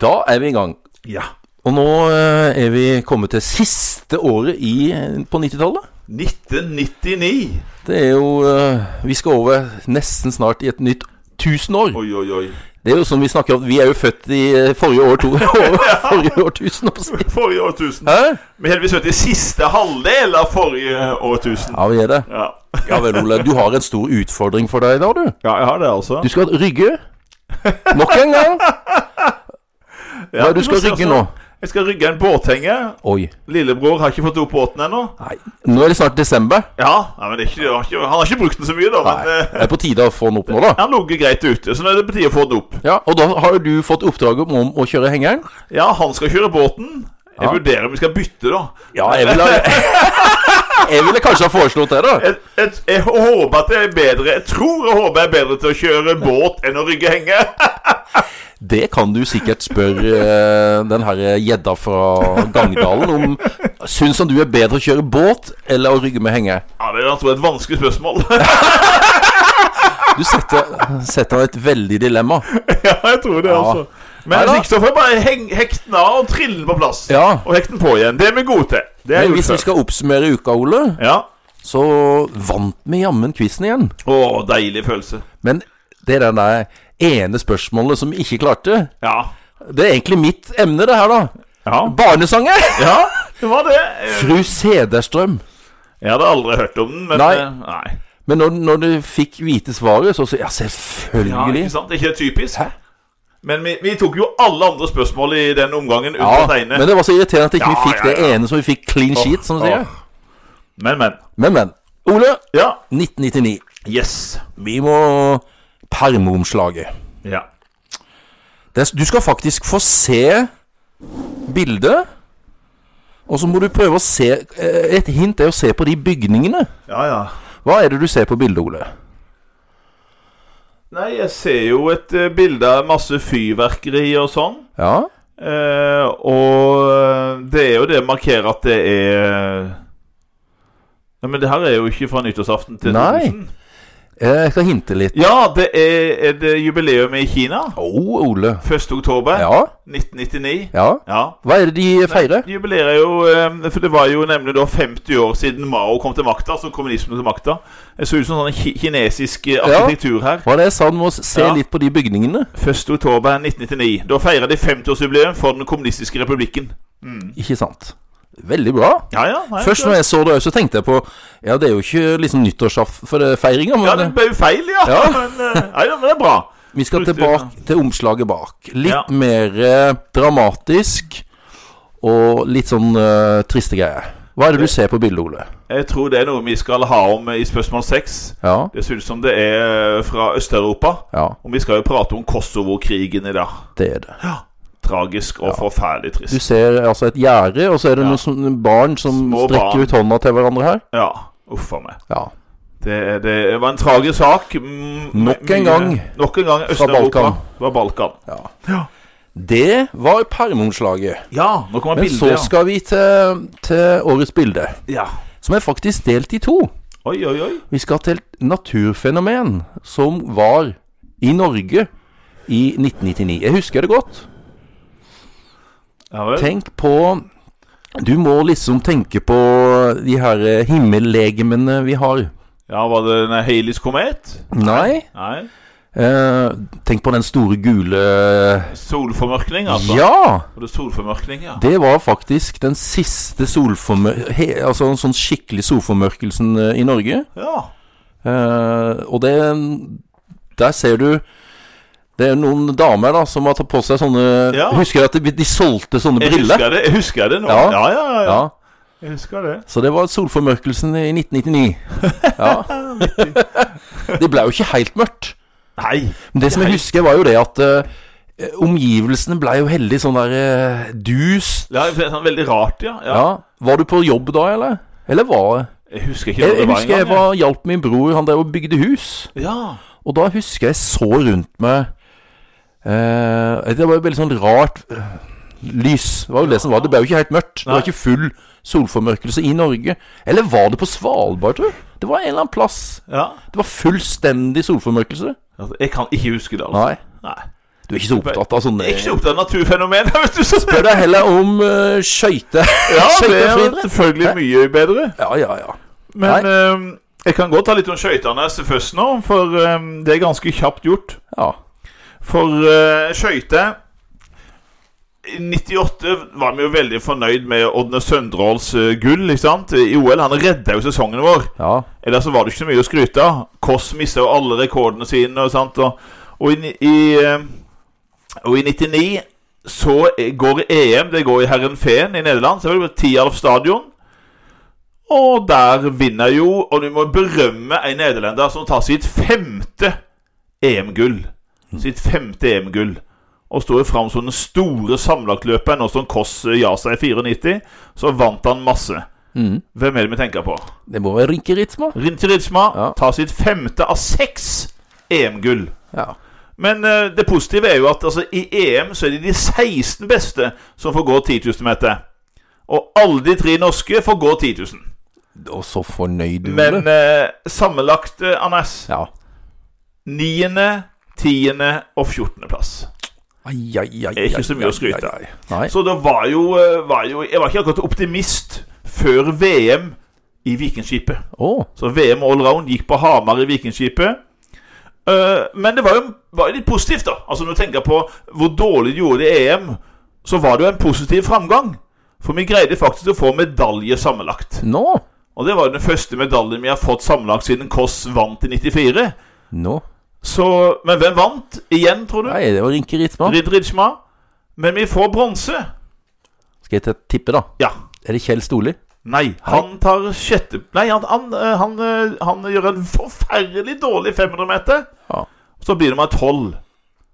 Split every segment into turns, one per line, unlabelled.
Da er vi i gang.
Ja.
Og nå eh, er vi kommet til siste året i, eh, på 90-tallet.
1999.
Det er jo eh, Vi skal over nesten snart i et nytt tusenår.
Oi, oi, oi.
Det er jo som vi snakker om Vi er jo født i eh, forrige år to, forrige årtusen. holdt jeg på å si.
Forrige årtusen.
Hæ?
Vi er heldigvis ute i siste halvdel av forrige årtusen.
Ja, vi er det.
Ja.
Ja vel, Ole. Du har en stor utfordring for deg i dag, du.
ja, jeg har det, altså.
Du skal rygge. Nok en gang.
Ja,
Hva er det du
vi
skal
får se,
rygge
altså.
nå?
Jeg skal rygge en båthenge.
Oi.
Lillebror har ikke fått opp båten ennå.
Nei. Nå er det snart desember.
Ja, nei, men det er ikke, det har ikke, Han har ikke brukt den så mye, da.
Nei.
Men eh,
Det er på tide å få den opp nå, da.
han ligger greit ute, så nå er det på tide å få den opp.
Ja, Og da har jo du fått oppdraget om å kjøre hengeren.
Ja, han skal kjøre båten. Jeg
Ja.
vurderer om vi skal bytte, da.
Ja, jeg ville, jeg ville kanskje ha foreslått det, da.
Jeg, jeg, jeg håper at jeg er bedre Jeg tror jeg håper jeg er bedre til å kjøre båt enn å rygge henge.
Det kan du sikkert spørre eh, den herre gjedda fra Gangdalen om. Syns han du er bedre å kjøre båt eller å rygge med henger?
Ja, Det er jeg tror, et vanskelig spørsmål.
Du setter, setter han i et veldig dilemma.
ja, jeg tror det, altså. Men
Neida.
liksom får jeg bare heng, hekte den av og trille den på plass.
Ja.
Og hekte den på igjen. Det er vi gode til. Det er
Men
jo
hvis vi
skal...
skal oppsummere uka, Ole,
Ja.
så vant vi jammen quizen igjen.
Å, deilig følelse.
Men det er den der ene spørsmålet som vi ikke klarte.
Ja.
Det er egentlig mitt emne, det her, da.
Ja,
Barnesanger!
ja det var det. Eh,
Fru Sederstrøm.
Jeg hadde aldri hørt om den, men
Nei.
eh, nei.
Men når, når du fikk vite svaret, så sa Ja,
Ja,
selvfølgelig.
ikke sant? Det er ikke det typisk? Men vi, vi tok jo alle andre spørsmål i den omgangen
Ja,
unntatt ja, ene.
men det var så irriterende at ikke vi
Ja,
fikk
ja, ja.
det ene som vi fikk clean sheet, som de sier.
åh. Men, men.
Men, men. Ole,
Ja.
1999.
Yes.
Vi må permeomslaget.
Ja.
Det- Du skal faktisk få se bildet. Og så må du prøve å se eh, Et hint er å se på de bygningene.
Ja, ja.
Hva er det du ser på bildet, Ole?
Nei, jeg ser jo et eh, bilde av masse fyrverkeri og sånn.
Ja,
Eh, og eh, det er jo det markerer at det er Nei, Men det her er jo ikke fra nyttårsaften til
Nei.
2000.
eh, jeg skal hinte litt.
Ja, det er, er det jubileum i Kina.
Å, Ole.
1. oktober
Ja,
1999.
ja.
Ja.
Hva er det de feirer?
De Jubilerer jo eh, For det var jo nemlig da 50 år siden Mao kom til makta, altså kommunismen til makta. Det så ut som sånn ki kinesisk eh, arkitektur her.
Hva er det jeg sa? Du må se
Ja.
litt på de bygningene.
1. oktober 1999. Da feirer de 50-årsjubileum for den kommunistiske republikken.
Ikke sant? Veldig bra.
Ja, ja. nei,
Først
det-
når jeg så det, så tenkte jeg på Ja, det er jo ikke liksom nyttårsfeiringa, men
Ja, det ble jo feil, ja.
Ja.
Men, eh, nei, ja, men det er bra.
vi skal
brukte-
tilbake til omslaget bak. Litt
Ja.
mer eh, dramatisk og litt sånn eh, triste greier. Hva er det du ser på bildet, Ole?
Jeg tror det er noe vi skal ha om eh, i spørsmål 6.
Ja,
Det ser ut som det er eh, fra Øst-Europa.
ja,
Og vi skal jo prate om Kosovo-krigen i dag.
det er det.
Tragisk og forferdelig
Du
trist.
ser altså et gjerde, og så er det
Ja.
noen sånne barn som
Små
strekker
barn.
ut hånda til hverandre her.
Ja, uff a meg.
Ja.
Det, det var en tragisk sak. Mm,
Nok en
mye-
gang.
Nok en gang Øst-Europa
Balkan.
var Balkan.
Det var permeomslaget.
Ja, nå kommer
Men
bildet.
så skal vi til, til årets bilde,
ja. ja.
som er faktisk delt i to.
Oi, oi, oi.
Vi skal til et naturfenomen som var i Norge i 1999. Jeg husker det godt.
Ja vel.
Tenk på Du må liksom tenke på de her eh, himmellegemene vi har.
Ja, var det en Haleys komet?
Nei.
Nei.
Eh, tenk på den store gule
Solformørkning, altså.
Ja!
Var det solformørkning, ja.
Det var faktisk den siste solformør... He, altså en sånn skikkelig solformørkelsen eh, i Norge.
ja.
Eh, og det Der ser du Det er noen damer da som har tatt på seg sånne
Ja.
Husker du at de, de solgte sånne
Jeg
briller?
husker det, jeg husker det nå.
Ja.
ja, ja. ja.
Ja.
Jeg husker det.
Så det var solformørkelsen i 1999. Ja. det ble jo ikke helt mørkt.
Nei.
Men det som jeg husker, var jo det at eh, omgivelsene ble jo heldig sånn der eh, dust.
Ja, det er sånn veldig rart, ja. ja.
Ja. Var du på jobb da, eller? Eller var
Jeg husker ikke
Jeg, jeg
når det var
husker jeg
engang.
var, hjalp min bror, han drev og bygde hus.
Ja.
Og da husker jeg så rundt meg eh, Det var jo veldig sånn rart eh, lys. Det var jo det som var. Det ble jo ikke helt mørkt. Det var
Nei.
ikke full solformørkelse i Norge. Eller var det på Svalbard, tror jeg? Det var en eller annen plass.
ja.
Det var fullstendig solformørkelse.
Altså, Jeg kan ikke huske det, altså.
Nei.
Nei.
Du er ikke så opptatt av sånne
Jeg er ikke så opptatt av naturfenomener, hvis du så
Spør deg heller om uh, skøyte.
Ja, det er
Skøytefriidrett.
selvfølgelig mye bedre.
Ja, ja, ja.
Men eh, jeg kan godt ta litt om skøytene først nå, for eh, det er ganske kjapt gjort.
ja.
For uh, skøyter I 98 var vi jo veldig fornøyd med Ådne Søndråls eh, gull ikke sant? i OL. Han redda jo sesongen vår.
ja.
Ellers så var det ikke så mye å skryte av. Kåss mista jo alle rekordene sine. Og, sant? Og, og, i, ni- i, eh, og i 99 så eh, går EM Det går i Herrenfeen i Nederland. Så er det på Tialf stadion. Og der vinner jo Og du må berømme en nederlender som tar sitt femte EM-gull. Sitt femte EM-gull. Og står jo fram som den store sammenlagtløperen. Og som Kåss eh, ja seg i 94, så vant han masse.
Mm.
Hvem er det vi tenker på?
Det må være rynkeritsma.
Rintiritsma
Ja.
tar sitt femte av seks EM-gull.
Ja.
Men eh, det positive er jo at altså, i EM så er det de 16 beste som får gå 10 000 meter. Og alle de tre norske får gå 10 000.
Og så fornøyd du
Men
ble.
eh, sammenlagt, eh, Anders
Ja.
Niende, tiende og fjortendeplass.
Ai, ai, ai,
Det er ikke
ai,
så mye å
ai,
skryte
ai, ai. Nei.
Så det var jo, eh, var jo Jeg var ikke akkurat optimist før VM i Vikingskipet.
Å.
Så VM allround gikk på Hamar i Vikingskipet. Eh, men det var jo, var jo litt positivt, da. Altså Når du tenker på hvor dårlig de gjorde det i EM, så var det jo en positiv framgang. For vi greide faktisk å få medalje sammenlagt.
Nå.
Og det var jo den første medaljen vi har fått sammenlagt siden Kåss vant i 94.
Nå.
Så, Men hvem vant igjen, tror du?
Nei, det var rynkeritsma.
Ridd Rijma. Men vi får bronse.
Skal jeg ta- tippe, da?
Ja.
Er det Kjell Storli?
Nei, han tar sjette Nei, han, han, eh, han, eh, han gjør en forferdelig dårlig 500-meter.
Ja.
Så blir det med tolv.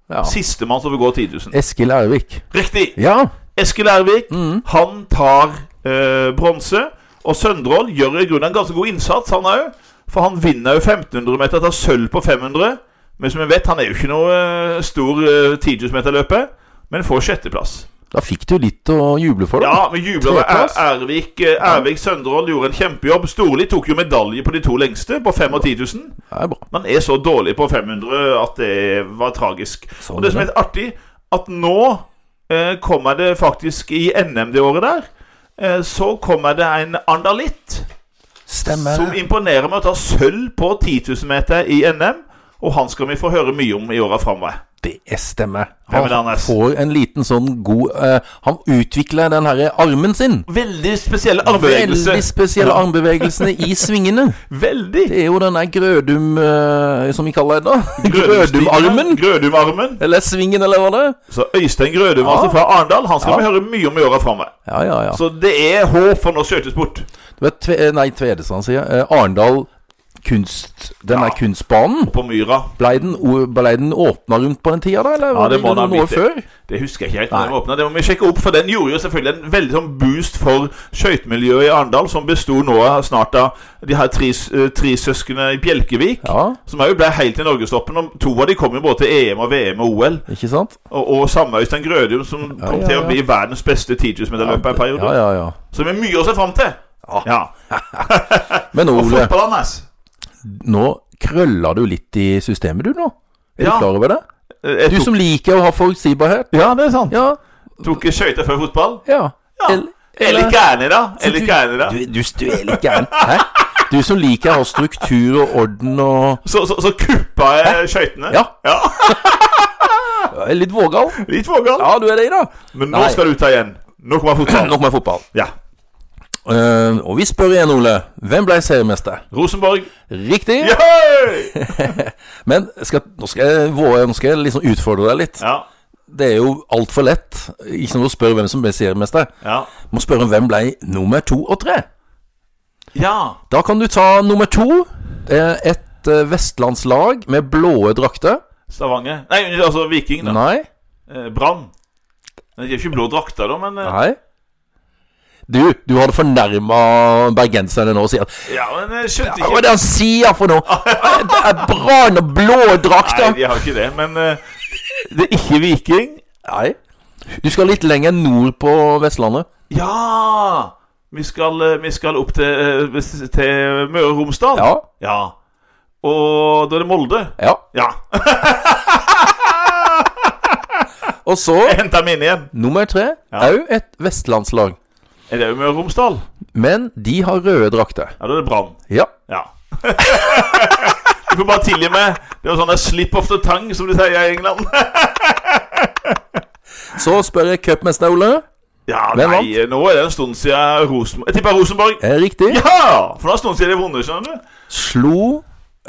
Ja. Eh.
Sistemann som vil gå 10 000.
Eskil Ervik.
Riktig!
Ja.
Eskil Ervik
Mm.
han tar eh, bronse. Og Søndrål gjør i grunnen en ganske god innsats, han òg. For han vinner jo 1500-meter, tar sølv på 500. Men som vi vet, han er jo ikke noe eh, stor eh, 10 000-meterløper. Men får sjetteplass.
Da fikk du litt å juble for, da.
Ja, vi jubler over
Treplass.
Er- Ervik. eh, Ervik Søndrål gjorde en kjempejobb. Storli tok jo medalje på de to lengste, på 5 og 10 000.
Det er bra.
Man er så dårlig på 500 at det var tragisk.
Sånn
og det som
er
er litt artig, at nå eh, kommer det faktisk i NM det året der, eh, så kommer det en andalitt
Stemmer.
som imponerer med å ta sølv på 10 000 meter i NM. Og han skal vi få høre mye om i åra framover.
Det er stemme.
Hvem er det,
Han
Anders?
får en liten sånn god eh, Han utvikler den herre armen sin.
Veldig spesielle armbevegelse.
Veldig spesielle
Ja,
armbevegelsene i svingene.
Veldig.
Det er jo denne Grødum eh, som vi kaller det da. Grødumarmen.
Grødumarmen.
Eller svingen, eller hva det er.
Så Øystein Grødum,
Ja.
altså fra Arendal, han skal
Ja.
vi høre mye om i åra framover.
Ja, ja, ja.
Så det er håp for norsk skøytesport.
Du vet, tve, eh, nei, Tvedestrand sier eh, Arendal kunst... Denne
Ja.
kunstbanen.
På Myra.
Blei den, o- blei den åpna rundt på den tida, da? Eller var
det
det,
må den ha
noen år
blitt.
før?
Det husker jeg ikke helt. når
Nei.
den åpnet. Det må vi sjekke opp, for den gjorde jo selvfølgelig en veldig sånn boost for skøytemiljøet i Arendal, som besto nå snart av de her tre, eh, tre søsknene i Bjelkevik.
Ja,
Som òg ble helt i norgestoppen. og To av de kom jo både til EM og VM og OL.
ikke sant?
Og, og samme Øystein Grødum, som
Ja,
kom
ja,
til å
ja.
bli verdens beste 10 000-meterløper en periode.
Ja, ja, ja.
Så vi har mye å se fram til.
Ja.
Ja.
Men
Og
Ole,
fotball, Anders.
nå krøller du litt i systemet, du nå. Er
Ja.
du klar over det?
Eh,
Du
Jeg tok,
som liker å ha forutsigbarhet.
ja, det er sant.
Ja,
Tok skøyter før fotball.
ja.
Ja.
El-
Jeg er
eller-
litt gæren i dag. Jeg er
du,
litt gæren i dag.
du, du, du er litt gæren. Hæ? Du som liker å ha struktur og orden og
Så, så, så kuppa jeg skøytene.
Ja. Er Litt vågal.
Litt vågal.
Ja, du er det, da.
Men nå
Nei.
skal du ta igjen. Nå kommer fotball.
Nok med fotball.
Ja.
Eh, og vi spør igjen, Ole. Hvem ble seriemester?
Rosenborg.
Riktig.
Yay!
Men skal, nå, skal jeg, våge- nå skal jeg liksom utfordre deg litt.
Ja.
Det er jo altfor lett ikke sant, å spørre hvem som ble seriemester.
Ja.
Må spørre hvem ble nummer to og tre.
ja.
Da kan du ta nummer to. eh, Et eh, vestlandslag med blåe drakter.
Stavanger. Nei, altså Viking, da.
Nei.
Eh, Brann. De er ikke blå drakter, da, men eh,
Nei. Du, du hadde fornærma bergenserne nå og sier at
Ja, men jeg skjønte
Hva
ikke
er det han sier for noe?! Det er bra når blå
Nei,
drakter
de har ikke det, men eh, Det er ikke Viking.
Nei. Du skal litt lenger nord på Vestlandet.
Ja! Vi skal, eh, vi skal opp til, eh, til Møre og Romsdal.
Ja.
ja. Og da er det Molde.
Ja.
Ja.
Og så,
Henta dem inn igjen.
nummer tre,
Ja.
òg et vestlandslag.
Er det jo Møre og Romsdal?
Men de har røde drakter.
Ja, da er det Brann.
Ja.
Ja. Du får bare tilgi meg. Det er jo sånn der slip of the tongue, som de sier i England.
Så spør jeg cupmester Ole.
Ja,
Hvem
nei, nå er det en stund siden Rosenborg Jeg tipper Rosenborg.
Er det riktig?
Ja! For det er en stund siden de vunnet, skjønner du.
Slo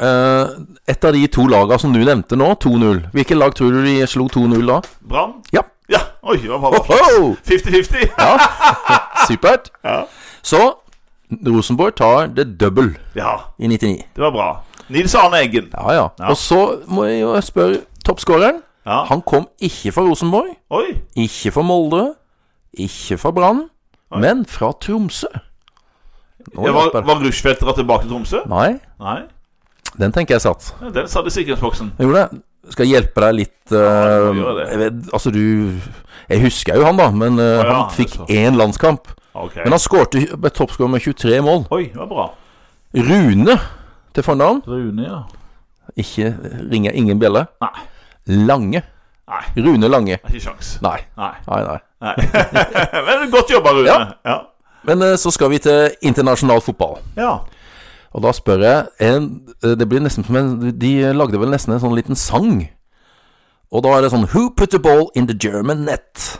eh, et av de to lagene som du nevnte nå, 2-0. Hvilket lag tror du de slo 2-0 da?
Brann.
Ja.
Ja. Oi, hva var det?
Oho!
50-50.
Ja, supert.
Ah! Ja.
Så Rosenborg tar det double
ja,
i 99.
det var bra. Nils Arne Eggen.
Ja, ja.
Ja.
Og så må jeg jo spørre toppskåreren.
Ja.
Han kom ikke fra Rosenborg,
Oi.
ikke fra Molde, ikke fra Brann, men fra Tromsø. Nå
Det var
hjelper det.
var Rushfeldt dratt tilbake til Tromsø?
Nei,
Nei.
den tenker jeg satt.
Den satt i sikkerhetsboksen.
Jeg gjorde det. Skal jeg hjelpe deg litt
Ja,
eh,
du må gjøre det.
jeg vet, Altså, du Jeg husker jo han, da, men eh,
ja,
han fikk
altså.
én landskamp.
Ok.
Men han skårte ble toppskårer med 23 mål.
Oi, det var bra.
Rune til fornavn.
Rune, ja.
Ikke ringer ingen bjelle.
Nei.
Lange.
Nei,
Rune Lange.
det er ikke sjans.
Nei.
Nei.
Nei, nei.
Nei. Men godt jobba, Rune.
Ja.
Ja.
Men eh, så skal vi til internasjonal fotball.
ja.
Og da spør jeg en, eh, Det blir nesten som en De lagde vel nesten en sånn liten sang. Og da er det sånn Who put the ball in the German net?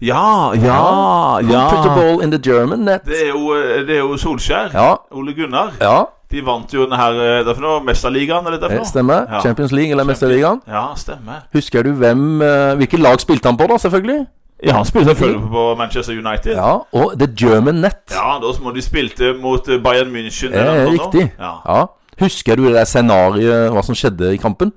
Ja, ja,
Who put the ball in the German net?
Det er jo, det er jo Solskjær.
Ja,
Ole Gunnar.
ja
De vant jo denne her eh, det er for noe, Mesterligaen, eller dette
det
for noe?
Eh, stemmer.
Ja.
Champions League eller Mesterligaen.
Ja, stemmer.
Husker du hvem eh, Hvilket lag spilte han på, da, selvfølgelig?
Ja, han spilte selvfølgelig på Manchester United. Ja.
Ja, og The German Net.
da må de spilte mot eh, Bayern München.
det
eller
er
noe sånt
riktig.
nå. Ja.
Ja. Husker du det der scenariet, hva som skjedde i kampen?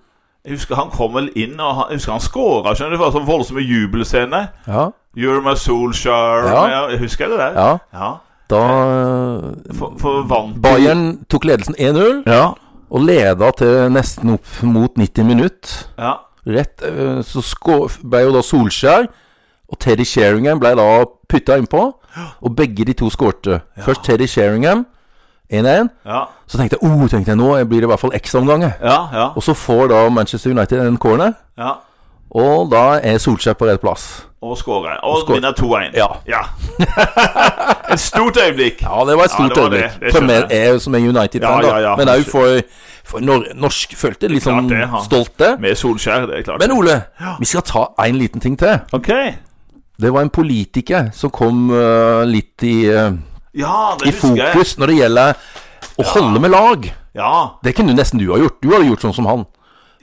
Jeg husker han kom vel inn, og han, jeg husker han skåra, skjønner du, for en sånn voldsomme jubelscene.
Ja.
You're my Solskjær
Ja.
ja. Jeg husker det der.
ja.
Ja.
Da eh,
For, for vant
Bayern tok ledelsen 1-0
Ja.
og leda til nesten opp mot 90 minutt.
ja.
Rett, eh, så skå, ble jo da Solskjær og Teddy Sheringham ble da putta innpå. Og begge de to skårte. Først Teddy Sheringham 1-1.
Ja.
Så tenkte jeg oh, tenkte jeg, nå blir det i hvert fall ekstraomganger.
Ja. Ja.
Og så får da Manchester United en corner,
ja.
og da er Solskjær på rett plass.
Og skårer. Og,
skårer.
vinner 2-1.
Ja.
Et stort øyeblikk.
Ja, det var et
Ja,
stort
det var det.
øyeblikk.
Det
For
skjønner
meg er jo som en United-fan,
Ja, ja, ja.
da. Men òg for, for nor norsk følte litt sånn
Klart det, ja.
stolt det.
Med Solskjær, det er klart.
Men Ole, vi skal ta en liten ting til.
OK.
Det var en politiker som kom øh, litt i, øh,
Ja, det
i
husker jeg.
fokus når det gjelder å holde med lag.
Ja.
Det kunne nesten du ha gjort. Du hadde gjort sånn som han.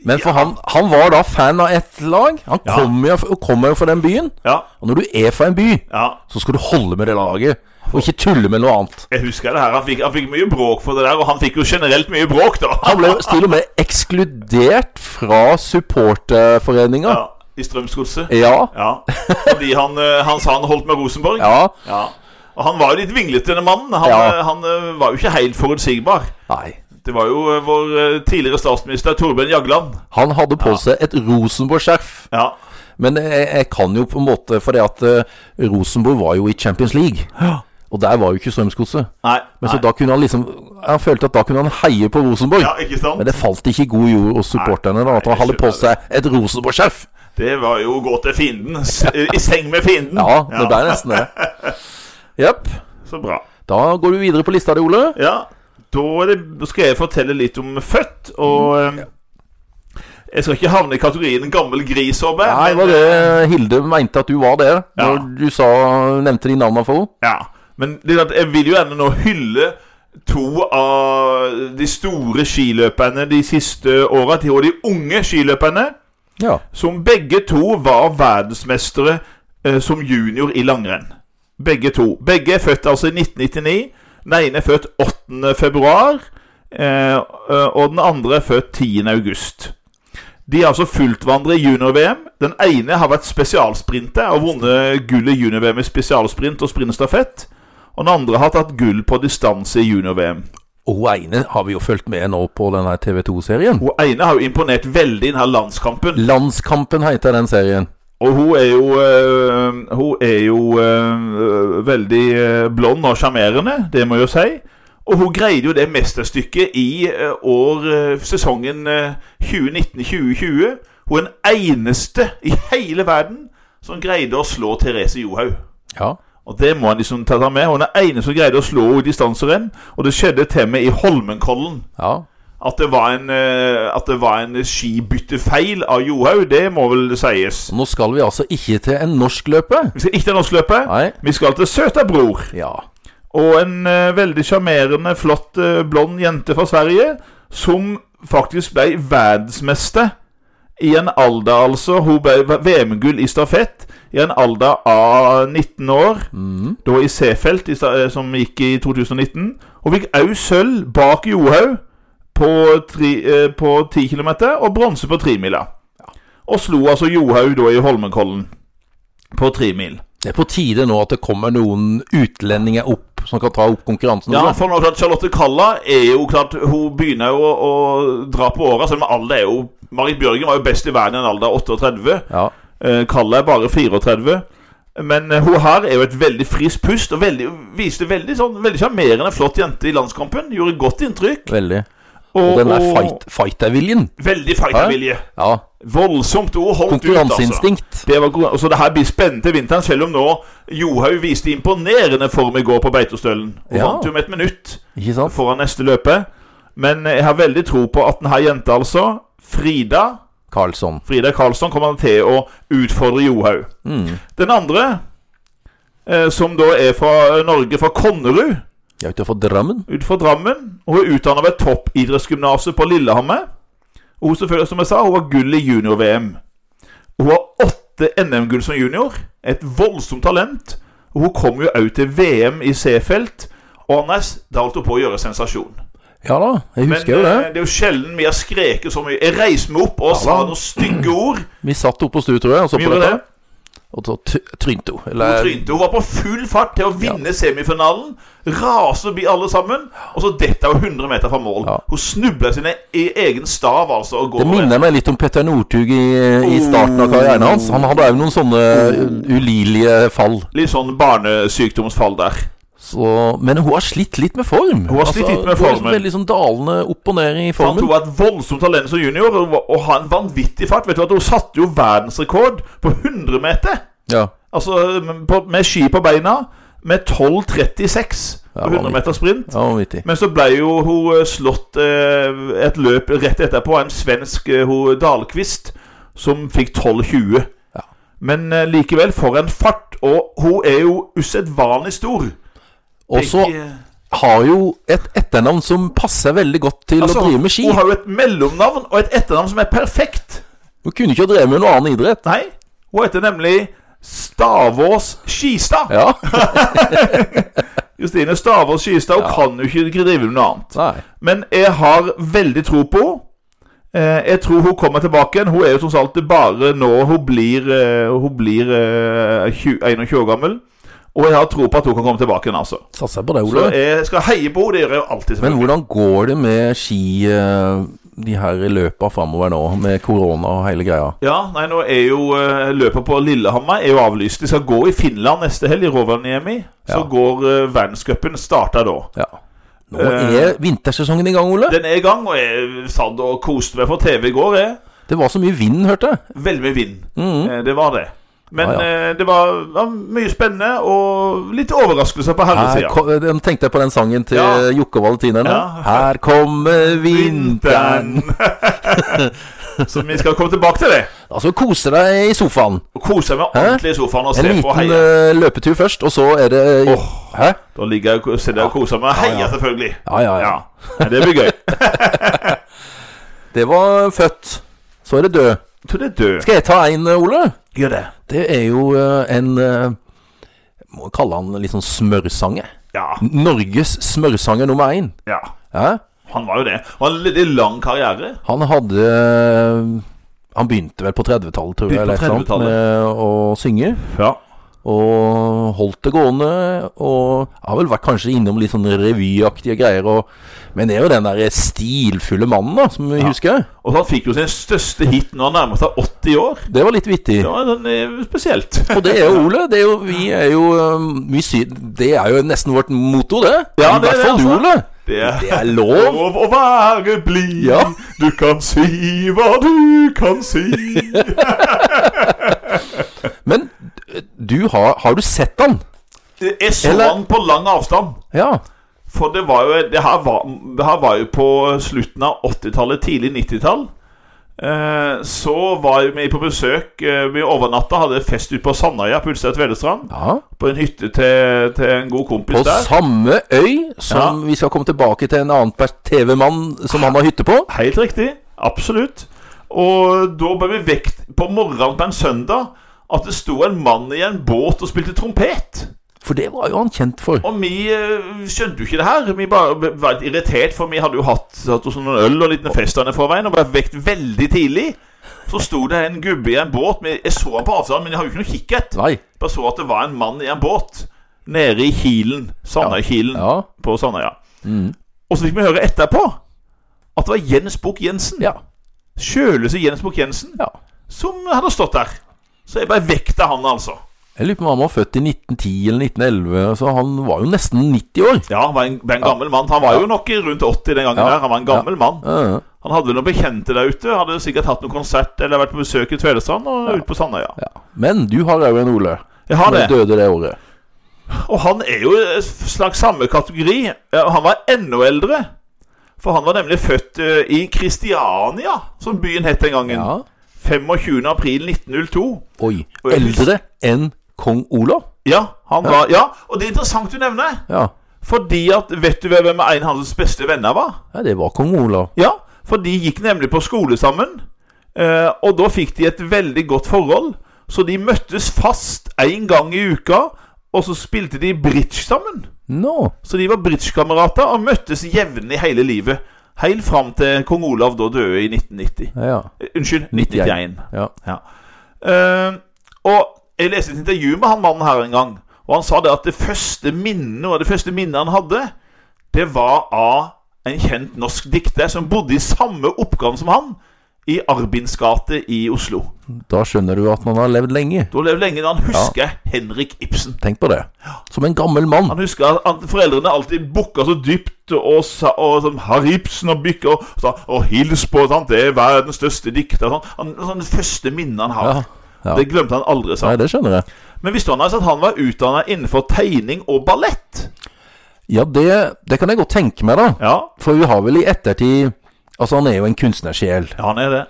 Men for han, han var da fan av ett lag. Han
Ja.
kommer jo kommer jo fra den byen.
Ja.
Og når du er fra en by,
ja.
så skal du holde med det laget. Og ikke tulle med noe annet.
Jeg husker det her. Han fikk, han fikk mye bråk for det der, og han fikk jo generelt mye bråk, da.
Han ble til og med ekskludert fra supporterforeninga.
Ja, I Strømsgodset.
Ja.
Ja. Fordi han, eh, han sa han holdt med Rosenborg.
Ja.
Ja. Og han var jo litt vinglete, denne mannen. Han,
Ja.
eh, han eh, var jo ikke helt forutsigbar.
Nei.
Det var jo eh, vår eh, tidligere statsminister Torbjørn Jagland.
Han hadde på seg et Rosenborg-skjerf.
Ja.
Men jeg, jeg kan jo på en måte For det at eh, Rosenborg var jo i Champions League. Og der var jo ikke Strømsgodset.
Nei.
Men så
nei.
da kunne han liksom Han følte at da kunne han heie på Rosenborg.
Ja, ikke sant?
Men det falt ikke i god jord hos supporterne da, at
Nei,
han hadde
jeg
på
skjønner
seg et Rosenborg-skjerf.
Det var jo å gå til fienden. S I seng med fienden.
Ja, det ble nesten det. Jepp.
Så bra.
Da går du videre på lista di, Ole.
Ja, da er det, da skal jeg fortelle litt om født, og
Mm,
eh, Jeg skal ikke havne i kategorien gammel gris, håper jeg.
Nei,
men,
var det Hilde mente at du var det, når
Ja.
du sa, nevnte de navnene for henne?
eh, Ja, men det er at jeg vil jo gjerne nå hylle to av de store skiløperne de siste åra, og de unge skiløperne,
Ja.
som begge to var verdensmestere eh, som junior i langrenn. Begge to. Begge er født altså i 1999. Den ene er født 8. februar, eh, eh, og den andre er født 10. august. De er altså fulltvandrere i junior-VM. Den ene har vært spesialsprinter og vunnet gull i junior-VM i spesialsprint og sprintstafett. Og den andre har tatt gull på distanse i junior-VM.
Og hun ene har vi jo fulgt med nå på denne TV2-serien.
Hun ene har jo imponert veldig i denne landskampen.
Landskampen heter den serien.
Og hun er jo, øh, hun er jo øh, veldig øh, blond og sjarmerende, det må jeg jo si. Og hun greide jo det eh, mesterstykket i øh, år, øh, sesongen øh, 2019-2020. Hun er den eneste i hele verden som greide å slå Therese Johaug.
Ja.
Og det må han liksom ta seg med. Hun er den eneste som greide å slå henne i distanserenn. Og det skjedde til og med i Holmenkollen.
ja.
At det var en, eh, at det var en skibyttefeil av Johaug, det må vel sies.
Nå skal vi altså ikke til en norsk løpe.
Vi skal ikke til norskløpet.
Nei.
Vi skal til Søta Bror.
Ja.
Og en eh, veldig sjarmerende, flott, eh, blond jente fra Sverige som faktisk ble verdensmester i en alder, altså. Hun ble VM-gull i stafett i en alder av 19 år, da i Seefeld, i sta- eh, som gikk i 2019. Hun fikk òg sølv bak Johaug på, tri, eh, på 10 km og bronse på tremila. Og slo altså Johaug da i Holmenkollen på tremil.
Det er på tide nå at det kommer noen utlendinger opp som kan ta opp konkurransen.
Ja,
også.
for nå, klart, Charlotte Kalla er jo klart Hun begynner jo å, å dra på åra, selv om alder er jo Marit Bjørgen var jo best i verden i en alder av 38.
ja.
Eh, Kalla er bare 34. Men eh, hun her er jo et veldig friskt pust og veldig, viste veldig sånn Veldig sjarmerende flott jente i landskampen. Gjorde godt inntrykk.
Veldig. Og den der fight, fighterviljen.
Veldig fightervilje.
Ja.
Voldsomt. Hun holdt ut, altså.
Konkurranseinstinkt.
Det var god, så det her blir spennende til vinteren, selv om nå Johaug viste imponerende form i går på Beitostølen. Hun
Ja.
vant jo med et minutt.
Ikke sant?
foran neste løpet. Men jeg har veldig tro på at denne jenta, altså, Frida
Karlsson.
Frida Karlsson, kommer til å utfordre Johaug.
Mm.
Den andre, eh, som da er fra Norge, fra Konnerud,
Jeg er ute for drømmen.
utenfor Drammen og Hun er utdanna ved toppidrettsgymnaset på Lillehammer. Og hun selvfølgelig, som jeg sa, hun var gull i junior-VM. Og Hun har åtte NM-gull som junior. Et voldsomt talent. Og hun kom jo òg til VM i C-felt. Og Anders, da holdt hun på å gjøre sensasjon.
Ja da, jeg
Men
husker jo det.
eh, det er jo sjelden vi har skreket så mye. Jeg reiste meg opp og
Ja,
sa
da.
noen stygge ord.
Vi satt oppe på stue, tror jeg, og så
Vi
på
gjorde
dette.
det.
Og så t- trynte hun.
Hun
Eller
trynte. Hun var på full fart til å vinne semifinalen. Raser forbi alle sammen. Og så dette var 100 meter fra mål.
Ja.
Hun snubla sin e- i egen stav, altså. Og
Det
går
minner meg litt om Petter Northug i, i starten av karrieren hans. Han hadde òg noen sånne u- ulidelige fall.
Litt sånn barnesykdomsfall der.
Så, men hun har slitt litt med form.
Hun har slitt litt med
hun er liksom
formen.
Veldig sånn dalende opp og ned i
Fant
formen.
hun var et voldsomt talent som junior og, og ha en vanvittig fart. Vet du at Hun satte jo verdensrekord på 100 meter.
Ja,
Altså med- på, med ski på beina. Med 12,36
Ja,
på
vanvittig.
100 meter sprint.
ja vanvittig.
Men så ble jo hun eh, slått eh, et løp rett etterpå av en svensk eh, hun, Dahlqvist, som fikk 12,20.
Ja.
Men eh, likevel, for en fart! Og hun er jo usedvanlig stor.
Og så
Jeg, eh,
har jo et etternavn som passer veldig godt til
altså,
å drive med ski.
Hun har jo et mellomnavn og et etternavn som er perfekt.
Hun kunne ikke ha drevet med noe annen idrett.
Nei, hun heter nemlig Stavås Skistad.
Ja,
Justine Stavås Skistad. Hun kan jo ikke drive med noe annet.
nei
Men jeg har veldig tro på henne. Eh, jeg tror hun kommer tilbake igjen. Hun er jo som sagt bare nå hun blir, eh, hun blir eh, 20, 21 år gammel. Og jeg har tro på at hun kan komme tilbake igjen, altså.
Satser på deg,
Så
Ole.
jeg skal heie på henne. Det gjør jeg jo alltid.
Men
selvfølgelig.
hvordan går det med ski eh, de her løpa framover nå, med korona og hele greia?
Ja, nei, nå er jo eh, løpet på Lillehammer er jo avlyst. De skal gå i Finland neste helg, i Rovaniemi. Så
Ja.
går eh, verdenscupen starta da.
Ja. Nå
Eh,
er vintersesongen i gang, Ole.
Den er i gang, og jeg satt og koste meg på TV i går, jeg.
Det var så mye vind, hørte jeg.
Veldig mye vind. Eh, Det var det. Men
Mm. Ja,
eh, det var, var mye spennende og litt overraskelser på
Her
herresida.
ko- den tenkte jeg på den sangen til
Ja.
Jokke og Valentinerne.
Ja.
Her kommer vinteren
Så vi skal komme tilbake til det.
Altså, kose deg i sofaen.
Og kose meg ordentlig i sofaen
En
og se på og
liten
heie.
eh, løpetur først, og så er det Hæ?
Da ligger jeg og sitter jeg og koser meg og heier, selvfølgelig.
Ja, ja, ja.
Men Det blir gøy.
Det var født. Så er det død.
Jeg tror det er død.
Skal jeg ta en, eh, Ole?
Gjør det.
Det er jo eh, en eh, Må kalle han litt sånn smørsange.
Ja.
Norges smørsanger nummer én.
ja.
Ja?
Han var jo det. Og han hadde en lang karriere.
Han hadde eh, Han begynte vel på 30-tallet, tror jeg,
Begynte på
eller et eller annet,
30-tallet.
med å synge.
Ja.
Og holdt det gående. Og har vel vært kanskje innom litt sånn revyaktige greier. Og, men det er jo den der stilfulle mannen, da, som vi husker.
Og så han fikk jo sin største hit når han nærmet seg 80 år.
Det var litt vittig.
Det var sånn eh, spesielt.
Og det er jo Ole. Det er jo, vi er jo, eh, vi sy det er jo nesten vårt motto, det.
Ja,
I
det er
hvert fall
det,
du,
altså.
Ole.
Det er
Det er lov!
lov å være blid.
Ja.
Du kan si hva du kan si.
Men eh, du har Har du sett han?
Jeg så
Eller-
han på lang avstand.
Ja.
For det var jo Det her var, det her var jo på slutten av 80-tallet, tidlig 90-tall. Eh, så var jo vi på besøk. Eh, vi overnatta, hadde fest ute på Sandøya på Ulstein Tvedestrand.
ja.
På en hytte til, til en god kompis
På
der.
samme øy som
Ja.
vi skal komme tilbake til en annen pers- TV-mann som han har hytte på.
Helt riktig. Absolutt. Og da ble vi vekt på morgenen på en søndag at det sto en mann i en båt og spilte trompet.
For det var jo han kjent for.
Og vi eh, skjønte jo ikke det her. Vi bare ble- var litt irritert, for vi hadde jo hatt, hatt oss noen øl og litt fest der nede i forveien, og ble vekt veldig tidlig. Så sto det en gubbe i en båt. men Jeg så han på avstand, men jeg har jo ikke noe kikkert.
Nei.
Bare så at det var en mann i en båt nede i Kilen. Sandøykilen
Ja.
på Sandøya.
Mm.
Og så fikk vi høre etterpå at det var Jens Bukk Jensen.
Ja.
Sjøløse Jens Bukk Jensen
ja.
som hadde stått der. Så jeg ble vekt av han, altså.
Jeg lurer på om han var født i 1910 eller 1911, så han var jo nesten 90 år.
Ja, han var en, var en gammel mann. Han var jo nok rundt 80 den gangen
Ja.
der. Han var en gammel mann.
Ja.
Han hadde vel noen bekjente der ute. Hadde sikkert hatt noen konsert eller vært på besøk i Tvedestrand og ute på Sandøya.
Ja. Men du har òg en Ole.
Jeg har
Som
det.
døde det året.
Og han er jo en slags samme kategori. Ja, og Han var enda eldre. For han var nemlig født eh, i Kristiania, som byen het den gangen.
Ja.
25. april 1902.
Oi.
Og jeg husker-
Eldre enn kong Olav?
Ja, han var Ja, og det er interessant du nevner.
Ja.
Fordi at Vet du hvem en av hans beste venner var?
ja, det var kong Olav.
Ja, for de gikk nemlig på skole sammen. eh, Og da fikk de et veldig godt forhold. Så de møttes fast én gang i uka, og så spilte de bridge sammen.
Nå.
Så de var bridgekamerater og møttes jevnlig hele livet. Helt fram til kong Olav da døde i 1990.
Ja.
Eh, Unnskyld, 1991.
ja.
Eh, og jeg leste et intervju med han mannen her en gang, og han sa det at det første minnet og det første minnet han hadde, det var av en kjent norsk dikter som bodde i samme oppgave som han, i Arbins gate i Oslo.
Da skjønner du at man har levd lenge.
Da levde lenge da han husker Henrik Ibsen.
Tenk på det. Som en gammel mann.
Han husker at- at foreldrene alltid bukka så dypt og sa og sånn, Har Ibsen og Bykke og, sa, og hils på sant? Det er verdens største dikter. og Sånn. Han, sånn, det første minnet han har.
Ja. Ja.
Det glemte han aldri. sa han.
Nei, det skjønner jeg.
Men visste han altså at han var utdanna innenfor tegning og ballett?
Ja, det, det kan jeg godt tenke meg, da.
Ja,
For vi har vel i ettertid Altså, han er jo en kunstnersjel.
han er det.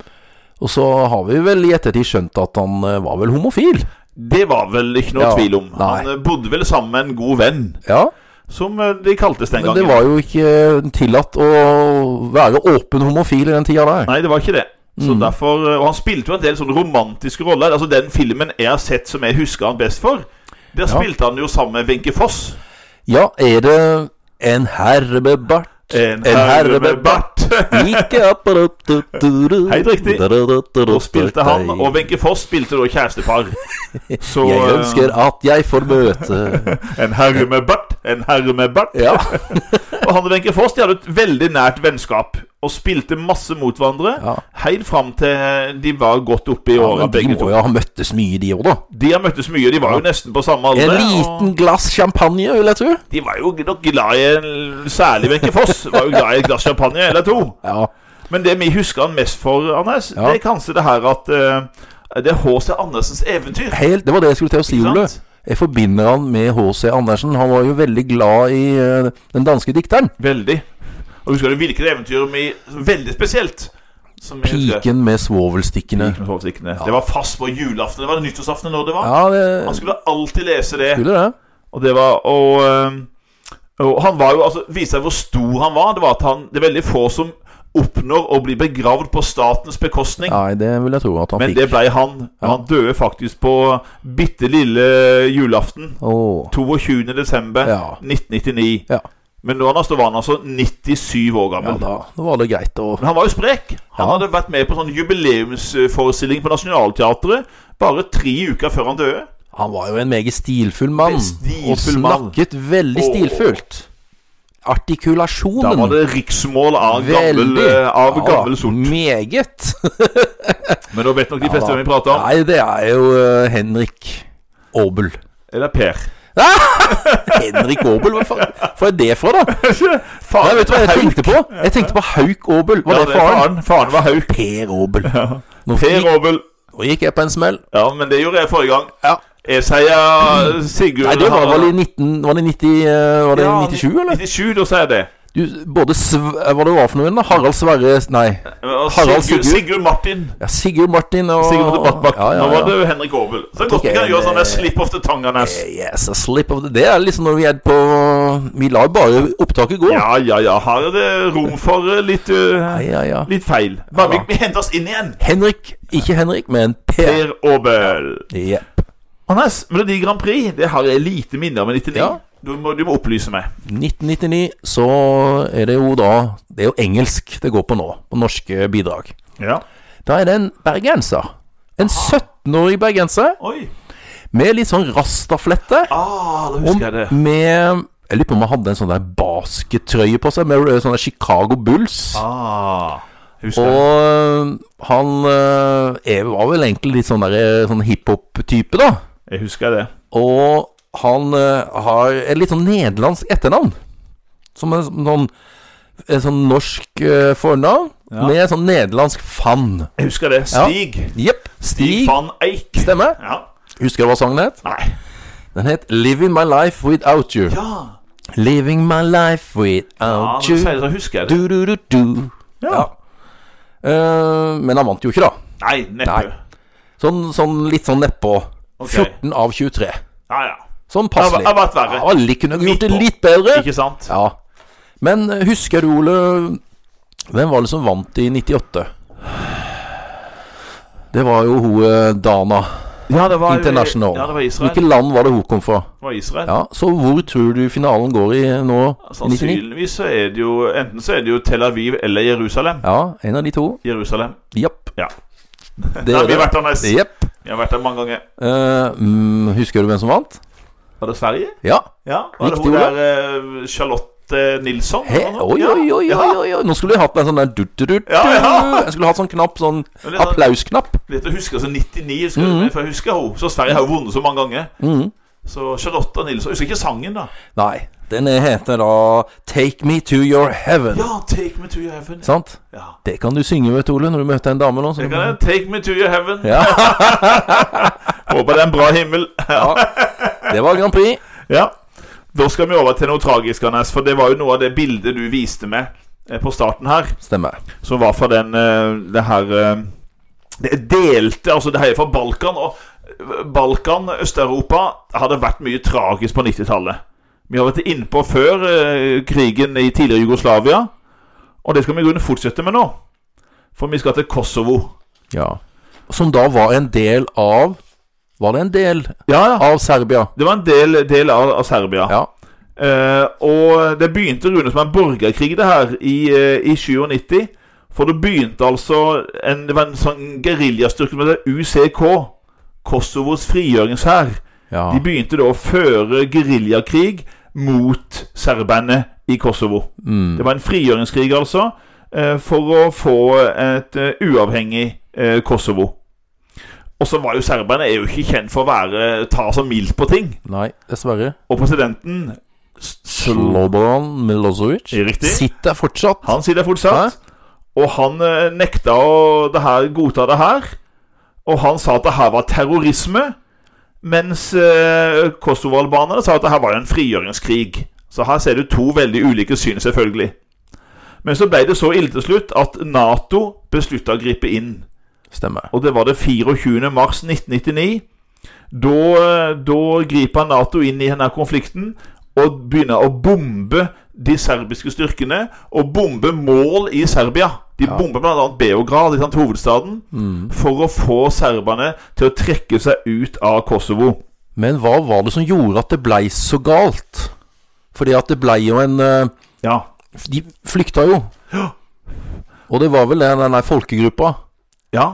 Og så har vi vel i ettertid skjønt at han eh, var vel homofil.
Det var vel ikke noe
Ja,
tvil om. Han
nei.
eh, bodde vel sammen med en god venn,
Ja,
som eh, de kaltes den
men det
gangen.
var jo ikke eh, tillatt å være åpen homofil i den tida der.
Nei, det var ikke det. Så
Mm.
derfor, eh, Og han spilte jo en del sånne romantiske roller. Altså Den filmen jeg har sett som jeg husker han best for, der spilte han jo sammen med Wenche Foss.
Ja, er det en herre med bart? Ikke apparat du, du, du.
Helt riktig.
Da, da, da, da, da,
Da spilte han,
da, da.
og Wenche Foss spilte da kjærestepar. Så
Jeg
eh,
ønsker at jeg får møte
En herre med bart, en herre med bart.
Ja.
Og han og Wenche Foss de hadde et veldig nært vennskap og spilte masse mot hverandre
Ja.
helt fram til de var godt oppe i
ja
åra,
men de
begge
må
to.
jo ha møttes mye, de òg, da.
De har møttes mye, de var jo nesten på samme
En
alder.
liten glass champagne, vil jeg tro.
Og de var jo nok glad i en Særlig Wenche Foss var jo glad i et glass champagne eller to.
Ja.
Men det vi husker han mest for, Anders,
Ja.
det er kanskje det her at eh, Det er H.C. Andersens eventyr.
Helt, det var det jeg skulle til å si,
Ikke
Ole.
sant?
Jeg forbinder han med H.C. Andersen. Han var jo veldig glad i eh, den danske dikteren.
Veldig. Og husker du hvilket eventyr vi Veldig spesielt. Som vi husker.
'Piken med svovelstikkene'.
Piken med sovestikkene. Det var fast på julaften. Det var nyttårsaften når det var.
Ja, det
Han skulle alltid lese det.
skulle det.
Og det var Og, øhm, og han var jo altså Viste seg hvor stor han var. Det var at han Det er veldig få som oppnår å bli begravd på statens bekostning.
Nei, det vil jeg tro at han
Men
fikk.
det blei han.
Ja.
Han døde faktisk på bitte lille julaften.
Åh,
22. desember
Ja.
1999.
Ja.
Men nå Anders, da var han altså 97 år
ja
gammel.
da. Nå var det greit å
Men han var jo sprek. Han
Ja.
hadde vært med på sånn jubileumsforestilling på Nationaltheatret bare tre uker før han døde.
Han var jo en meget stilfull mann.
Stilfull
Og snakket veldig
Åh.
stilfullt.
Da
Artikulasjonen.
var det riksmål av gammel,
Veldig.
eh, av
Ja,
gammel sort.
Meget.
Men da vet nok de fleste
Ja da.
hvem vi prater om.
Nei, det er jo eh, Henrik Aabel.
Eller Per.
Henrik Aabel, hva faen? Hvor er det fra, da?
Faen,
Nei, vet du hva jeg tenkte på? Jeg tenkte på Hauk Aabel. Var
Ja,
det faren?
Faren var hauk.
Per Aabel. Nå
Per
gikk,
Aabel.
nå gikk jeg på en smell.
Ja, men det gjorde jeg forrige gang.
Ja.
Jeg sier Sigurd
Nei, det var vel i
han-
19... Var det 90... eh, Var det
Ja,
97, eller?
97, da sier jeg det.
Du, både Sv... Hva det var for noe igjen, da? Harald Sverre Nei.
Og
Harald Sigurd.
Sigurd, Sigurd Martin.
Ja, Sigurd Martin og
Sigurd Martin Brattbakk.
Ja, ja,
Nå
ja.
var det Henrik Aabel. Så det
tok
er godt vi kan
en,
gjøre sånn
eh,
der slip off the tongue, Anders.
Yes, a slip of the Det er liksom når vi er på Vi lar bare opptaket gå.
Ja, ja, ja. Her er det rom for eh, litt, eh,
Ja, ja, ja.
litt feil.
Ja
Bare vi,
da.
vi henter oss inn igjen.
Henrik, ikke Henrik, men Per.
Per Aabel.
Ja.
Anders, Melodi Grand Prix, det har jeg lite minner om i 99.
Ja.
Du, må, du må opplyse meg.
1999 så er det jo da Det er jo engelsk det går på nå, på norske bidrag.
Ja.
Da er det en bergenser. En 17-årig bergenser
Oi.
med litt sånn rastaflette.
Ah, da
Og
husker jeg det.
med Jeg lurer på om han hadde en sånn der baskettrøye på seg, med rød- sånne Chicago Bulls.
Ah, husker jeg.
Og øh, han øh, er- var vel egentlig litt sånn, der, sånn hiphop-type, da.
Jeg husker det.
Og han øh, har et litt sånn nederlandsk etternavn. Som en sånn, en sånn norsk øh, fornavn med sånn nederlandsk fan.
Jeg husker det. Stig.
Jepp.
Stig
Stig.
van Eik.
Stemmer.
Ja.
Husker du hva sangen het?
Nei.
Den het 'Living My Life Without You'.
Ja,
Living my life
ja
without
når du
you.
Ah, sier det, så husker jeg det.
Du, du, du, du. Ja. Eh, men han vant jo ikke, da.
Nei, neppe.
Nei. Sånn, sånn litt sånn nedpå. 14 av 23.
Ja, ja.
Sånn
Det har
passelig.
det har vært verre.
Alle kunne gjort det
på.
litt bedre.
Ikke sant?
Ja. Men eh, husker du, Ole, hvem var det som vant i 98? Det var jo hun eh, Dana
Ja, det var
International.
Ja, det var Israel.
Hvilket land var det hun kom fra?
Det var Israel.
Ja, Så hvor tror du finalen går i eh, nå? i 99?
Sannsynligvis så er det jo Enten så er det jo Tel Aviv eller Jerusalem.
Ja, en av de to.
Jerusalem.
Japp.
Ja.
Det
Nei,
er
vi har
det.
vært der, Nes.
Jepp.
Vi har vært der mange ganger.
Eh, mm, husker du hvem som vant?
Var det Sverige?
Ja.
Ja. Var det
Riktig,
hun
Ola.
der eh, Charlotte Nilsson?
Hæ?
eller noe?
Oi,
Ja,
oi, oi, oi, oi, oi. Nå skulle jeg hatt en sånn der du, du, du, du.
Ja, ja.
Jeg skulle hatt sånn knapp, sånn
Ja. Litt sånn-
applausknapp.
Litt å huske, altså 99 husker du, for jeg husker henne. Så Sverige har jo vunnet så mange ganger.
Mhm.
Så Charlotte Nilsson Husker ikke sangen, da.
Nei, den heter da 'Take me to your heaven'.
Ja, take me to your heaven.
Sant?
Ja.
Det kan du synge, vet du, Ole, når du møter en dame nå. Så
Jeg kan det. Take me to your heaven.
Ja.
Håper det er en bra himmel.
ja. Det var Grand Prix.
Ja. Da skal vi over til noe tragisk, Anders. For det var jo noe av det bildet du viste meg eh, på starten her,
Stemmer.
som var fra den eh, det her eh, Det delte Altså, det her er fra Balkan. Og eh, Balkan, Øst-Europa, hadde vært mye tragisk på 90-tallet. Vi har vært innpå før eh, krigen i tidligere Jugoslavia. Og det skal vi i grunnen fortsette med nå. For vi skal til Kosovo.
Ja. Som da var en del av Var det en del
Ja, ja.
av Serbia?
Det var en del, del av, av Serbia.
Ja.
Eh, og det begynte Rune som en borgerkrig, det her, i, eh, i 97. For det begynte altså en, Det var en sånn geriljastyrke som heter UCK. Kosovos frigjøringshær.
ja.
De begynte da å føre geriljakrig mot serberne i Kosovo.
Mm.
Det var en frigjøringskrig, altså, eh, for å få et eh, uavhengig eh, Kosovo. Og så var jo serberne er jo ikke kjent for å være, ta så mildt på ting.
Nei, dessverre.
Og presidenten s-
Slobodan Milosevic
Riktig.
sitter fortsatt.
Han sier det fortsatt. Og han eh, nekta å det her, godta det her. Og han sa at det her var terrorisme. Mens eh, kosovo-albanerne sa at det her var en frigjøringskrig. Så her ser du to veldig ulike syn, selvfølgelig. Men så ble det så ille til slutt at Nato beslutta å gripe inn.
Stemmer.
Og det var det 24. mars 1999. Da, da griper Nato inn i denne konflikten og begynner å bombe de serbiske styrkene. Og bombe mål i Serbia. De
Ja. Mm.
bomber bl.a. Beograd, ikke sant, hovedstaden, for å få serberne til å trekke seg ut av Kosovo.
Men hva var det som gjorde at det blei så galt? Fordi at det blei jo en eh,
Ja.
De flykta jo. Og det var vel den, den der folkegruppa.
ja.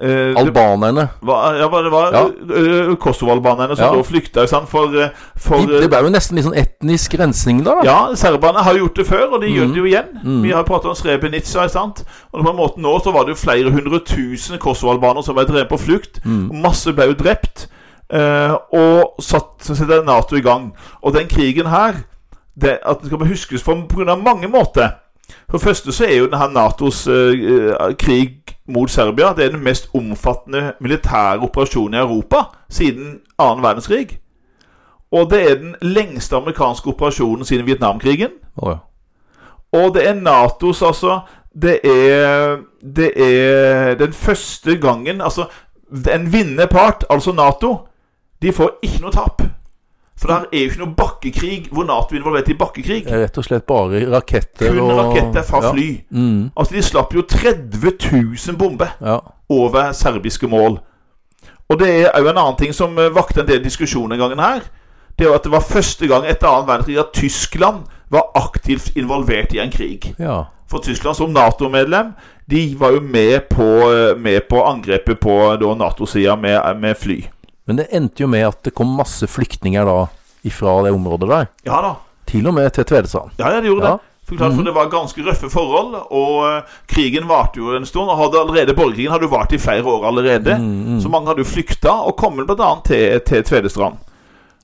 Eh, det-
Albanerne.
var, ja, var- det var
Ja.
eh, Kosovo-albanerne som
Ja.
da flykta, ikke sant, for, eh, for
De, det ble jo nesten litt sånn etnisk rensning da. da.
Ja, serberne har gjort det før, og de gjør det jo igjen. Vi har pratet om Srebrenica. ikke sant? Og på en måte
Mm.
nå så var det jo flere hundre tusen kosovo-albanere som var drevet på flukt. og Masse ble jo Mm. drept. Eh, og satt, så setter Nato i gang. Og den krigen her det, At den skal bare huskes på pga. mange måter. For det første så er jo denne Natos eh, eh, krig mot Serbia Det er den mest omfattende militære operasjonen i Europa siden annen verdenskrig. Og det er den lengste amerikanske operasjonen siden Vietnamkrigen.
Å ja.
Og det er Natos, altså Det er, det er den første gangen Altså, en vinnende part, altså Nato, de får ikke noe tap. For det her er jo ikke noe bakkekrig hvor Nato er involvert i bakkekrig.
Det er Rett og slett bare raketter
Kun
og
raketter fra
ja.
fly.
Mm,
Altså, de slapp jo 30 000 bomber
ja.
over serbiske mål. Og det er jo en annen ting som eh, vakte en del diskusjon den gangen her. Det er jo at det var første gang etter annen verdenskrig at Tyskland var aktivt involvert i en krig.
ja.
For Tyskland som Nato-medlem De var jo med på, eh, med på angrepet på da Nato-sida med, med fly.
Men det endte jo med at det kom masse flyktninger da ifra det området der.
Ja da.
Til og med til Tvedestrand.
Ja, ja, det gjorde
Ja.
det. For, klart, for det var ganske røffe forhold, og eh, krigen varte jo en stund. Og hadde allerede, borgerkrigen hadde jo vart i flere år allerede.
Mhm. Mm,
Så mange hadde jo flykta, og kommet bl.a. Til, til Tvedestrand.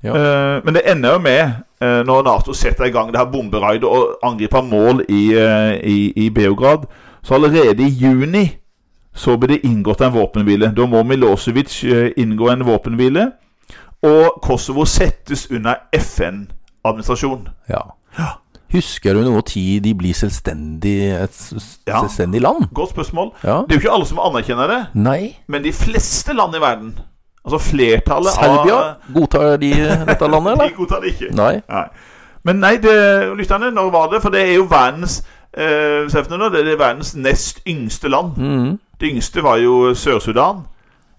Ja.
Eh, men det ender jo med, eh, når Nato setter i gang det her bomberaidet og angriper mål i, eh, i, i Beograd, så allerede i juni så ble det inngått en våpenhvile. Da må Milosevic eh, inngå en våpenhvile, og Kosovo settes under FN-administrasjon.
Ja. Husker du noe tid de blir selvstendig, et s- s-
Ja.
selvstendig land?
Godt spørsmål.
Ja.
Det er jo ikke alle som anerkjenner det,
Nei.
men de fleste land i verden Altså flertallet
Serbia? Godtar de dette landet,
av De
eller?
godtar det ikke.
Nei.
Nei. Men nei, det, lytterne, når var det? For det er jo verdens eh, se for dere nå, Det er verdens nest yngste land.
Mhm.
Det yngste var jo Sør-Sudan.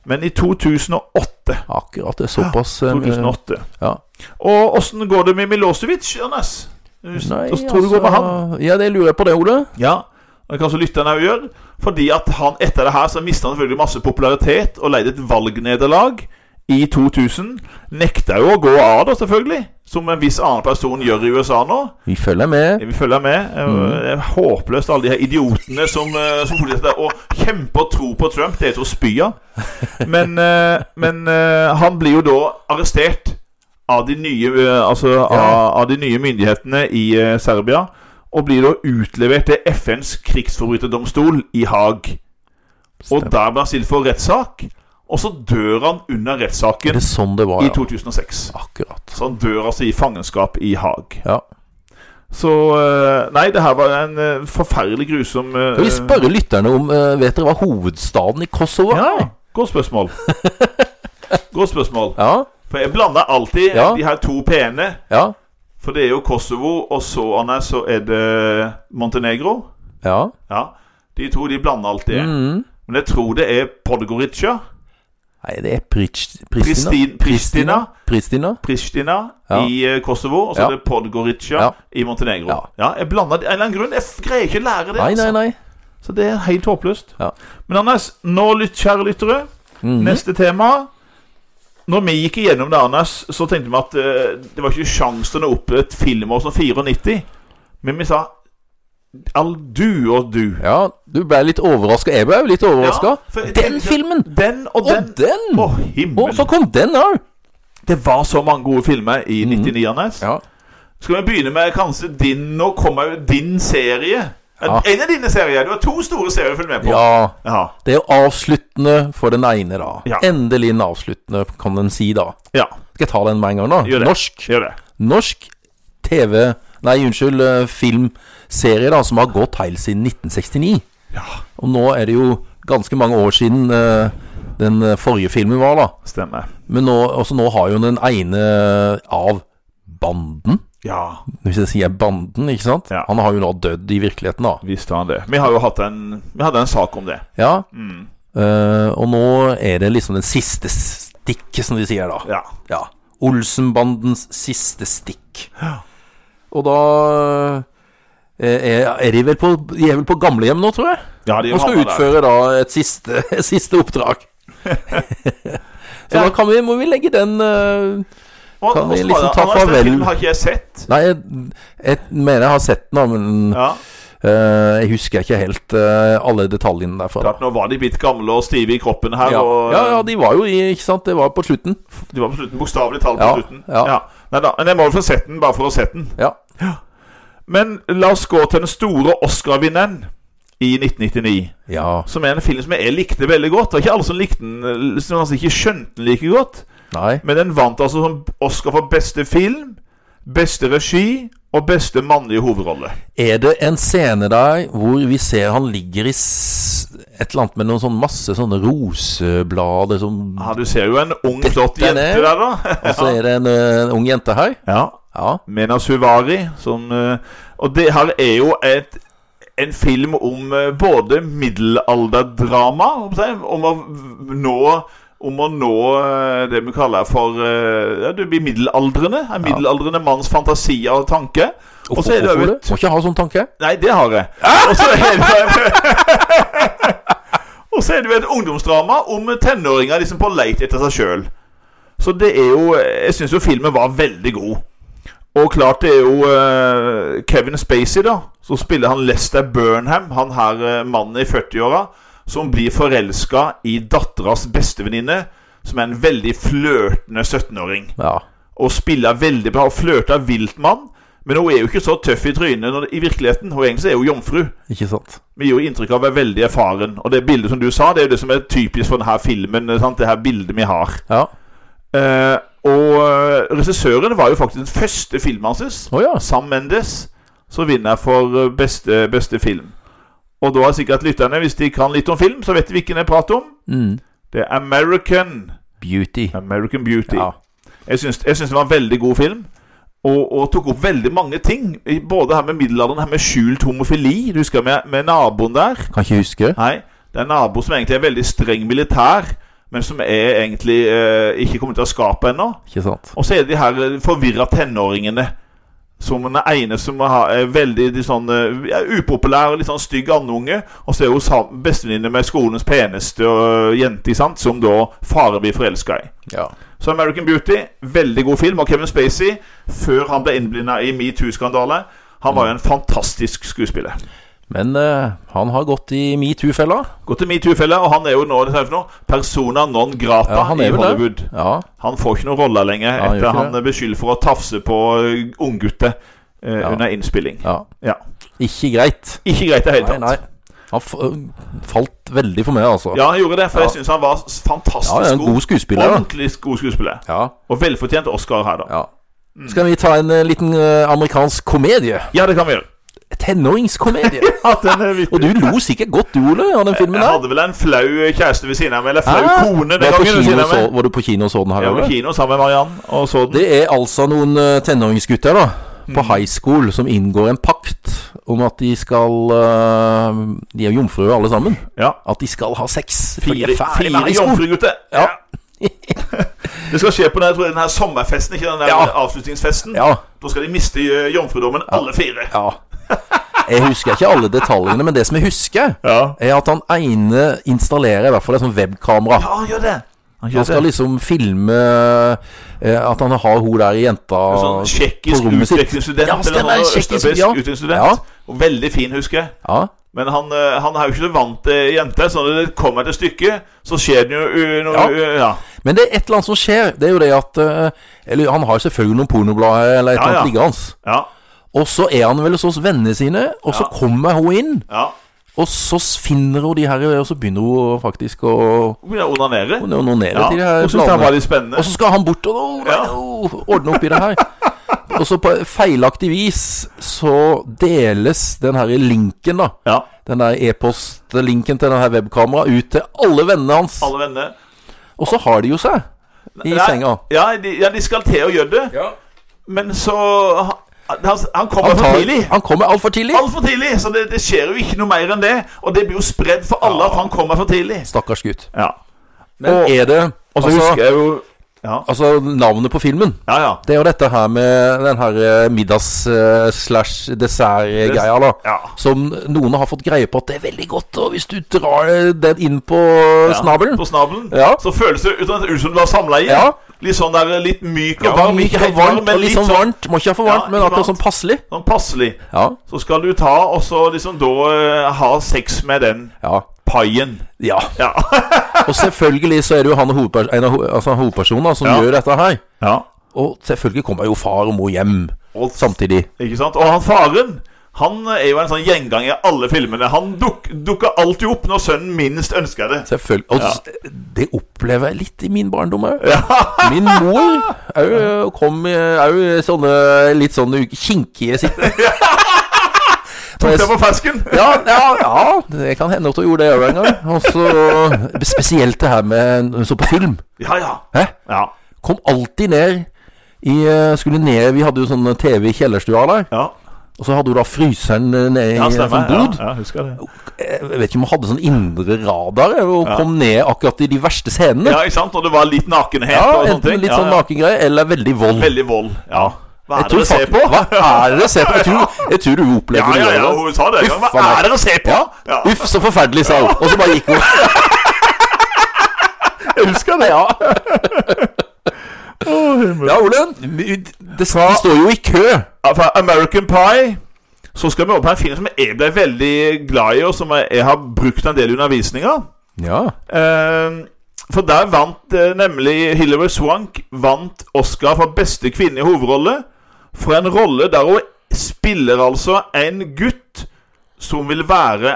Men i 2008
Akkurat. Det er såpass eh,
2008.
Ja.
Og åssen går det med Milosevic, Jonas? Hvordan
Nei, altså-
tror du det går med han?
Ja, det lurer jeg på det, Ole.
Ja, og det kan også lytterne òg gjøre. Fordi at han etter det her så mista han selvfølgelig masse popularitet og leide et valgnederlag i 2000. Nekta jo å gå av, da, selvfølgelig. Som en viss annen person gjør i USA nå.
Vi følger med.
Jeg vil følge med.
Mm.
Det er håpløst, alle de her idiotene som, eh, som fortsetter å kjempe og tro på Trump. Det heter å spy av. Men, eh, men eh, han blir jo da arrestert av de nye, eh, altså, av, av de nye myndighetene i eh, Serbia. Og blir da utlevert til FNs krigsforbryterdomstol i Haag. Og der blir han stilt for rettssak. Og så dør han under
Er
rettssaken
det sånn det var,
i
ja?
2006.
Akkurat.
Så han dør altså i fangenskap i Haag.
Ja.
Så eh, Nei, det her var en eh, forferdelig grusom eh,
Skal vi spørre lytterne om eh, Vet dere hva hovedstaden i Kosovo
Ja,
er?
godt spørsmål. godt spørsmål.
Ja.
For jeg blander alltid
Ja.
de her to p-ene.
Ja.
For det er jo Kosovo, og så, Anne, så er det Montenegro.
Ja.
Ja. De to de blander alltid.
Mhm.
Men jeg tror det er Podgorica,
Nei, det er Prist, Pristina.
Pristin- Pristina.
Pristina.
Pristina,
Ja.
i eh, Kosovo, og så
Ja.
er det Podgorica
Ja.
i Montenegro.
Ja.
Ja. jeg blander de- Av en eller annen grunn. Jeg f- greier ikke å lære det. altså.
Nei, nei, nei.
Så det er helt håpløst.
Ja.
Men Anders, nå lytt, kjære lyttere.
Mhm.
Neste tema. Når vi gikk igjennom det, Anders, så tenkte vi at eh, det var ikke sjans til å nå opp et filmår som 94. Men vi sa All du og du.
Ja, du ble litt overraska. Jeg ble jo litt overraska.
Ja, for-
den filmen!
Den og
Og
den.
den!
Å,
Og
himmel.
så kom den òg!
Det var så mange gode filmer i
Mhm.
99, Anders.
Ja.
Skal vi begynne med kanskje din Nå kommer jo din serie.
Ja.
En av dine serier. Du har to store serier å følge med på.
ja.
Ja.
Det er jo avsluttende for den ene, da.
Ja.
Endelig en avsluttende, kan en si, da.
ja.
Skal jeg ta den med en gang, da?
Gjør det.
Norsk.
Gjør det.
Norsk TV Nei, unnskyld, eh, filmserie da som har gått helt siden 1969.
Ja,
Og nå er det jo ganske mange år siden eh, den eh, forrige filmen var, da.
stemmer.
Men nå, også nå har jo den ene av banden
Ja,
Hvis jeg sier banden, ikke sant?
Ja.
Han har jo nå dødd i virkeligheten, da.
visst har han det. Vi har jo hatt en, vi hadde en sak om det.
Ja.
Mm.
Eh, og nå er det liksom den siste stikk, som de sier, da.
Ja.
Ja. Olsenbandens siste stikk.
Ja.
Og da eh, er, er de vel på, de er vel på gamlehjem nå, tror jeg?
Ja, de
Og skal
havner der.
utføre da et siste, et siste oppdrag. Så
Ja.
da kan vi, må vi legge den eh,
Og,
Kan vi
og så
liksom
var det-
ta
Anders, den
farvel?
filmen har ikke jeg sett.
Nei, jeg, jeg mener jeg har sett den, da, men
Ja.
Eh, jeg husker ikke helt eh, alle detaljene derfra.
Klart, nå var de bitt gamle og stive i kroppen her,
Ja.
og
ja, ja, de var jo i Ikke sant? Det var på slutten.
de var på slutten bokstavelig talt på
Ja,
slutten.
ja.
Nei da, men jeg må jo få sett den, bare for å sett den.
Ja.
Men la oss gå til den store Oscar-vinneren i 1999.
ja.
Som er en film som jeg likte veldig godt. Det var ikke alle som likte den, som altså ikke skjønte den like godt.
Nei.
Men den vant altså som Oscar for beste film, beste regi og beste mannlige hovedrolle.
Er det en scene der hvor vi ser han ligger i s et eller annet med noen sånn masse sånne roseblader som
Ja, du ser jo en ung, flott
Dette er
jente
det.
der, da.
Og så er det en eh, ung jente her.
Ja,
Ja.
Mena Suvari. Som, eh, og det her er jo et, en film om eh, både middelalderdrama om, seg, om å nå om å nå eh, det vi kaller for eh, ja, Du blir middelaldrende. En middelaldrende manns fantasi og tanke. Og så er det
Hvorfor
jo
det? Må ikke ha sånn tanke.
Nei, det har jeg. Og så er det Og så er det jo et ungdomsdrama om tenåringer liksom på leit etter seg sjøl. Så det er jo Jeg syns jo filmen var veldig god. Og klart det er jo eh, Kevin Spacey, da. Så spiller han Lester Burnham, han her eh, mannen i 40-åra, som blir forelska i datteras bestevenninne, som er en veldig flørtende 17-åring
Ja.
og spiller veldig bra og flørter vilt med han. Men hun er jo ikke så tøff i trynet når, i virkeligheten. Hun egentlig er jo jomfru.
Ikke sant.
Vi gir jo inntrykk av å være veldig erfaren. Og det bildet som du sa, det er jo det som er typisk for denne filmen. eh, Sant? Det her bildet vi har.
Ja.
Eh, og eh, regissøren var jo faktisk den første filmen hans.
Å ja.
Sam Mendes. Så vinner jeg for eh, beste, beste film. Og da har sikkert lytterne, hvis de kan litt om film, så vet de hvilken jeg prater om.
Mm.
Det er American.
Beauty.
American Beauty.
Ja.
Jeg syns, jeg syns det var en veldig god film. Og, og tok opp veldig mange ting. I- Både her med middelalderen, her med skjult homofili. Du husker med, med naboen der?
Kan ikke huske.
Nei, det er en nabo som egentlig er veldig streng militær, men som er egentlig eh, ikke kommet ut av skapet ennå.
Ikke sant.
Og så er det de her forvirra tenåringene. Som den ene som har- er veldig de sånn, eh, ja, upopulær og litt sånn stygg andunge. Og så er hun sam- bestevenninne med skolens peneste øh, jente, ikke sant, som da faren blir forelska i.
Ja.
Så American Beauty, veldig god film av Kevin Spacey. Før han ble innblinda i metoo-skandale. Han var jo en fantastisk skuespiller.
Men eh, han har gått i metoo-fella.
Gå til metoo-fella, og han er jo nå det er for noe, persona non grata
Ja, han er
i
vel det.
Hollywood.
Ja.
Han får ikke noen rolle lenger
Ja, han gjør
etter
ikke
han
det.
er beskyldt for å tafse på eh, unggutter eh,
Ja.
under innspilling.
ja.
Ja.
Ikke greit.
Ikke greit i det hele
Nei,
tatt.
nei. Han f øh, falt veldig for meg, altså.
Ja, han gjorde det, for
Ja.
jeg syns han var s- fantastisk
Ja, det er en
god.
god skuespiller. da.
Ordentlig god skuespiller.
Ja.
Og velfortjent Oscar her, da.
ja.
Mm.
Skal vi ta en eh, liten eh, amerikansk komedie?
Ja, det kan vi gjøre.
Tenåringskomedie.
Ja, den er vittig.
Og du lo sikkert godt, du, Ole, av den filmen
Jeg
der.
hadde vel en flau kjæreste ved siden av meg, eller flau
Hæ?
kone den
var, på
gangen ved
kino,
siden
og
av
så,
meg.
var du på kino og så den her?
Jeg var
Ole?
på kino sammen med Mariann og så den.
Det er altså noen eh, tenåringsgutter da
Mm.
på high school som inngår en pakt om at de skal eh, De er jomfruer alle sammen.
Ja.
At de skal ha sex. for de
Fire,
er ferdig med
fire
high school.
jomfrugutter.
Ja.
Det skal skje på den, jeg tror, den her sommerfesten, ikke den der
Ja.
avslutningsfesten.
Ja,
Da skal de miste eh, jomfrudommen, alle fire.
ja. Jeg husker ikke alle detaljene, men det som jeg husker,
Ja,
er at han ene installerer i hvert fall et sånt webkamera.
ja han gjør det. Han
Han skal liksom filme eh, at han har hun der jenta
En sånn
på
tsjekkisk
rommet sitt.
utvekslingsstudent.
Ja, stemmer,
eller sånn
tsjekkisk,
østeuropeisk
ja.
utvekslingsstudent.
Ja.
Og veldig fin, husker jeg.
Ja,
Men han, eh, han er jo ikke så vant til jenter, så når det kommer til stykket, så skjer det jo eh, noe
Ja.
eh, ja.
Men det er et eller annet som skjer. Det er jo det at eh, eller, Han har selvfølgelig noen pornoblader eller et
Ja,
eller
ja.
annet liggende.
ja.
Og så er han vel hos vennene sine, og så
Ja.
kommer hun inn.
ja.
Og så finner hun de her, og så begynner hun faktisk å
Hun begynner å onanere.
å onanere
Ja.
til de her
Hun syntes det
bladene.
var litt spennende.
Og så skal han bort og oh, nei,
Ja.
oh, ordne opp i det her. Og så på feilaktig vis så deles den her linken, da.
Ja,
Den der e-postlinken til den her webkameraet ut til alle vennene hans.
alle venner.
Og så har de jo seg i
Nei,
senga.
Ja de, ja, de skal til å gjøre det, men så Han, altså, han kommer
Han,
for
tar,
tidlig.
han kommer altfor tidlig.
Altfor tidlig! Så det, det skjer jo ikke noe mer enn det. Og det blir jo spredd for alle at han kommer for tidlig.
Stakkars gutt.
Ja.
Men
og,
er det
og så
altså,
husker jeg jo Ja,
altså, navnet på filmen
ja. ja.
Det er jo dette her med den her eh, middags-slash-dessert-greia, da.
Ja.
Som noen har fått greie på at det er veldig godt, og hvis du drar den inn på snabelen
På snabelen.
Ja.
Så føles det ut som ut som du har samleie.
Ja.
Litt sånn der litt myk og
Ja,
varm.
ikke helt varmt,
men
og litt sånn varmt. Må ikke ha for varmt,
Ja,
men
ikke
akkurat
varmt.
sånn passelig.
sånn passelig.
Ja.
Så skal du ta, og så liksom da eh, ha sex med den
Ja.
paien.
ja.
Ja.
Og selvfølgelig så er det jo han hovedpers en av ho altså hovedpersonen da, som
Ja.
gjør dette her.
ja.
Og selvfølgelig kommer jo far og mor hjem
Og,
samtidig.
ikke sant? og han faren han er jo en sånn gjengang i alle filmene. Han duk, dukker alltid opp når sønnen minst ønsker det.
Selvfølgelig. Og s- det opplever jeg litt i min barndom òg.
Ja.
Min mor er jo, kom i er jo i sånne litt sånne kinkige sitter.
Tok deg på fersken.
Ja, ja, ja, det kan hende at hun gjorde det òg en gang. Og så spesielt det her med når hun så på film.
Ja, ja.
Hæ?
Ja.
Kom alltid ned i eh, Skulle ned Vi hadde jo sånn TV i kjellerstua der.
Ja,
Og så hadde hun da fryseren eh, nede i
ja
en sånn
stemmer. Ja,
bod.
ja, husker det.
Jeg vet ikke om hun hadde sånn indre radar jeg, og
Ja.
kom ned akkurat i de verste scenene.
Ja, ikke sant? Og det var litt nakenhet
Ja,
og sånne
Enten
ting.
litt
Ja,
sånn
ja.
nakengreie eller veldig vold.
Veldig vold. Ja. Hva
Jeg
er det
tror
dere ser
fakt-
på?
Hva er det dere ser på? Jeg tror, jeg tror du
Ja,
opplevde
ja, ja,
det.
hun sa det. en gang.
Uff,
Hva
faen meg.
er det dere ser på? Ja,
Uff, så forferdelig, sa hun. Og så bare gikk hun.
jeg husker det.
Ja. ja, Olen. Det, s- de står jo i kø.
Ja, Fra American Pie så skal vi over på en film som jeg ble veldig glad i, og som jeg jeg har brukt en del i undervisninga.
Ja.
Eh, For der vant eh, nemlig Hilary Swank vant Oscar for beste kvinne i hovedrolle. For en rolle der hun spiller altså en gutt som vil være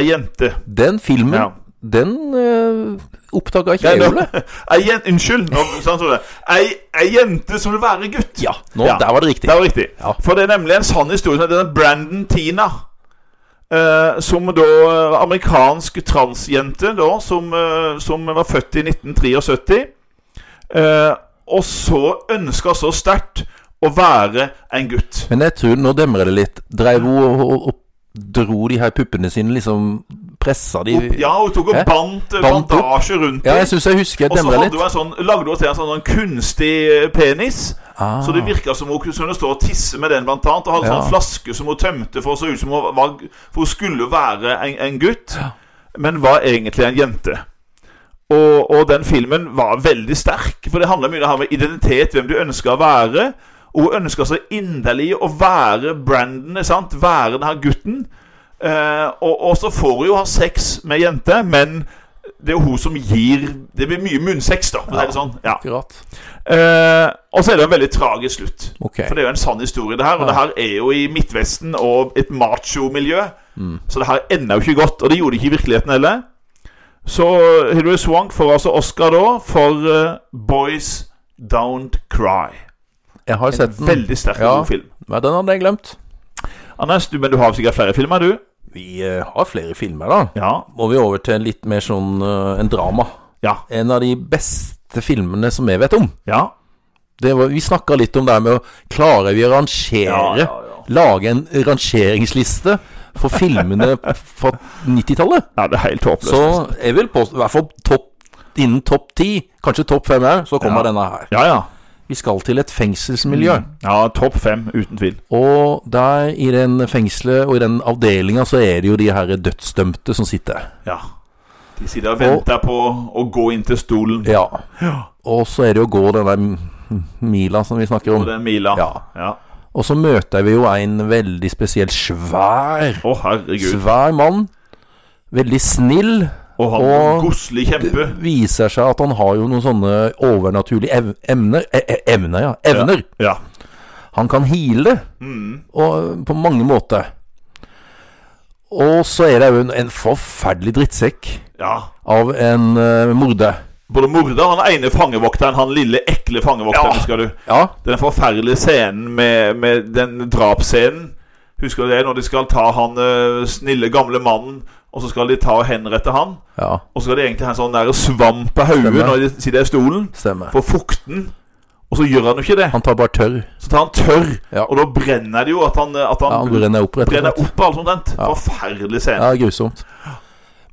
ei jente.
Den filmen,
Ja.
den uh, oppdaga ikke
Nei,
jeg,
nå-
Ole.
Ei jen- Unnskyld. Nå, sånn, tror jeg. Ei, ei jente som vil være gutt.
Ja, nå,
Ja.
der var det riktig.
Det var riktig.
Ja.
For det er nemlig en sann historie som heter Brandon Tina. eh, som da eh, Amerikansk transjente da, som, eh, som var født i 1973. eh, og så ønska så sterkt å være en gutt.
Men jeg tror, nå demrer det litt, dreiv hun og, og, og dro de her puppene sine, liksom pressa de
Opp, ja, hun tok og
Hæ?
bandt eh,
Bandt opp?
bandasje rundt
Ja,
dem.
jeg syns jeg husker jeg
og så
demrer
hadde
litt.
hun en sånn, lagde hun til en sånn, sånn kunstig eh, penis.
Ah,
Så det virka som hun kunne stå og tisse med den, blant annet. Og hadde
Ja.
sånn flaske som hun tømte for å se ut som hun var For hun skulle være en, en gutt, men var egentlig en jente. Og, og den filmen var veldig sterk, for det handler mye om det her med identitet, hvem du ønsker å være. Og hun ønska så inderlig å være Brandon, ikke sant? være den her gutten. Eh, og, og så får hun jo ha sex med jente, men det er jo hun som gir Det blir mye munnsex, da. For å si det sånn. ja.
akkurat.
Eh, og så er det en veldig tragisk slutt.
Ok.
For det er jo en sann historie, det her.
Ja.
Og det her er jo i Midtvesten og et macho-miljø. Så det her ender jo ikke godt. Og det gjorde det ikke i virkeligheten heller. Så Hilary Swank får altså Oscar da for eh, Boys Don't Cry.
Jeg har sett den.
Veldig sterk og
Ja.
god film.
Men den hadde jeg glemt.
Anders, du, men du har sikkert flere filmer, du?
Vi eh, har flere filmer, da.
Ja.
Må vi over til litt mer sånn eh, en drama.
Ja.
En av de beste filmene som jeg vet om.
Ja.
Det var, vi snakka litt om det her med å Klarer vi å rangere?
Ja, ja, ja.
Lage en rangeringsliste for filmene fra 90-tallet?
ja det er helt håpløst.
Så jeg vil påstå, i hvert fall topp, innen topp ti, kanskje topp fem her, så kommer
Ja. Mm.
denne her.
Ja, ja.
Vi skal til et fengselsmiljø.
Ja, Topp fem, uten tvil.
Og der i den fengselet og i den avdelinga så er det jo de her dødsdømte som sitter.
Ja. De sitter og venter på å gå inn til stolen.
Ja. Og så er det jo å gå den der m- mila som vi snakker
Og
om.
det er Mila.
Ja.
ja.
Og så møter vi jo en veldig spesiell svær,
Å, herregud.
svær mann. Veldig snill.
Og han
Og-
og... godslig kjempe.
Viser seg at han har jo noen sånne overnaturlige ev emner e e Evner, ja. Mm. Evner.
Ja.
Han kan heale og, på mange måter. Og så er det jo en, en forferdelig drittsekk
ja.
av en eh, morder.
Både morder og han ene fangevokteren, han lille ekle fangevokteren,
Ja.
husker du?
Ja,
Den forferdelige scenen med, med den drapsscenen. Husker du det? Når de skal ta han eh, snille, gamle mannen, og så skal de ta og henrette han.
ja,
Og så skal de egentlig ha en sånn der svamp på hodet
Stemmer.
når de sitter i stolen,
stemmer.
for fukten. Og så gjør han jo ikke det.
Han tar bare tørr.
Så tar han tørr,
Ja.
og da brenner det jo at han, at
Ja,
han
han renner opp, rett og
brenner
slett.
opp alt sånn omtrent. Forferdelig scene.
Ja, grusomt.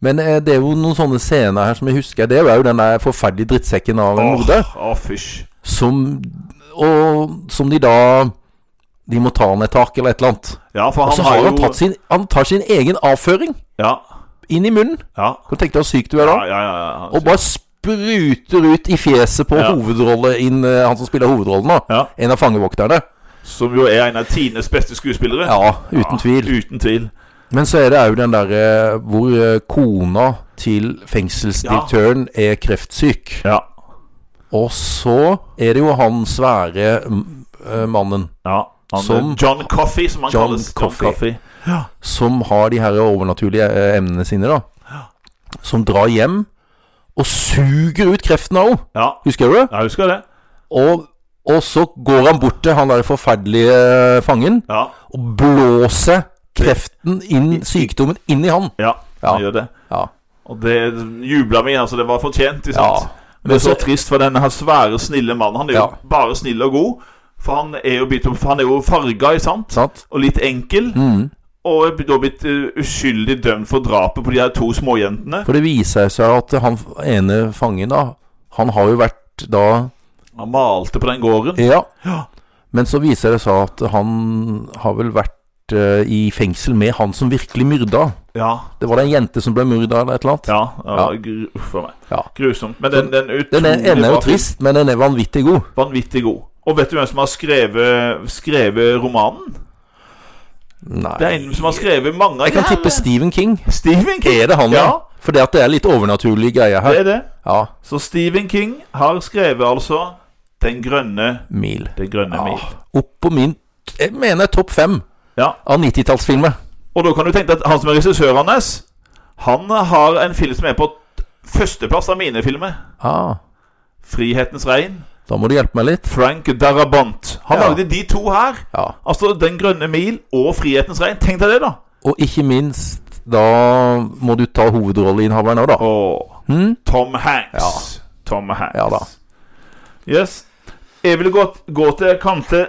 Men eh, det er jo noen sånne scener her som jeg husker. Det er jo den der forferdelige drittsekken av en morder.
Åh, åh, fysj.
Som Og som de da De må ta ned tak eller et eller annet.
Ja, for
Og
han
så
har
har
jo
han tatt sin Han tar sin egen avføring
Ja,
inn i munnen.
ja,
Kan du tenke deg hvor syk du er
ja,
da?
ja, ja, ja.
Og bare sp spruter ut i fjeset på
Ja.
hovedrolle inn, eh, han som spiller hovedrollen nå.
Ja.
En av fangevokterne.
Som jo er en av tidenes beste skuespillere.
Ja, uten tvil.
Uten tvil.
Men så er det òg den derre hvor eh, kona til fengselsdirektøren er kreftsyk.
Ja.
Og så er det jo han svære mm, eh, mannen
ja. Han,
Som-
John Coffey, som han
John
kalles.
Coffey.
John Coffey.
som har de her overnaturlige eh, emnene sine, da. Som drar hjem og suger ut kreften av henne.
Ja.
Husker du? det?
Jeg husker det.
Og, og så går han bort til han der forferdelige eh, fangen
Ja.
og blåser kreften inn, sykdommen, inn i han.
ja.
Ja.
Han gjør det.
Ja.
Og det jubla vi, altså. Det var fortjent. Ikke
Ja.
sant? Men det er så trist for denne her svære, snille mannen. Han er jo
Ja.
bare snill og god. For han er jo, blitt- for han er jo farga, ikke sant?
Sant?
Og litt enkel.
Mm.
Og er da blitt eh, uskyldig dømt for drapet på de her to småjentene.
For det viser seg at han ene fangen, da, han har jo vært da
Han malte på den gården.
Ja.
Ja.
Men så viser det seg at han har vel vært eh, i fengsel med han som virkelig myrda.
Ja.
Det var det en jente som ble myrda, eller et eller annet.
ja, ja. gru- Uff a meg.
Ja.
Grusomt. Men den, den,
Den er, ene er
bra
jo trist, men den er vanvittig god.
film. Vanvittig god. Og vet du hvem som har skrevet, skrevet romanen?
Nei
Det er en som har skrevet mange av
Jeg kan
de her.
tippe Stephen King.
Stephen King.
Er det han,
Ja.
ja? Fordi at det er litt overnaturlige greier
Det
her.
er det.
Ja.
Så Stephen King har skrevet altså Den grønne
Mil.
Den grønne
Ja.
mil.
Opp på min Jeg mener topp fem
Ja.
av 90-tallsfilmer.
Og da kan du tenke deg at han som er regissør hans, han har en film som er på t- førsteplass av mine filmer.
Ah,
'Frihetens regn'.
da må du hjelpe meg litt.
Frank Darabont. Han
Ja.
lagde de to her.
Ja.
Altså Den grønne mil og Frihetens regn. Tenk deg det, da.
Og ikke minst, da må du ta hovedrolleinnehaveren òg, da.
Og
Hm?
Tom Hanks. Tom Hanks.
Ja da.
Yes. Jeg ville gått, gå til kanskje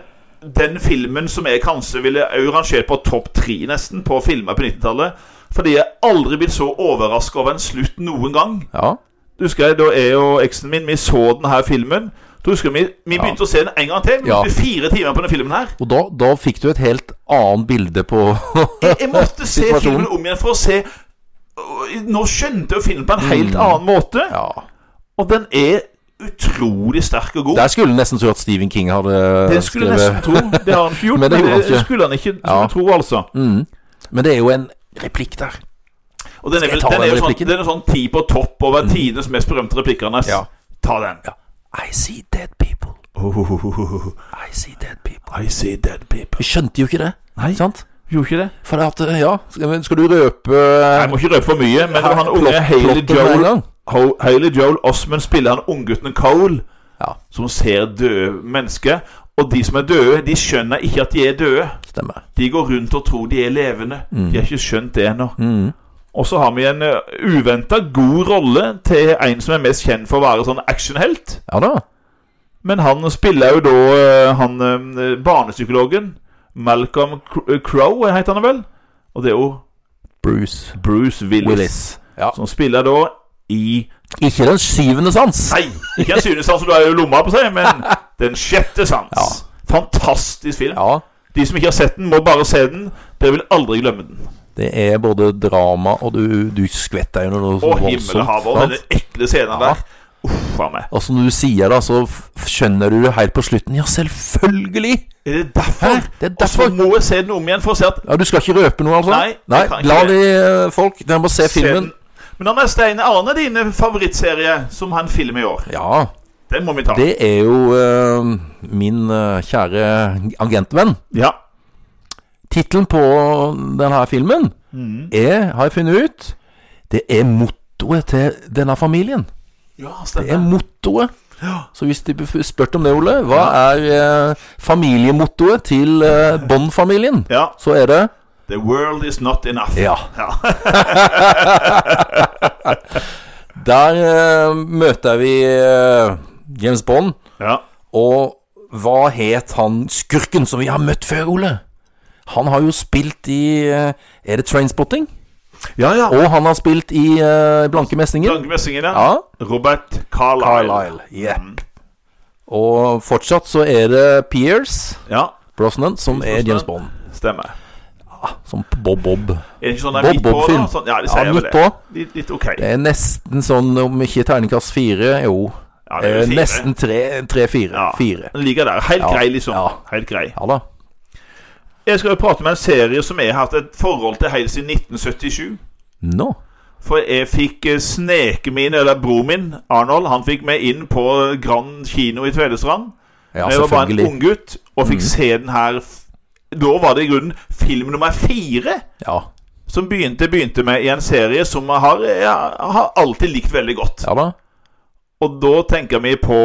den filmen som jeg kanskje ville også rangert på topp tre, nesten, på filmer på 90-tallet. Fordi jeg aldri blitt så overraska over en slutt noen gang.
Ja.
Du husker jeg, Da jeg og eksen min vi så denne filmen. Du husker Vi, vi
Ja.
begynte å se den en gang til. Vi
Ja.
brukte fire timer på denne filmen. her
Og da, da fikk du et helt annet bilde på
Jeg, jeg måtte se
Situasjonen.
filmen om igjen for å se Nå skjønte jeg filmen på en helt annen måte.
Mm. Ja.
Og den er utrolig sterk og god.
Der skulle du nesten tro at Stephen King hadde
Det skulle jeg nesten
skrevet
tro. Det har han ikke
Men
gjort, men
det
det,
gjorde han ikke.
skulle han ikke skulle
Ja.
tro, altså.
mm. Men det er jo en replikk der.
Og den er,
Skal jeg
vel,
ta
den
den
er jo sånn,
replikken? Mm.
den er sånn ti på topp over tidenes mest berømte replikker. Nes.
Ja.
Ta den.
I see dead people.
Oh,
I see dead people.
I see dead people.
Vi skjønte jo ikke det.
Nei.
Sant?
Gjorde ikke det?
For det at, eh, ja Skal men skal du røpe
Jeg må ikke røpe for mye, men
Her-
han unge
plott-
Haley
plottet med en
Joel,
gang.
Ho- Haley Joel Osmond spiller han unggutten Cole,
Ja.
som ser døde mennesker. Og de som er døde, de skjønner ikke at de er døde.
Stemmer.
De går rundt og tror de er levende. De har ikke skjønt det ennå.
Mm.
Og så har vi en uventa god rolle til en som er mest kjent for å være sånn actionhelt.
Ja da.
Men han spiller jo da eh, han eh, barnepsykologen Malcolm Cr- Crow, heter han vel? Og det er jo
Bruce
Bruce Willis,
Willis. Ja.
som spiller da i
Ikke den syvende sans.
Nei, ikke en syvende sans, for du har jo lomma på seg, men den sjette sans.
Ja.
Fantastisk film.
Ja.
De som ikke har sett den, må bare se den. Dere vil aldri glemme den.
Det er både drama, og du, du skvetter jo noe
Og
voldsomt,
himmelhavet og
sant?
den ekle scenen
Ja.
der. Uff a meg.
Og som du sier, da, så f- skjønner du det helt på slutten. Ja, selvfølgelig!
Er det derfor?
Hæ? Det er
Og så
derfor?
må jeg se den om igjen for å se at
Ja, Du skal ikke røpe noe, altså?
Nei, jeg kan ikke
La
det.
de eh, folk De må se filmen.
den. Men Anne Steine Arne, dine favorittserier som han film i år.
Ja,
Den må vi ta.
det er jo eh, min eh, kjære agentvenn.
Ja.
Tittelen på denne filmen
Mm.
er, har jeg funnet ut, det er mottoet til denne familien.
ja,
Det er
stemmer.
mottoet.
Ja.
Så hvis de blir spurt om det, Ole, hva er eh, familiemottoet til eh, Bond-familien?
Ja.
Så er det
The world is not enough.
Ja.
Ja.
Der eh, møter vi eh, James Bond,
ja.
og hva het han skurken som vi har møtt før, Ole? Han har jo spilt i eh, Er det Trainspotting?
ja, ja.
Og han har spilt i eh, Blanke messinger.
Langmessingen, ja.
Ja.
Robert Carlyle. Mm.
Jepp. Og fortsatt så er det Pierce
Ja,
Brosnan som er
Brosnan.
James Bond.
stemmer.
Sånn på bob-bob.
Er det ikke sånn det er midt på?
Bob-bob-film.
da? Sånn, ja, det
Ja,
sier jeg vel
midt
det.
på.
Litt, litt ok.
Det er nesten sånn, om ikke terningkast fire, jo
Ja, det er
eh,
fire.
Nesten tre, tre fire.
Ja,
Fire.
Den ligger der. Helt
Ja,
grei, liksom.
ja.
Helt grei.
Ja da.
Jeg skal jo prate med en serie som jeg har hatt et forhold til helt siden 1977.
Nå.
For jeg fikk eh, sneke min, eller bror min, Arnold, han fikk meg inn på Grand kino i Tvedestrand.
Ja,
jeg var bare en
selvfølgelig. Mm.
unggutt og fikk se den her f- Da var det i grunnen film nummer fire
Ja,
som begynte, begynte med i en serie som jeg har, jeg har alltid likt veldig godt.
ja da.
Og da tenker vi på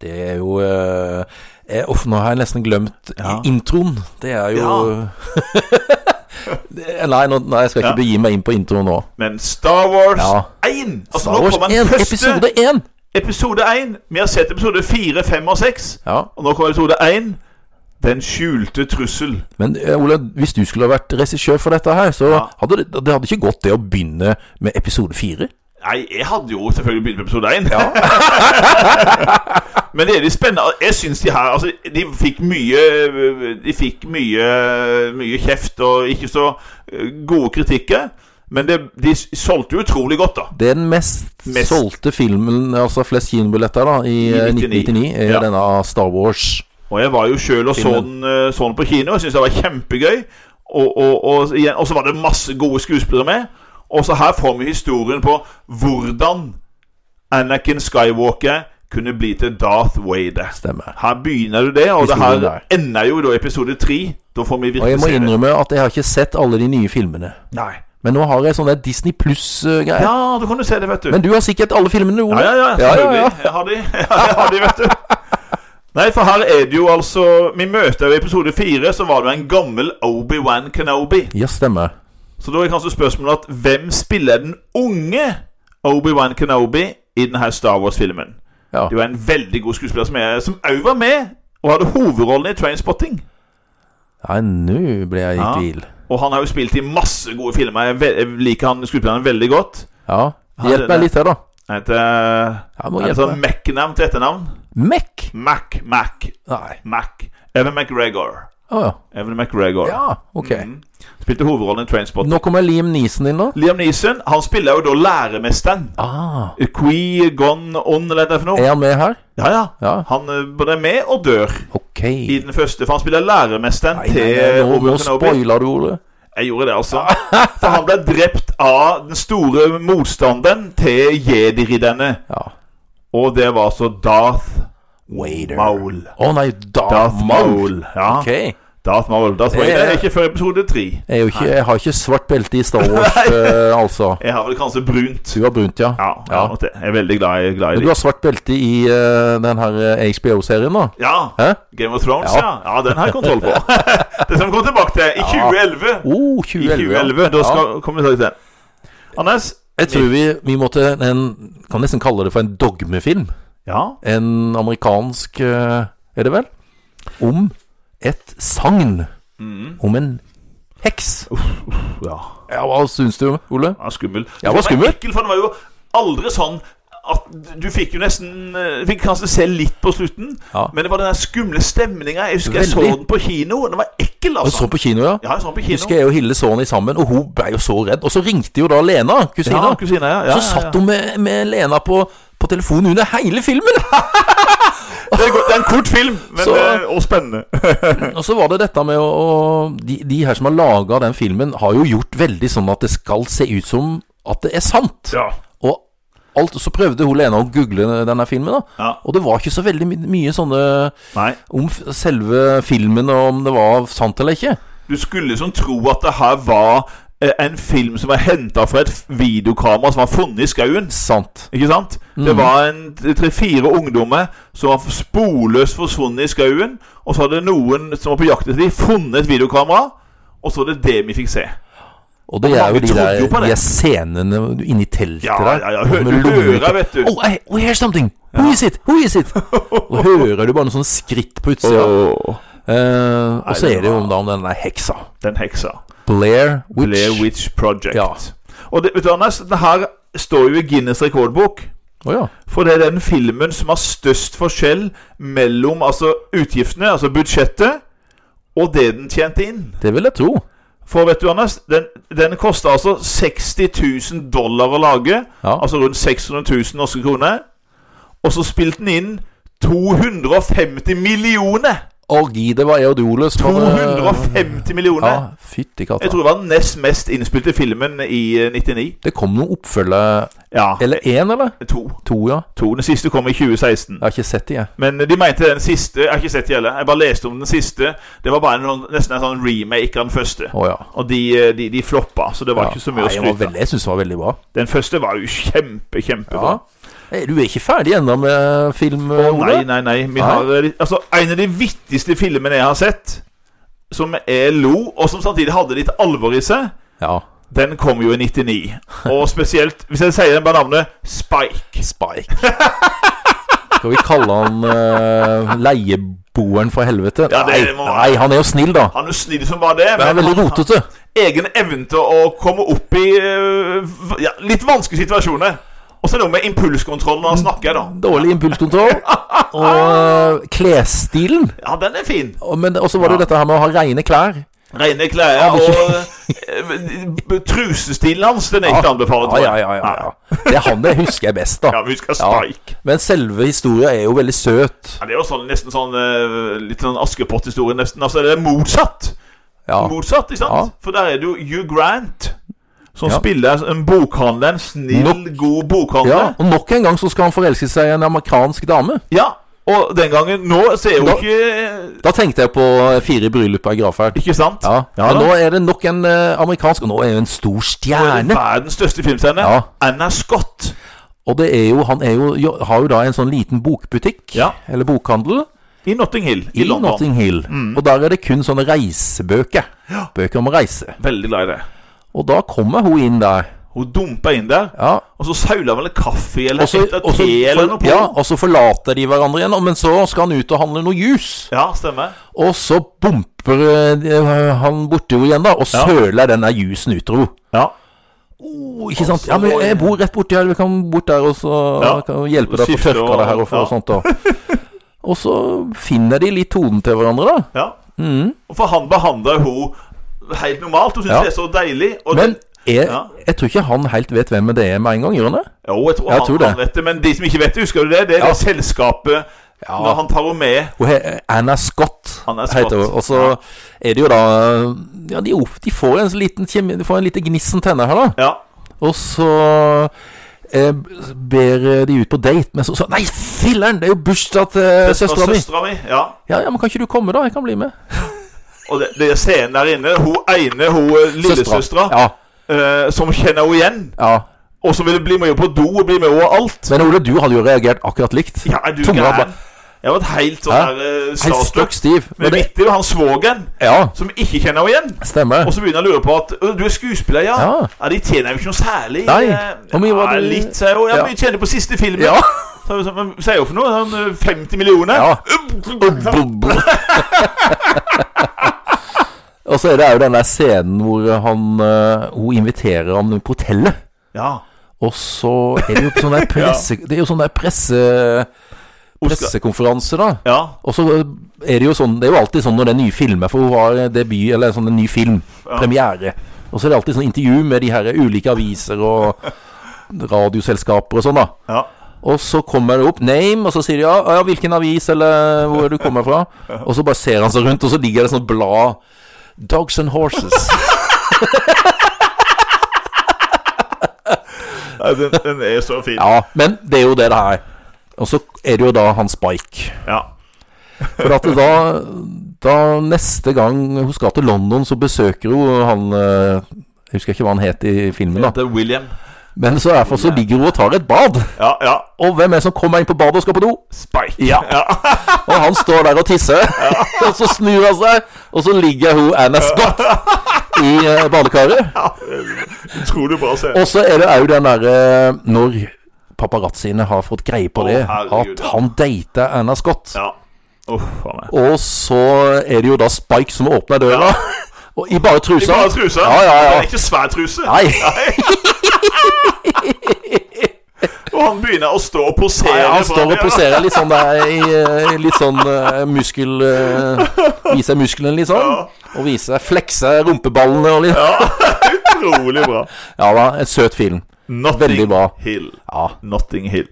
Det er jo eh, eh, Uff, nå har jeg nesten glemt i-
Ja.
introen. Det er jo Det- eh, Nei, nå, nei, jeg skal ikke
Ja.
begi meg inn på introen nå.
Men Star Wars
Ja.
1! Altså,
Star
nå
Wars
kommer
1,
den første episode.
episode 1!
episode 1. Vi har sett episode 4, 5 og 6.
Ja.
Og nå kommer episode 1. Den skjulte trussel.
Men eh, Ole, hvis du skulle ha vært regissør for dette her, så
Ja.
hadde det, det hadde ikke gått det å begynne med episode 4.
Nei, jeg hadde jo selvfølgelig begynt med episode 1. Men det er litt spennende. Jeg syns de her Altså, de fikk mye De fikk mye, mye kjeft og ikke så eh, gode kritikker. Men det, de solgte jo utrolig godt, da.
Det er den mest,
Mest.
solgte filmen, altså flest kinobilletter, da, i eh,
99.
1999. Er
Ja.
denne Star Wars.
Og jeg var jo sjøl og så den,
Filmen.
eh, så den på kino. Jeg syntes det var kjempegøy. Og, og, og, igjen- og så var det masse gode skuespillere med. Og så her får vi historien på hvordan Anakin Skywalker kunne bli til Darth Vader.
Stemmer.
Her begynner du det, og det
Historien
her ender jo da episode tre. Da får vi
Og jeg
virkelig
må
se det.
innrømme at jeg har ikke sett alle de nye filmene.
Nei.
Men nå har jeg sånne Disney Pluss-greier.
Ja, da kan du se det, vet du.
Men du har sikkert alle filmene, Ole.
Ja, ja, ja.
ja,
selvfølgelig.
ja.
Jeg har de, jeg har de vet du. Nei, for her er det jo altså Vi møter jo i episode fire, så var det en gammel Obi-Wan Kenobi.
Ja, stemmer.
Så da er kanskje spørsmålet at hvem spiller den unge Obi-Wan Kenobi i denne Star Wars-filmen?
Ja.
Det var en veldig god skuespiller som er- som òg var med og hadde hovedrollen i Trainspotting.
Nei, nå ble jeg i
Ja.
tvil.
Og han har jo spilt i masse gode filmer. Jeg, ve- jeg liker han skuespilleren veldig godt.
Ja.
Han-
Hjelp meg litt her, da.
Han heter
Jeg må
Er det
hjelpe
sånn
meg.
Mac-navn til etternavn?
Mac?
Mac, Mac,
Nei.
Mac. Evan McGregor.
Å ja.
Evan McGregor.
Ja, ok.
Mhm. Spilte hovedrollen i Trainspotting.
Nå kommer Liam Neeson inn, da.
Liam Neeson han spiller jo da læremesteren.
Ah.
Quee Gone On, eller hva det er for noe.
Er han med her?
Ja, ja.
Ja.
Han eh, både er med og dør
Ok.
i den første, for han spiller læremesteren
Nei, nei, nei,
til
nå, nå
Obi-Wan Kenobi.
spoiler du, Ole.
Jeg gjorde det, altså. For han ble drept av den store motstanderen til jedi-ridderne.
Ja.
Og det var altså Darth
Wader.
Maul.
Å nei, Darth,
Darth
Maul.
Maul. Ja.
Ok. Jeg,
Darth Maul. Darth Vader
Eh.
er ikke før episode tre.
er jo ikke, jeg har ikke svart belte i Star Wars, eh, altså.
Jeg har vel kanskje brunt.
Du har brunt, ja.
Ja, jeg, har nok det. jeg er veldig glad i, glad
Men du
i det.
har svart belte i eh, den her eh, HBO-serien, da?
Ja.
Hæ?
Game of Thrones,
Ja.
ja. ja. den har jeg kontroll på. det som vi kommer tilbake til i 2011.
Oh,
I
2011. ja.
2011, Da
Ja.
skal, kommer vi tilbake til den. Anders?
Jeg tror vi, vi måtte en, Kan nesten kalle det for en dogmefilm.
Ja.
En amerikansk eh, Er det vel? Om et sagn. Om en heks.
ja.
Ja, hva syns du, Ole?
Han var skummel.
Ja, han var skummel.
Ekkel, for det var jo aldri sånn at du fikk jo nesten eh, Fikk kanskje se litt på slutten,
Ja.
men det var den der skumle stemninga. Jeg husker jeg så
Veldig.
den på kino. Den var ekkel,
Jeg
altså.
så på kino, ja.
Ja, jeg så den på kino.
Husker jeg og Hille så den sammen, og hun ble jo så redd. Og så ringte jo da Lena, kusina.
Ja, kusina, ja.
så
Ja, ja, ja.
satt hun med, med Lena på, på telefonen under hele filmen!
Det er go- det er en kort film, men
Så-
eh, og spennende.
Og så var det dette med å, å de, de her som har laga den filmen, har jo gjort veldig sånn at det skal se ut som at det er sant.
Ja.
Og alt, så prøvde hun Lena å google denne filmen, da.
Ja.
Og det var ikke så veldig my mye sånne
Nei.
om f selve filmen og om det var sant eller ikke.
Du skulle som tro at det her var eh, en film som var henta fra et videokamera som var funnet i skauen.
Sant.
Ikke sant? Det
Mm.
var en tre-fire ungdommer som var sporløst forsvunnet i skauen. Og så hadde noen som var på jakt etter dem, funnet et videokamera. Og så var det det vi fikk se.
Og det er
mange
jo de
trodde
der
jo på det.
de er scenene inni teltet
Ja,
der.
ja, ja, hø-
med
du hører,
lommelykt.
vet du.
Oh, I, oh, here's something! Who is it? Who is it? Og hører du bare noen sånne skritt på utsida. Eh, og så
det
er det jo
var-
om da om den der heksa.
Den heksa.
Blair Witch.
Blair Witch Project.
Ja.
Og det, vet du, Anders, det her står jo i Guinness rekordbok.
Å ja.
For det er den filmen som har størst forskjell mellom altså, utgiftene, altså budsjettet, og det den tjente inn.
Det vil jeg tro.
For vet du, Anders, den, den koster altså 60 000 dollar å lage.
Ja.
Altså rundt 600 000 norske kroner. Og så spilte den inn 250 millioner!
Og gi, det var Eodolus.
250
Ja,
millioner!
fytti
eh, Jeg
katta.
tror det var den nest mest innspilte filmen i eh, 99.
Det kom noen oppfølger
Ja.
Eller én, eller?
To.
To, ja.
to. Den siste kom i 2016.
Jeg har ikke sett de, jeg.
Men de mente den siste Jeg har ikke sett det heller. Jeg bare leste om den siste. Det var bare en, sånn- nesten en sånn remake av den første.
Å ja.
Og de, eh, de, de floppa, så det var
Ja.
ikke så mye
Nei, jeg
å
var
skryte av.
veldig- Jeg syns den var veldig bra.
Den første var jo kjempe, kjempebra.
Nei, Du er ikke ferdig ennå med film, Ole?
Nei, nei, nei. Vi
Nei.
har, eh, altså, en av de vittigste filmene jeg har sett, som jeg lo, og som samtidig hadde litt alvor i seg,
Ja.
den kom jo i 99. Og spesielt, hvis jeg sier den bare navnet, Spike.
Spike. Skal vi kalle han eh, leieboeren for helvete?
Ja, det
nei,
må-
nei, han er jo snill, da.
Han er jo snill som bare det,
Men han er veldig
han-
rotete.
egen evne til å komme opp i eh, v- ja, litt vanskelige situasjoner. Og så er det noe med impulskontrollen når han snakker, da.
Dårlig impulskontroll. Og eh, klesstilen.
Ja, den er fin.
Og- men- Og så var det jo
Ja.
dette her med å ha reine klær.
Rene klær og eh, Trusestilen hans, den er ikke anbefalt.
Ja, ja, ja, ja, ja. Det er han jeg husker best, da.
Ja, vi skal
Ja.
Spike.
Men selve historia er jo veldig søt.
Ja, det er jo sånn, nesten sånn eh, litt sånn Askepott-historie, nesten. Altså, det er motsatt.
Ja.
Motsatt, ikke sant?
Ja.
For der er det jo Hugh Grant som
Ja.
spiller en bokhandler. En snill,
Nok-
god bokhandler.
ja. Og nok en gang så skal han forelske seg i en amerikansk dame.
Ja, Og den gangen Nå ser jo
Da-
ikke eh,
Da tenkte jeg på eh, Fire i bryllupet av gravferd.
Ikke sant?
Ja, ja,
da.
nå er det nok en eh, amerikansk Og nå er jo en stor
Gjerne.
stjerne.
Verdens største filmstjerne.
Ja.
Anna Scott.
Og det er jo, han er jo, jo, har jo da en sånn liten bokbutikk,
Ja.
eller bokhandel,
I Notting Hill i,
i
London. Mm.
Notting Hill. Og der er det kun sånne reisebøker. Bøker om å reise.
Veldig glad i det.
Og da kommer hun inn der.
Hun dumpa inn der,
Ja,
og så saula vel kaffe eller
og så,
et
og, så,
te eller noe på.
ja, og så forlater de hverandre igjen, og- men så skal han ut og handle noe juice.
Ja, stemmer.
Og så bumper eh, han borti henne igjen, da, og
Ja.
søler den der juicen ut av henne.
Ja.
Oh, ikke sant?
altså,
Ja, men jeg bor rett borti her. Vi kan bort der og så
Ja.
kan vi hjelpe deg å få
Skifte
tørka
og-
det her og, få
ja.
og sånt. da Og så finner de litt tonen til hverandre, da.
ja. Og For han behandla hun helt normalt. Hun syntes
Mm. Ja.
det er så deilig. Og
Men
det-
jeg,
Ja.
jeg tror ikke han helt vet hvem det er med en gang, gjør han det?
jo, jeg tror,
Jeg
han,
tror det.
han vet det. Men de som ikke vet det, husker du det? Det er det selskapet når han tar henne med.
Og he, Anna Scott,
Anna Scott,
heter hun. Og så
ja.
er det jo da Ja, de, of- de får en liten kjemi, de får en liten gnissen tenner her, da.
Ja.
Og så eh, ber de ut på date, men så så Nei, filler'n! Det er jo bursdag til søstera mi!
Søstera mi. Ja.
Ja, ja, men kan ikke du komme, da? Jeg kan bli med.
Og det, det er scenen der inne. Hun ene, hun eh, lillesøstera,
Ja,
eh, som kjenner henne igjen.
ja.
Og så vil jeg bli med på do og bli med over alt.
Men Ole, du hadde jo reagert akkurat likt.
Ja, er du
Tunga
gæren?
bare-
Jeg var helt sånn
Hæ?
her eh,
Helt stokk
starstruck.
stiv. Men
Men
det,
midt i det var han svogeren,
ja,
som ikke kjenner henne igjen.
stemmer.
Og så begynner jeg å lure på at «Ø, Du er skuespiller, ja?
Ja.
ja de tjener jo ikke noe særlig.
Nei.
Eh,
Hvor mye var
ja,
det-
Litt, sier hun. Ja,
Ja.
mye tjener på siste filmen.
Ja.
Så jeg sånn, Men sier hun for noe? Sånn, eh, 50 millioner?
ja. Og så er det jo den der scenen hvor han, eh, hun inviterer ham på hotellet.
Ja.
Og så er det jo sånn der presse... Det er jo sånn der presse...
Hun skal-
Pressekonferanse, da.
ja.
Og så er det jo sånn Det er jo alltid sånn når det er nye filmer, for hun har debut Eller sånn en ny film. Premiere. Og så er det alltid sånn intervju med de her ulike aviser og radioselskaper og sånn, da.
ja.
Og så kommer det opp name, og så sier de ja, ja, hvilken avis eller hvor er du kommer fra. Og så bare ser han seg rundt, og så ligger det sånn blad Dogs and Horses.
Nei, Den, den er så fin.
Ja, men det er jo det det er. Og så er det jo da han Spike.
Ja.
For at da, da neste gang hun skal til London, så besøker hun han eh, Jeg husker ikke hva han het i filmen, da.
Det er William.
Men så derfor så ligger hun og tar et bad.
Ja, ja.
Og hvem er det som kommer inn på badet og skal på do?
Spike.
Ja.
ja.
Og han står der og tisser, og så snur han seg, og så ligger hun Anna Scott i eh, badekaret.
Utrolig bra scene.
Og så er det òg den derre Når paparazziene har fått greie på
Å,
det,
herregud,
at
ja.
han dater Anna Scott.
Ja. Uff faen meg.
Og så er det jo da Spike som åpner døra, og i bare trusa.
I bare trusa?
Ja, ja,
Det
ja.
er ikke svær truse.
Nei,
Og han begynner å stå og posere.
han
for
står og
han, ja.
poserer litt sånn der i eh, litt sånn eh, muskel eh, Viser musklene litt sånn.
Ja.
Og vise flekse rumpeballene og litt.
Utrolig bra.
Ja da, en søt film. Veldig
Notting
bra.
Hill.
Ja. Mm.
Notting Hill.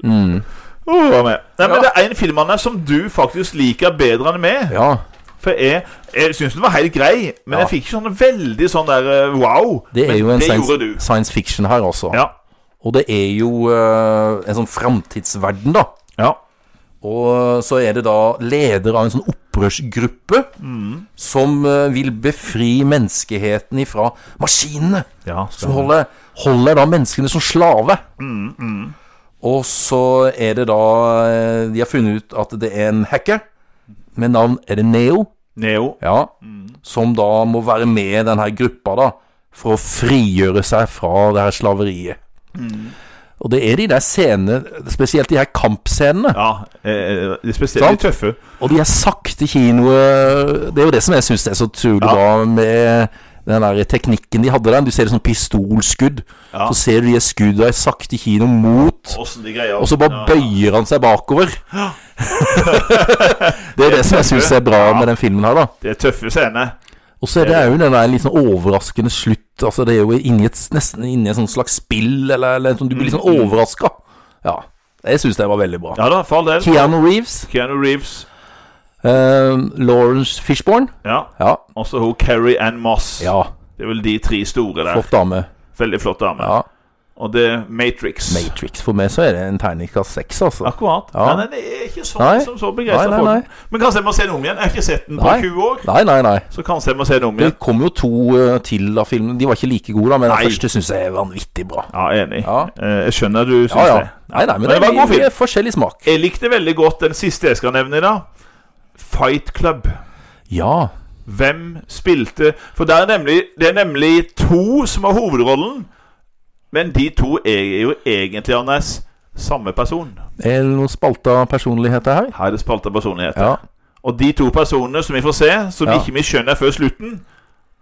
Oh, hva med? Nei, men Det er en film Anne, som du faktisk liker bedre enn meg.
ja.
For jeg, jeg syns den var helt grei,
Ja.
men jeg fikk ikke sånn veldig sånn der eh, wow.
Det er
men
jo en
det
science,
gjorde du.
science fiction her, altså.
Ja.
Og det er jo eh, en sånn framtidsverden, da.
ja.
Og eh, så er det da leder av en sånn opprørsgruppe
Mm.
som eh, vil befri menneskeheten ifra maskinene.
ja
Som holder, holder da menneskene som slave.
Mm,
Og så er det da eh, De har funnet ut at det er en hacker med navn Er det Neo?
Neo.
Ja.
Mm.
Som da må være med i denne gruppa, da. For å frigjøre seg fra det her slaveriet.
Mm.
Og det er de der scenene, spesielt de her kampscenene.
Ja. Eh, de spesielt
Sant?
de tøffe.
Og de er sakte kino Det er jo det som jeg syns er så utrolig bra med den der teknikken de hadde der. Du ser det som pistolskudd.
Ja.
Så ser du de skudda i sakte kino mot
Åssen de greier
Og så bare bøyer han seg bakover. det er det som jeg syns er bra med den filmen her, da.
Det er tøffe scener.
Og så er det jo den der litt sånn overraskende slutt. Altså Det er jo inni et, nesten inni et sånt slags spill, eller, eller sånn, du blir litt sånn overraska. Ja. Jeg syns det var veldig bra.
Mm, Ja da, for all del.
Keanu Reeves,
Keanu Reeves.
eh, Lawrence Fishborn
Ja.
Ja.
Også hun Carrie Ann Moss.
ja
Det er vel de tre store der.
flott dame.
Veldig flott dame.
Ja.
Og det er Matrix.
Matrix. For meg så er det en tegningkast seks, altså.
Akkurat.
Ja.
Men jeg er ikke sånn
Nei.
som så begeistra
Nei, nei,
for den.
nei.
Men kanskje jeg må se den om igjen. Jeg har ikke sett den på
Nei.
20 år.
Nei, nei, nei.
Så kanskje jeg må se den om
Det
igjen.
kom jo to eh, til av filmene. De var ikke like gode, da, men
Nei.
den første syns jeg er vanvittig bra.
Ja, enig.
Ja.
Eh, Jeg skjønner du syns
Ja, ja.
det.
Nei, nei, men,
Men det var en
det
god film.
er forskjellig smak.
Jeg likte veldig godt den siste jeg skal nevne i dag. Fight Club.
Ja.
Hvem spilte For der er nemlig, det er nemlig to som har hovedrollen. Men de to er jo egentlig, Anders, samme person.
Er det noen spalta personligheter her?
Her er det spalta personligheter.
Ja.
Og de to personene som vi får se, som
Ja.
ikke vi skjønner før slutten,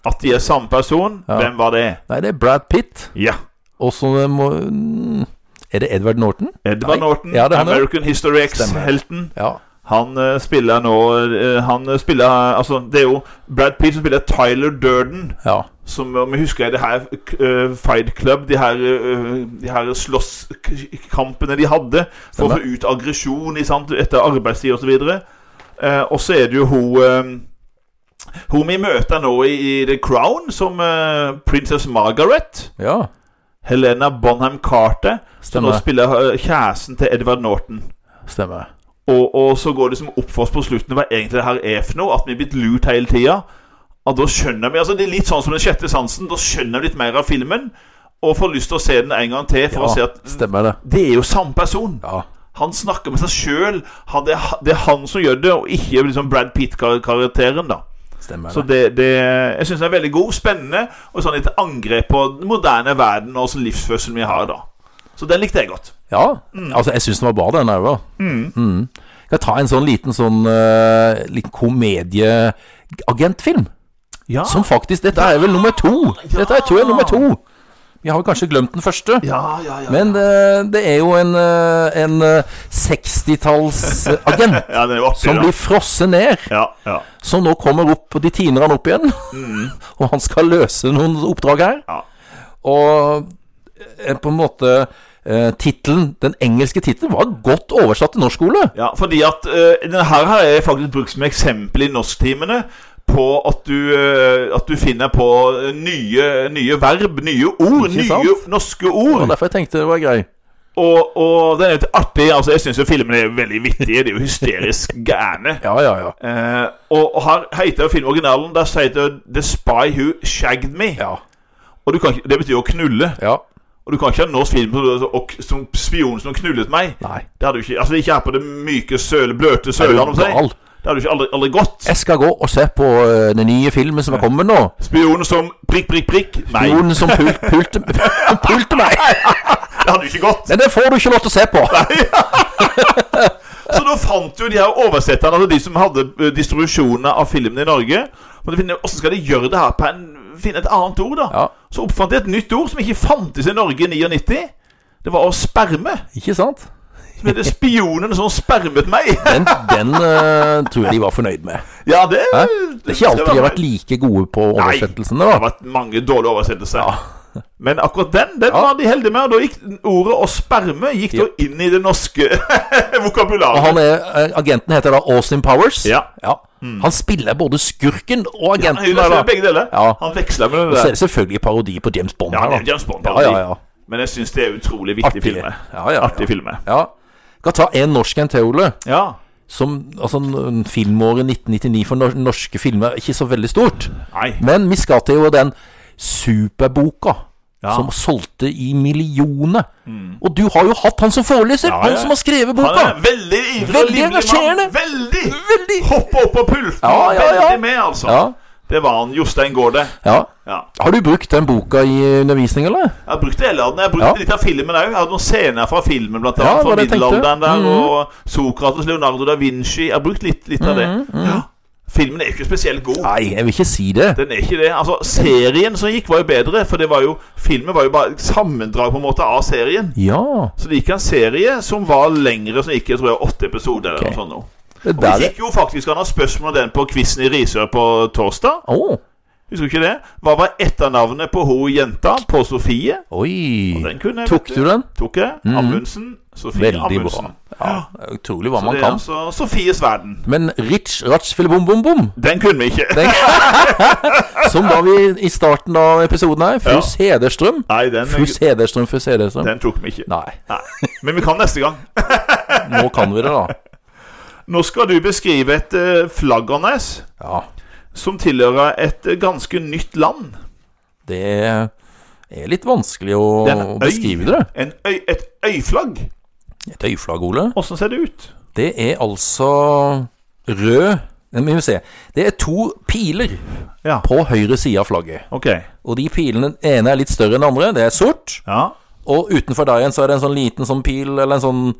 at de er samme person,
Ja.
hvem var det?
Nei, det er Brad Pitt.
Ja.
Og så må mm, Er det Edward Norton?
Edvard
Nei.
Norton,
Ja, det er han, ja.
American History
Stemmer.
X-helten.
Ja.
Han eh, spiller nå eh, Han eh, spiller Altså, det er jo Brad Pitt som spiller Tyler Durden.
ja.
Som om jeg husker i det her eh, Fight Club, de her, eh, de her slåsskampene de hadde for å
Stemmer.
få ut aggresjon ikke sant, etter arbeidstid osv. Eh, og så er det jo hun eh, Hun vi møter nå i, i The Crown, som eh, Princess Margaret.
ja.
Helena Bonham Carter, som nå
Stemmer.
spiller eh, kjæresten til Edvard Norton.
Stemmer.
Og, og så går det som opp for oss på slutten hva egentlig det her er for noe. At vi er blitt lurt hele tida. Og da skjønner vi, altså Det er litt sånn som den sjette sansen. Da skjønner vi litt mer av filmen. Og får lyst til å se den en gang til for
Ja,
å se at
Stemmer det.
det er jo samme person.
Ja.
Han snakker med seg sjøl. Det er ha- det er han som gjør det, og ikke liksom Brad Pitt-karakteren. da
Stemmer
Så
det.
det, det jeg syns den er veldig god, spennende, og sånn et angrep på den moderne verden og sånn livsførselen vi har da. Så den likte jeg godt.
Ja. Altså, jeg syns den var bra, den der òg. Mm. Skal jeg ta en sånn liten sånn eh, liten komedieagentfilm?
Ja.
Som faktisk Dette er vel nummer to! Dette er, tror jeg er nummer to. Vi har kanskje glemt den første.
ja, ja, ja.
Men det, det er jo en, eh, en eh, 60-tallsagent
ja, den er jo artig,
som
da.
blir frosset ned.
Ja, ja,
som nå kommer opp, og de tiner han opp igjen. og han skal løse noen oppdrag her.
Mm. ja.
Og eh, på en måte eh, Tittelen, den engelske tittelen, var godt oversatt til norsk skole.
Ja, fordi at eh, denne her har jeg faktisk brukt som eksempel i norsktimene på at du, eh, at du finner på eh, nye, nye verb, nye ord,
Ikke sant?
nye norske
Det var
ord.
derfor jeg tenkte det var grei.
Og, og den er litt artig. altså Jeg syns jo filmene er veldig vittige. De er jo hysterisk gærne.
Ja, ja, ja.
Eh, og, og her heter jo filmoriginalen Der så heter det 'The Spy Who Shagged Me'.
Ja.
Og du kan, ikke- Det betyr jo å knulle.
ja.
Og du kan ikke ha en norsk film som, og, som 'Spion som knullet meg'.
Nei.
Det hadde du ikke, altså det er ikke her på det myke, søle, bløte
Er du
Sørlandet. om å si.
gal?
Det hadde du ikke aldri, aldri gått.
Jeg skal gå og se på eh, den nye filmen som er kommet nå.
Spion som prikk, prikk, prikk. Nei,
Noen som pul pulte, pulte meg.
det hadde jo ikke gått.
Men det får du ikke lov til å se på.
Så da fant jo de her oversetterne, altså de som hadde eh, distribusjonen av filmen i Norge måtte finne, Hvordan skal de gjøre det her på en Finne et annet ord, da?
Ja.
Så oppfant de et nytt ord som ikke fantes i Norge i 99. Det var å sperme.
Ikke sant?
Så ble det spionene som spermet meg.
Den, den eh, tror jeg de var fornøyd med.
Ja, det
Hæ? Det er ikke alltid de har vært like gode på oversettelsene.
Det har
da
vært mange dårlige oversettelser. Men akkurat den den var de heldige med. og Da gikk ordet 'å sperme' gikk da inn i det norske
og
vokabularet.
han er, eh, Agenten heter da Austin Powers.
Ja. Mm.
Han spiller både skurken og
Han
agenten.
gjorde
her,
det
da.
begge deler.
Ja.
Han veksla med
Så er
det der.
det selvfølgelig parodi på James Bond.
Ja,
her,
det
da.
er James Bond,
ja,
parodi.
ja, ja.
Men jeg syns det er utrolig viktig
Artig.
film. jeg.
Ja, ja, ja.
Artig film. jeg.
ja. Skal ta en norsk en til, Ole.
Ja.
Som, altså, n- filmåret 1999 for nor- norske filmer er ikke så veldig stort.
Nei.
Men vi skal til jo den superboka
Ja. Mm.
som solgte i millioner. Og du har jo hatt han som foreleser!
Ja,
Han
ja.
som har skrevet
Han
boka!
er en veldig ivrig
Veldig
og livlig mann.
engasjerende.
Veldig.
Veldig.
Hoppe opp på pulten.
Ja, ja, ja.
Veldig med, altså.
Ja.
Det var han. Jostein Gaarde.
Ja.
Ja.
Har du brukt den boka i undervisning, eller?
Jeg har brukt hele den. Jeg har brukt
Ja.
litt av filmen òg. Jeg har noen scener fra filmen, blant
Ja,
annet.
det var
fra
det jeg tenkte. Mm.
middelalderen der, og Sokrates, Leonardo da Vinci. Jeg har brukt litt, litt av det.
Mm,
Ja. Filmen er jo ikke spesielt god.
Nei, jeg vil ikke si det.
Den er ikke det. Altså, serien som gikk, var jo bedre, for det var jo Filmen var jo bare et sammendrag på en måte av serien.
Ja.
Så det gikk en serie som var lengre, som gikk jeg tror jeg åtte episoder eller
Ok.
noe sånt. nå.
Det
Og
der
vi
det.
fikk jo faktisk han har spørsmål om den på quizen i Risør på torsdag.
Å.
Husker du ikke det? Hva var etternavnet på hun jenta? På Sofie?
Oi.
Den kunne jeg,
Tok
vet
du den?
Tok jeg. Amundsen. Sofie
Veldig bra.
Amundsen.
Ja, utrolig hva
Så
man
det er
kan.
altså Sofies verden.
Men Rich Ratch Bom Bom Bom,
Den kunne vi ikke.
den, som da vi i starten av episoden her, Fus Hederstrøm.
Nei, den,
Fus Hederstrøm, Fus Hederstrøm.
den tok vi ikke.
Nei,
Nei. Men vi kan neste gang.
nå kan vi det, da.
Nå skal du beskrive et eh, flaggernes
Ja,
som tilhører et eh, ganske nytt land.
det er litt vanskelig å
Det er en øy.
beskrive det.
En øy, et øyflagg.
Et øyflagg, Ole.
Åssen ser det ut?
Det er altså rød Nei, men Vi må se. Det er to piler
Ja,
på høyre side av flagget.
ok.
Og de pilene, den ene er litt større enn den andre. Det er sort.
Ja,
Og utenfor der igjen så er det en sånn liten sånn pil, eller en sånn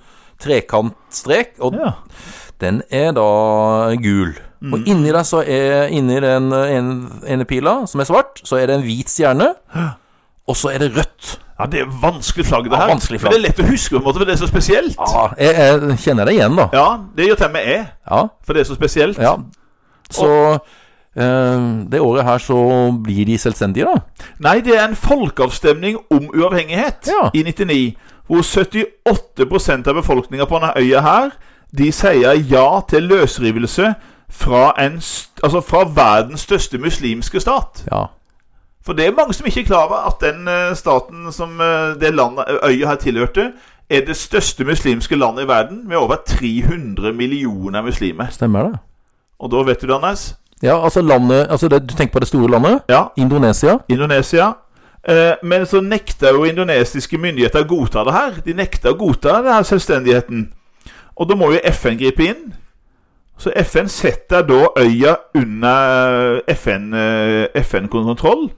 trekantstrek. Og
ja.
den er da gul. Og inni der så er Inni den ene, ene pila, som er svart, så er det en hvit stjerne. Og så er det rødt.
ja det er vanskelig flagg, det
Ja,
her.
vanskelig flagg.
Men det er lett å huske, på en måte, for det er så spesielt.
Ja, jeg, jeg kjenner det igjen, da.
Ja, det gjør til og med jeg,
Ja.
for det er så spesielt.
ja. Så eh, det året her så blir de selvstendige, da.
Nei, det er en folkeavstemning om uavhengighet
Ja.
i 99, hvor 78 av befolkninga på denne øya her, de sier ja til løsrivelse fra, en, st- altså fra verdens største muslimske stat.
Ja.
For det er mange som ikke er klar over at den eh, staten som eh, det landet, øya her tilhørte, er det største muslimske landet i verden, med over 300 millioner muslimer.
Stemmer det.
Og da vet du det, Anders.
Ja, altså landet Altså det, du tenker på det store landet?
Ja,
Indonesia?
Indonesia. Eh, men så nekta jo indonesiske myndigheter å godta det her. De nekta å godta denne selvstendigheten. Og da må jo FN gripe inn. Så FN setter da øya under eh, FN-kontroll. FN -kontroll.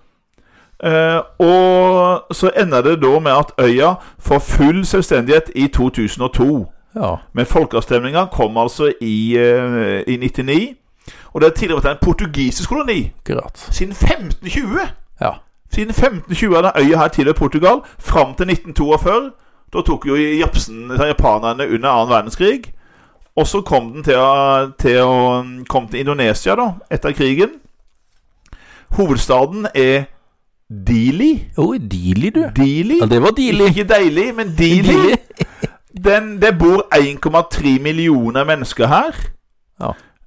eh, og så ender det da med at øya får full selvstendighet i 2002.
Ja.
Men folkeavstemninga kom altså i, eh, i 99. Og det har tidligere vært en portugisisk koloni
Akkurat.
siden 1520.
Ja.
Siden 1520 er den øya her tilhørt Portugal, fram til 1942. Da tok jo japsen, japanerne under annen verdenskrig. Og så kom den til å, til å kom til Indonesia, da, etter krigen. Hovedstaden er Dili.
Oi, Dili, du.
Dili.
Ja, det var Dili.
Ikke deilig, men Dili. Den, det bor 1,3 millioner mennesker her.
Ja.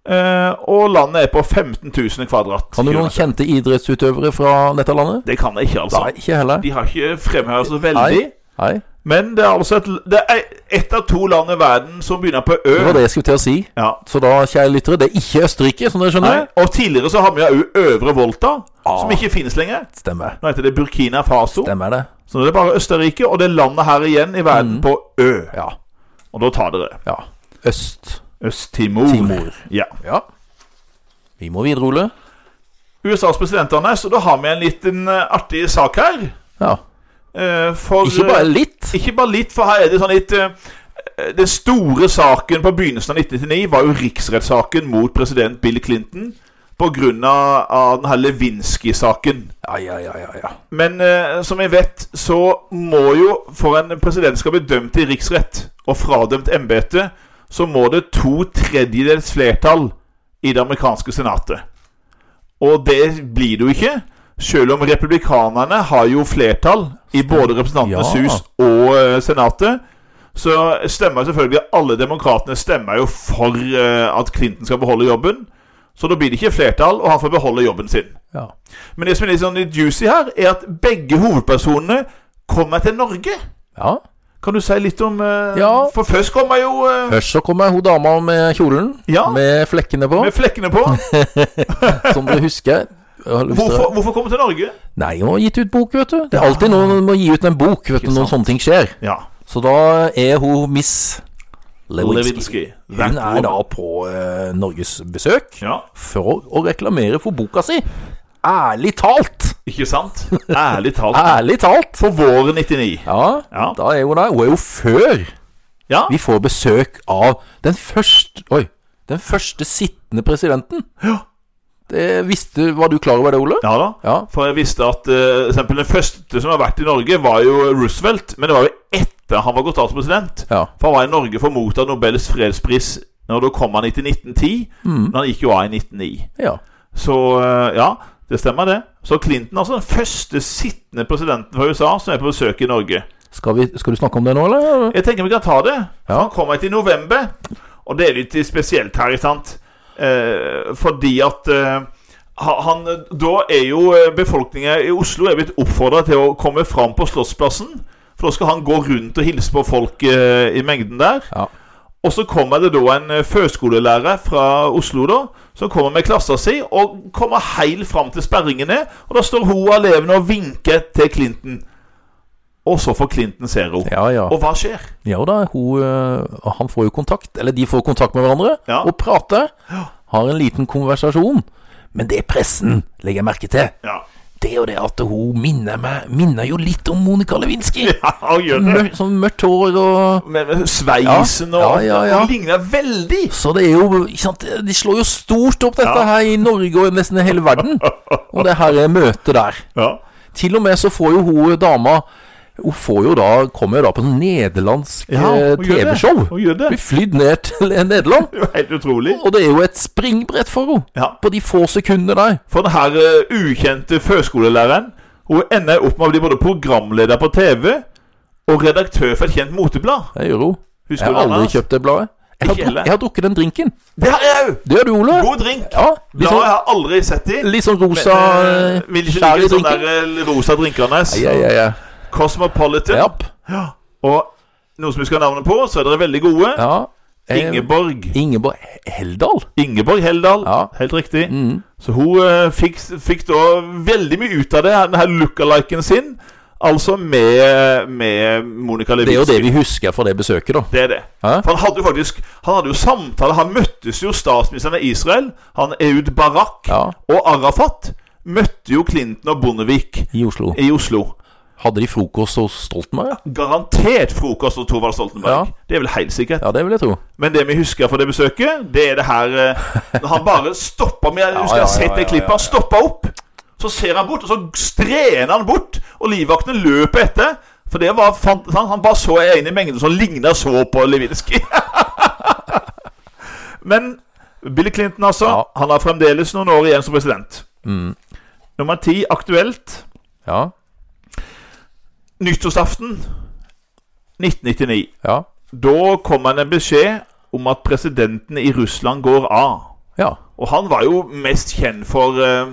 Eh, og landet er på 15 000 kvadrat.
Kan du noen kjente idrettsutøvere fra dette landet?
Det kan jeg ikke, altså.
Nei, ikke heller.
De har ikke fremhevet så veldig.
Nei. Nei.
Men det er altså et, det er ett av to land i verden som begynner på Ø.
Det var det jeg skulle til å si.
Ja.
Så da, kjære lyttere, det er ikke Østerrike, som dere skjønner.
Nei. Og tidligere så har vi jo Øvre Volta,
Ah.
som ikke finnes lenger.
Stemmer.
Nå heter det Burkina Faso.
Stemmer det.
Så nå er det bare Østerrike og det landet her igjen i verden
Mm.
på Ø.
Ja.
Og da tar dere
ja. Øst.
Øst-Timor.
Timor.
Ja.
Ja. Vi må videre, Ole.
USAs president, Anders, og da har vi en liten eh, artig sak her.
Ja.
Eh, for,
Ikke bare litt.
Ikke bare litt, for her er det sånn litt eh, Den store saken på begynnelsen av 1999 var jo riksrettssaken mot president Bill Clinton. pga. denne Lewinsky-saken.
Ja, ja, ja, ja, ja.
Men eh, som jeg vet, så må jo for en president skal bli dømt i riksrett og fradømt embete, så må det to tredjedels flertall i det amerikanske senatet. Og det blir det jo ikke, selv om republikanerne har jo flertall i både Representantenes
Ja.
hus og eh, senatet. Så stemmer selvfølgelig alle demokratene stemmer jo for eh, at Clinton skal beholde jobben. Så da blir det ikke flertall, og han får beholde jobben sin.
ja.
Men det som er litt sånn litt juicy her, er at begge hovedpersonene kommer til Norge.
ja.
Kan du si litt om eh,
Ja.
For først kommer jo eh,
Først så kommer hun dama med kjolen,
Ja.
med flekkene på,
med flekkene på.
som dere husker. Jeg har lyst til å-
Hvorfor, hvorfor komme til Norge?
Nei, hun har gitt ut bok, vet du. Det er alltid noen som må gi ut en bok vet du,
Ikke
når sånne ting skjer.
Ja.
Så da er hun Miss Lewinsky.
Lewinsky.
Hun er da på eh, Norges besøk
Ja,
for å reklamere for boka si. Ærlig talt!
ikke sant? Ærlig talt.
Ærlig talt!
På våren 99.
Ja,
Ja.
da er hun der. Hun er jo før
Ja.
vi får besøk av den første Oi. Den første sittende presidenten.
Ja.
Det visste, Var du klar over det, Ole?
ja da.
Ja.
For jeg visste at eh, for eksempel den første som har vært i Norge, var jo Roosevelt. Men det var jo etter han var gått av som president.
Ja.
For han var i Norge for å motta Nobels fredspris. Og da kom han hit i 1910,
Mm.
men han gikk jo av i 1909.
ja.
Så eh, ja, det stemmer det. Så Clinton er altså den første sittende presidenten fra USA som er på besøk i Norge.
Skal, vi, skal du snakke om det nå, eller?
Jeg tenker vi kan ta det.
Ja.
Han kommer hit i november, og det er litt spesielt her, ikke sant? Eh, fordi at eh, ha- han, Da er jo eh, befolkninga i Oslo er blitt oppfordra til å komme fram på Slottsplassen. For da skal han gå rundt og hilse på folk eh, i mengden der.
Ja.
Og så kommer det da en eh, førskolelærer fra Oslo da, som kommer med klassa si, og kommer helt fram til sperringene. Og da står hun og elevene og vinker til Clinton. Og så får Clinton se henne.
Ja, ja.
Og hva skjer?
Ja da, hun, eh, han får jo kontakt, eller de får kontakt med hverandre
Ja.
og prater. Har en liten konversasjon. Men det pressen legger jeg merke til,
Ja,
det er jo det at hun minner meg Minner jo litt om Monica Lewinsky.
han gjør det.
Mør, sånn mørkt hår og
Med, med sveisen og
Ja, ja, ja.
Hun ligner veldig.
Så det er jo ikke sant, De slår jo stort opp dette
Ja.
her i Norge og nesten i hele verden. Og det her er møtet der.
Ja.
Til og med så får jo hun dama Hun får jo da, kommer jo da på sånn nederlandsk
Ja,
eh,
hun gjør det.
TV-show.
Hun gjør det.
Blir flydd ned til Nederland.
Det er jo helt utrolig.
Og det er jo et springbrett for henne.
Ja.
På de få sekundene der.
For den her eh, ukjente førskolelæreren Hun ender opp med å bli både programleder på TV og redaktør for et kjent moteblad.
Det gjør hun. Jeg
Husker
har
du navnet
aldri
hans?
kjøpt det bladet. Jeg har,
Ikke
drukket,
heller.
jeg har drukket den drinken.
Det har jeg òg!
Det gjør du, Ole.
God drink.
Ja, litt
Bladet
sånn,
har jeg aldri sett i.
litt sånn rosa
Eh,
eh,
Vil ikke
skjær
like
i
sånne
drinken.
der eh, rosa drinkene hans.
Ja, ja, ja.
Cosmopolitan.
Japp.
Og noe som vi skal ha navnet på, så er dere veldig gode.
ja. Eh,
Ingeborg.
Ingeborg He- Heldal.
Ingeborg Heldal.
Ja.
Helt riktig.
Mm.
Så hun eh, fikk, fikk da veldig mye ut av det, den her lookaliken sin. Altså med, med Monica
Det er jo
Lewinsky.
det vi husker fra det besøket, da.
Det er det.
Hæ?
For han hadde jo faktisk Han hadde jo samtale Han møttes jo statsministeren av Israel, han Eud Barak
Ja,
og Arafat. Møtte jo Clinton og Bondevik
I Oslo.
i Oslo.
Hadde de frokost hos Stoltenberg?
Garantert frokost hos Thorvald Stoltenberg.
Ja.
Det er vel helt sikkert.
Ja, det vil jeg tro.
Men det vi husker fra det besøket, det er det her eh, når Han bare stopper med, Jeg husker
ja,
jeg har
ja,
sett det
ja,
klippet. Han stopper opp. Så ser han bort, og så strener han bort. Og livvaktene løper etter. For det var fant, han, han bare så en i mengden som ligna så på Lewinsky. Men Bill Clinton, altså.
Ja. Mm.
Han har fremdeles noen år igjen som president. Nummer ti, aktuelt.
Ja.
Nyttårsaften 1999.
Ja.
Da kom han en beskjed om at presidenten i Russland går av.
ja.
Og han var jo mest kjent for eh,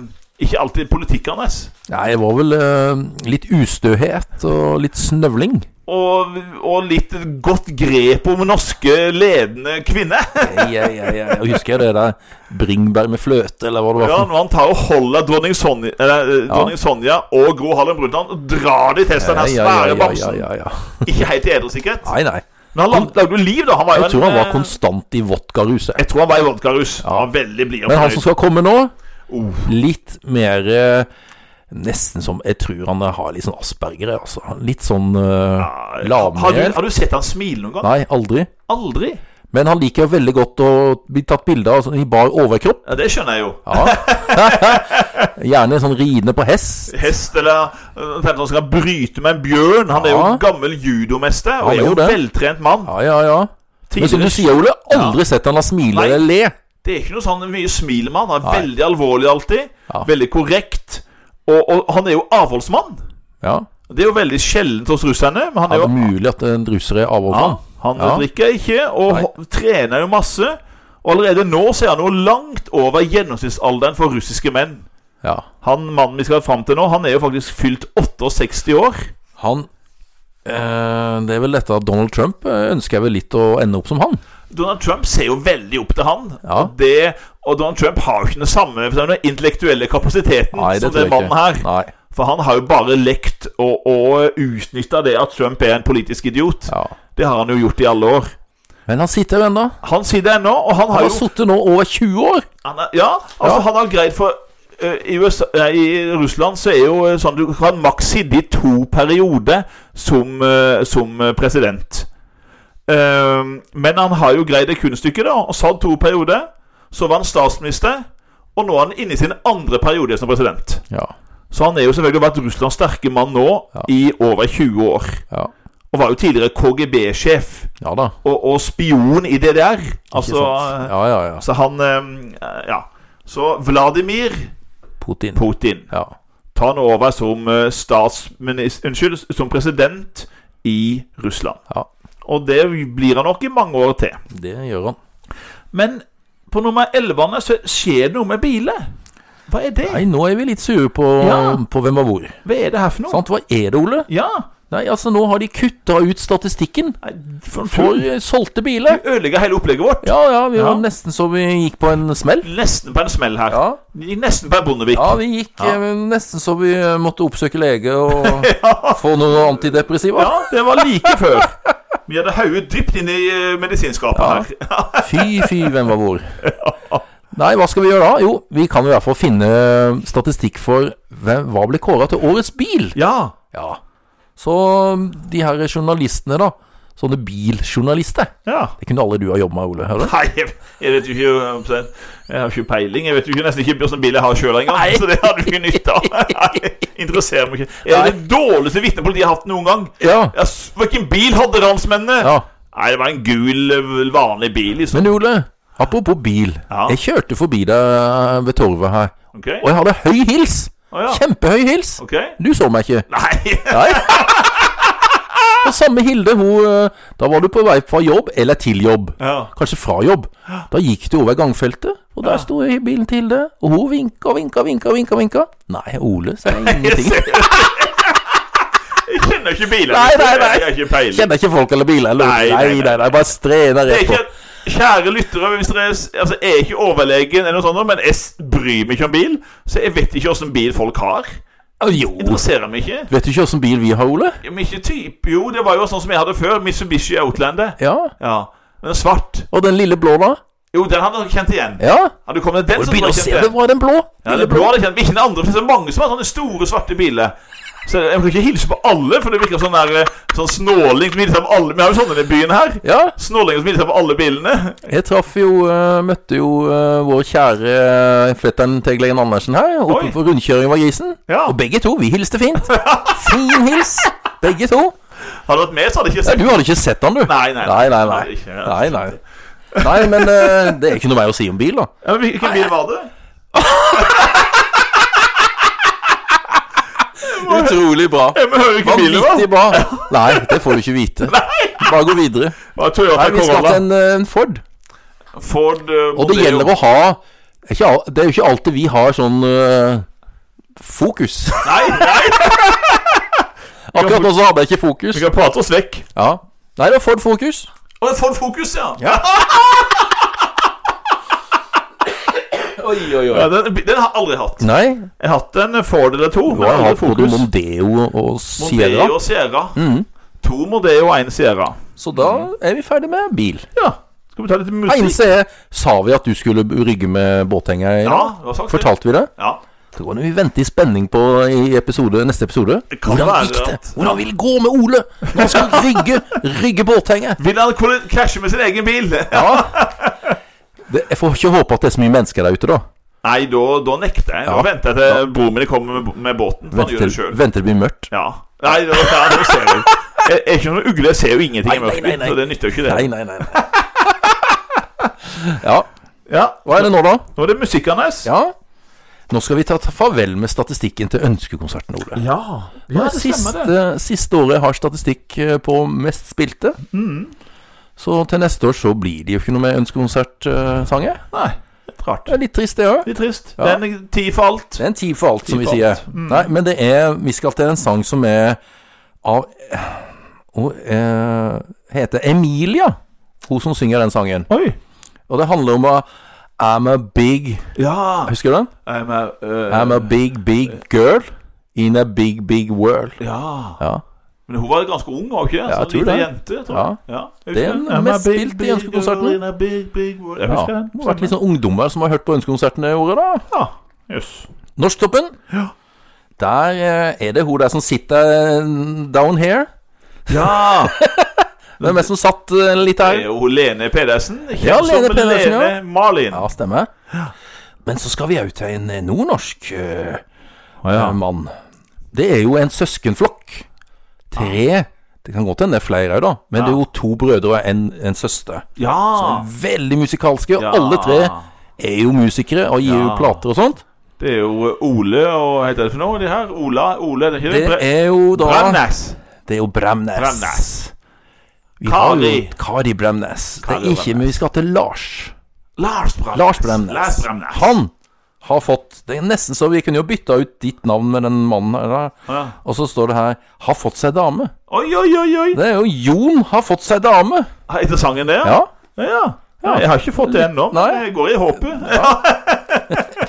ikke alltid politikken hans.
Nei, det var vel eh, litt ustøhet og litt snøvling.
Og, og litt godt grep om norske ledende kvinner.
Ja, ja, ja, ja. Jeg husker det der bringbær med fløte, eller hva det var.
Ja,
for noe.
når han tar og holder dronning Sonja, eller, eh, dronning Sonja og Gro Harlem Brundtland og drar de til seg den sånn her svære bamsen.
ja, ja.
Ikke helt i eddersikkerhet.
Nei, nei.
Men han lag- lagde jo liv, da. Han var jo
Jeg tror han
en,
var
eh,
konstant i vodkaruset.
Jeg tror han var i vodkarus.
Ja.
Han var veldig blid og
Men han som
fornøyd.
skal komme nå,
Oh.
litt mer eh, Nesten som Jeg tror han har litt sånn asperger, altså. Litt sånn uh,
Har, du,
lavmælt.
har du sett han smile noen gang?
Nei, aldri.
Aldri.
Men han liker veldig godt å bli tatt bilde av sånn i bar overkropp.
Ja, det skjønner jeg jo.
Ja. Gjerne sånn ridende på hest.
Hest eller øh, Tenkte han skal bryte med en bjørn. Han er jo
Ja.
gammel judomester
Han
og er
er
jo
jo det.
veltrent mann.
Ja, ja, ja. Men som du
Tidligere-
sier, Ole, aldri sett han har smile
Nei.
eller le.
Det er ikke noe sånn mye smil med han. Han er
Nei.
veldig alvorlig alltid.
Ja.
Veldig korrekt. Og, og han er jo avholdsmann.
Ja.
Det er jo veldig sjeldent hos russerne. Men han
Er
er
det
jo
mulig at en russer er
ja,
avholdsmann?
Han
Ja.
drikker ikke, og
Nei.
ho- trener jo masse. Og allerede nå så er han jo langt over gjennomsnittsalderen for russiske menn.
Ja.
Han mannen vi skal fram til nå, han er jo faktisk fylt 68 år.
Han eh, Det er vel dette at Donald Trump eh, ønsker jeg vel litt å ende opp som han.
Donald Trump ser jo veldig opp til han.
Ja.
Og, det, og Donald Trump har jo ikke den samme den intellektuelle kapasiteten
Nei, det
som
tror
den
jeg
mannen
ikke.
her.
Nei.
For han har jo bare lekt og, og utnytta det at Trump er en politisk idiot.
Ja.
Det har han jo gjort i alle år.
Men han sitter jo ennå.
Han sier det ennå, og han
Han
har
har
jo
sittet nå over 20 år.
han er, Ja, altså
Ja.
han har greid for ø, i, USA, nei, I Russland så er jo ø, sånn du kan maks sitte i to perioder som, ø, som ø, president. Ehm, men han har jo greid det kunststykket, da. Og satt to perioder. Så var han statsminister, og nå er han inne i sin andre periode som president.
Ja.
Så han er jo selvfølgelig vært Russlands sterke mann nå
Ja.
i over 20 år.
Ja,
Og var jo tidligere KGB-sjef
ja da.
og, og spion i DDR. Altså,
Ikke sant? Ja, ja, ja.
altså han eh, Ja. Så Vladimir
Putin.
Putin
Ja.
tar nå over som eh, statsminis- Unnskyld, som president i Russland.
Ja.
Og det blir han nok i mange år til.
Det gjør han.
Men på nummer 11 så skjer det noe med biler. Hva er det?
Nei, nå er vi litt sure på,
Ja.
på hvem var hvor.
Hva er det her for noe?
Sant, hva er det, Ole?
Ja,
Nei, altså, nå har de kutta ut statistikken
Nei, for
for
full.
eh, solgte
Du
biler.
ødelegger hele opplegget vårt.
Ja, ja, vi var
Ja.
nesten så vi gikk på en smell.
Nesten på en smell her.
Ja,
Nesten på en Bondevik.
ja vi gikk
Ja.
eh, nesten så vi eh, måtte oppsøke lege og
Ja.
få noen antidepressiva.
Ja, det var like før. Vi hadde hodet dypt inn i eh, medisinskapet
Ja.
her.
Fy, fy, hvem var hvor? Nei, hva skal vi gjøre da? Jo, vi kan i hvert fall finne eh, statistikk for hvem, hva ble kåra til årets bil.
Ja.
Ja. Så mm, de her journalistene, da. Sånne biljournalister.
ja.
Det kunne aldri du ha jobba med, Ole. Hører du?
Nei, jeg jeg vet jo ikke eh, omtrent. Jeg har ikke peiling. Jeg vet jo ikke nesten ikke hvilken bil jeg har sjøl engang. Så det hadde vi ikke nytte av. Nei, Interesserer meg ikke. Er det det dårligste vitnepolitiet jeg har hatt noen gang?
Ja.
Ja, s- Hvilken bil hadde ransmennene?
ja.
Nei, det var en gul, eh, vanlig bil, liksom.
Men Ole, apropos bil.
Ja.
Jeg kjørte forbi deg eh, ved torvet her,
Ok?
og jeg hadde høy hils.
Å, ja.
Kjempehøy hils.
Ok?
Du så meg ikke.
Nei.
Nei. Og samme Hilde, hun eh, Da var du på vei fra jobb, eller til jobb.
Ja.
Kanskje fra jobb. Da gikk du over gangfeltet, og der sto jeg i bilen til Hilde. Og hun vinka, vinka, vinka, vinka. vinka. Nei, Ole, sa jeg ingenting.
Jeg kjenner ikke bilen.
Nei, nei, nei.
Jeg har ikke peiling.
Kjenner ikke folk eller biler. Eller?
Nei,
Nei,
nei,
nei,
nei.
nei, bare strener
Det er
rett på.
ikke, kjære lyttere, hvis dere altså, jeg er ikke overlegen, eller noe sånt, men jeg s- bryr meg ikke om bil. Så jeg vet ikke åssen bil folk har.
Å, Jo.
Interesserer meg ikke.
Vet du ikke åssen bil vi har, Ole?
Men ikke type Jo, det var jo sånn som jeg hadde før. Mitsubishi Outlander.
Ja.
Ja. Men svart.
Og den lille blå, da?
Jo, den hadde jeg kjent igjen.
Ja.
Hadde du kommet med
Og
den,
du
så tror
begynner å
jeg
se
kjent
det
igjen.
var den blå.
Ja, den blå hadde jeg kjent, men ikke den andre. For det er så mange som har sånne store, svarte biler. Så jeg kan ikke hilse på alle, for det virker sånn der, eh, sånn snåling som hilser på alle. Vi har jo sånne i byen her.
Ja.
Snålinger som hilser på alle bilene.
Jeg traff jo eh, Møtte jo eh, vår kjære eh, fetteren Tegl Eggen Andersen her oppe
Oi.
på rundkjøringen var grisen.
Ja.
Og begge to, vi hilste fint. Fin hils, begge to.
Hadde det vært med, så hadde jeg ikke
Nei,
sett
du hadde ikke sett han, du.
Nei, nei,
nei. Nei,
Nei, ikke,
nei.
ja.
nei, nei. nei men eh, det er ikke noe mer å si om bil, da.
Ja, men Hvilken bil var det?
Utrolig bra.
Jeg må høre hvilken bil det var.
Vanvittig bra. Nei, det får du ikke vite. Bare gå videre.
var Toyota
Nei, vi skal
Corolla.
til en, eh, en Ford.
Ford
Og
eh,
det
Mondeo.
gjelder å ha ikke, al- Det er jo ikke alltid vi har sånn eh, fokus.
Nei, nei!
Akkurat nå så hadde jeg ikke fokus.
Vi kan prate oss vekk.
Ja. Nei, det var Ford Fokus.
Og Ford Fokus, ja. ja.
Oi, oi, oi.
den, den har jeg aldri hatt.
Nei,
Jeg har hatt en Ford eller to.
nå har
Men
jeg
aldri
hatt både
Fokus.
Mondeo og Sierra. Mm.
Mondeo og Sierra. To Mondeo og én Sierra.
Så da er vi ferdig med bil.
Ja. Skal vi ta litt musikk?
Eneste er Sa vi at du skulle rygge med båthenger i
Ja,
dag?
du har sagt det.
Fortalte vi det?
Ja.
Så kan vi vente i spenning på i episode, neste episode.
Det kan
Hvordan
være
gikk det?
at-
Hvordan vil det gå med Ole når han skal rygge, rygge båthenget?
Vil han kolle- krasje med sin egen bil?
Ja. Det, jeg får ikke håpe at det er så mye mennesker der ute, da.
Nei, da, da nekter jeg. Da
Ja.
venter jeg til broren min kommer med, med båten. For han gjør
Venter
det
til
sjøl.
venter det blir mørkt.
Ja. Nei, nå, ja, nå ser jeg Jeg er ikke noen ugle. Jeg ser jo ingenting
Nei,
i
nei, nei,
mørket,
nei.
så det nytter jo ikke, det.
Nei, nei, nei. nei. ja.
Ja,
Hva er det nå, da?
Nå er det musikk hans.
Ja. Nå skal vi ta farvel med statistikken til ønskekonserten, Ole.
ja.
Nå er
det stemmer, det.
siste, siste året jeg har statistikk eh, på mest spilte.
Mm.
Så til neste år så blir det jo ikke noe med ønskekonsertsanger.
Nei, litt rart.
Det er litt trist, det òg.
Litt trist.
Ja.
Det er en ti for alt.
Det er en ti for alt, som
Ti
vi
for
sier.
alt. Mm.
Nei, men det er Vi skal til en sang som er av Og eh, heter Emilia, hun som synger den sangen.
Oi.
Og det handler om å I'm a big
Ja.
Husker du den?
Jeg er med, øh,
I'm a big, big girl in a big, big world.
ja.
Ja.
Men hun var ganske ung, var hun ikke?
jeg
sånn
tror
liten
det.
jente, tror
Ja.
jeg. Ja. jeg
Det er
husker
den
I'm a
mest
big,
spilt i
big
ønskekonserten.
girl in a big, big world. Jeg
Ja,
husker
det
den.
har vært litt sånn ungdommer som har hørt på ønskekonserten det året, da.
Ja, jøss.
Norsktoppen.
Ja.
Der eh, er det hun der som sitter eh, down here.
Ja!
Hvem er det som satt eh, litt
Det er
her?
jo Lene Pedersen. Kjent
Ja, Lene
som
Pedersen, ja.
Lene Malin.
Ja, stemmer. Men så skal vi òg til en eh, nordnorsk eh,
Ja.
mann. Det er jo en søskenflokk.
Ah.
Tre. Det kan godt hende det er flere òg, da. Men det er jo to brødre og en, en søster.
ja.
Veldig musikalske. og
Ah. Ja.
Alle tre er jo musikere og gir jo
Ja.
plater og sånt.
Det er jo Ole og Hva heter det for noe? De her? Ola? Ole, er det ikke
Det
Bre-
er jo da
Brandnæs.
Det er jo Bremnes.
Bremnes.
Vi har jo
Kari.
Kari Bremnes. Det
Kari
er ikke,
Bremnes.
men vi skal til Lars.
Lars Bremnes.
Lars Bremnes.
Lars Bremnes.
Han har fått Det er nesten så vi kunne jo bytta ut ditt navn med den mannen her. da.
Ja.
Og så står det her 'Har fått seg dame'.
Oi, oi, oi. oi.
Det er jo Jon har fått seg dame.
Heter sangen det?
Ja.
Ja, ja. ja. Jeg har ikke fått det ennå, men
Nei.
jeg går i håpet.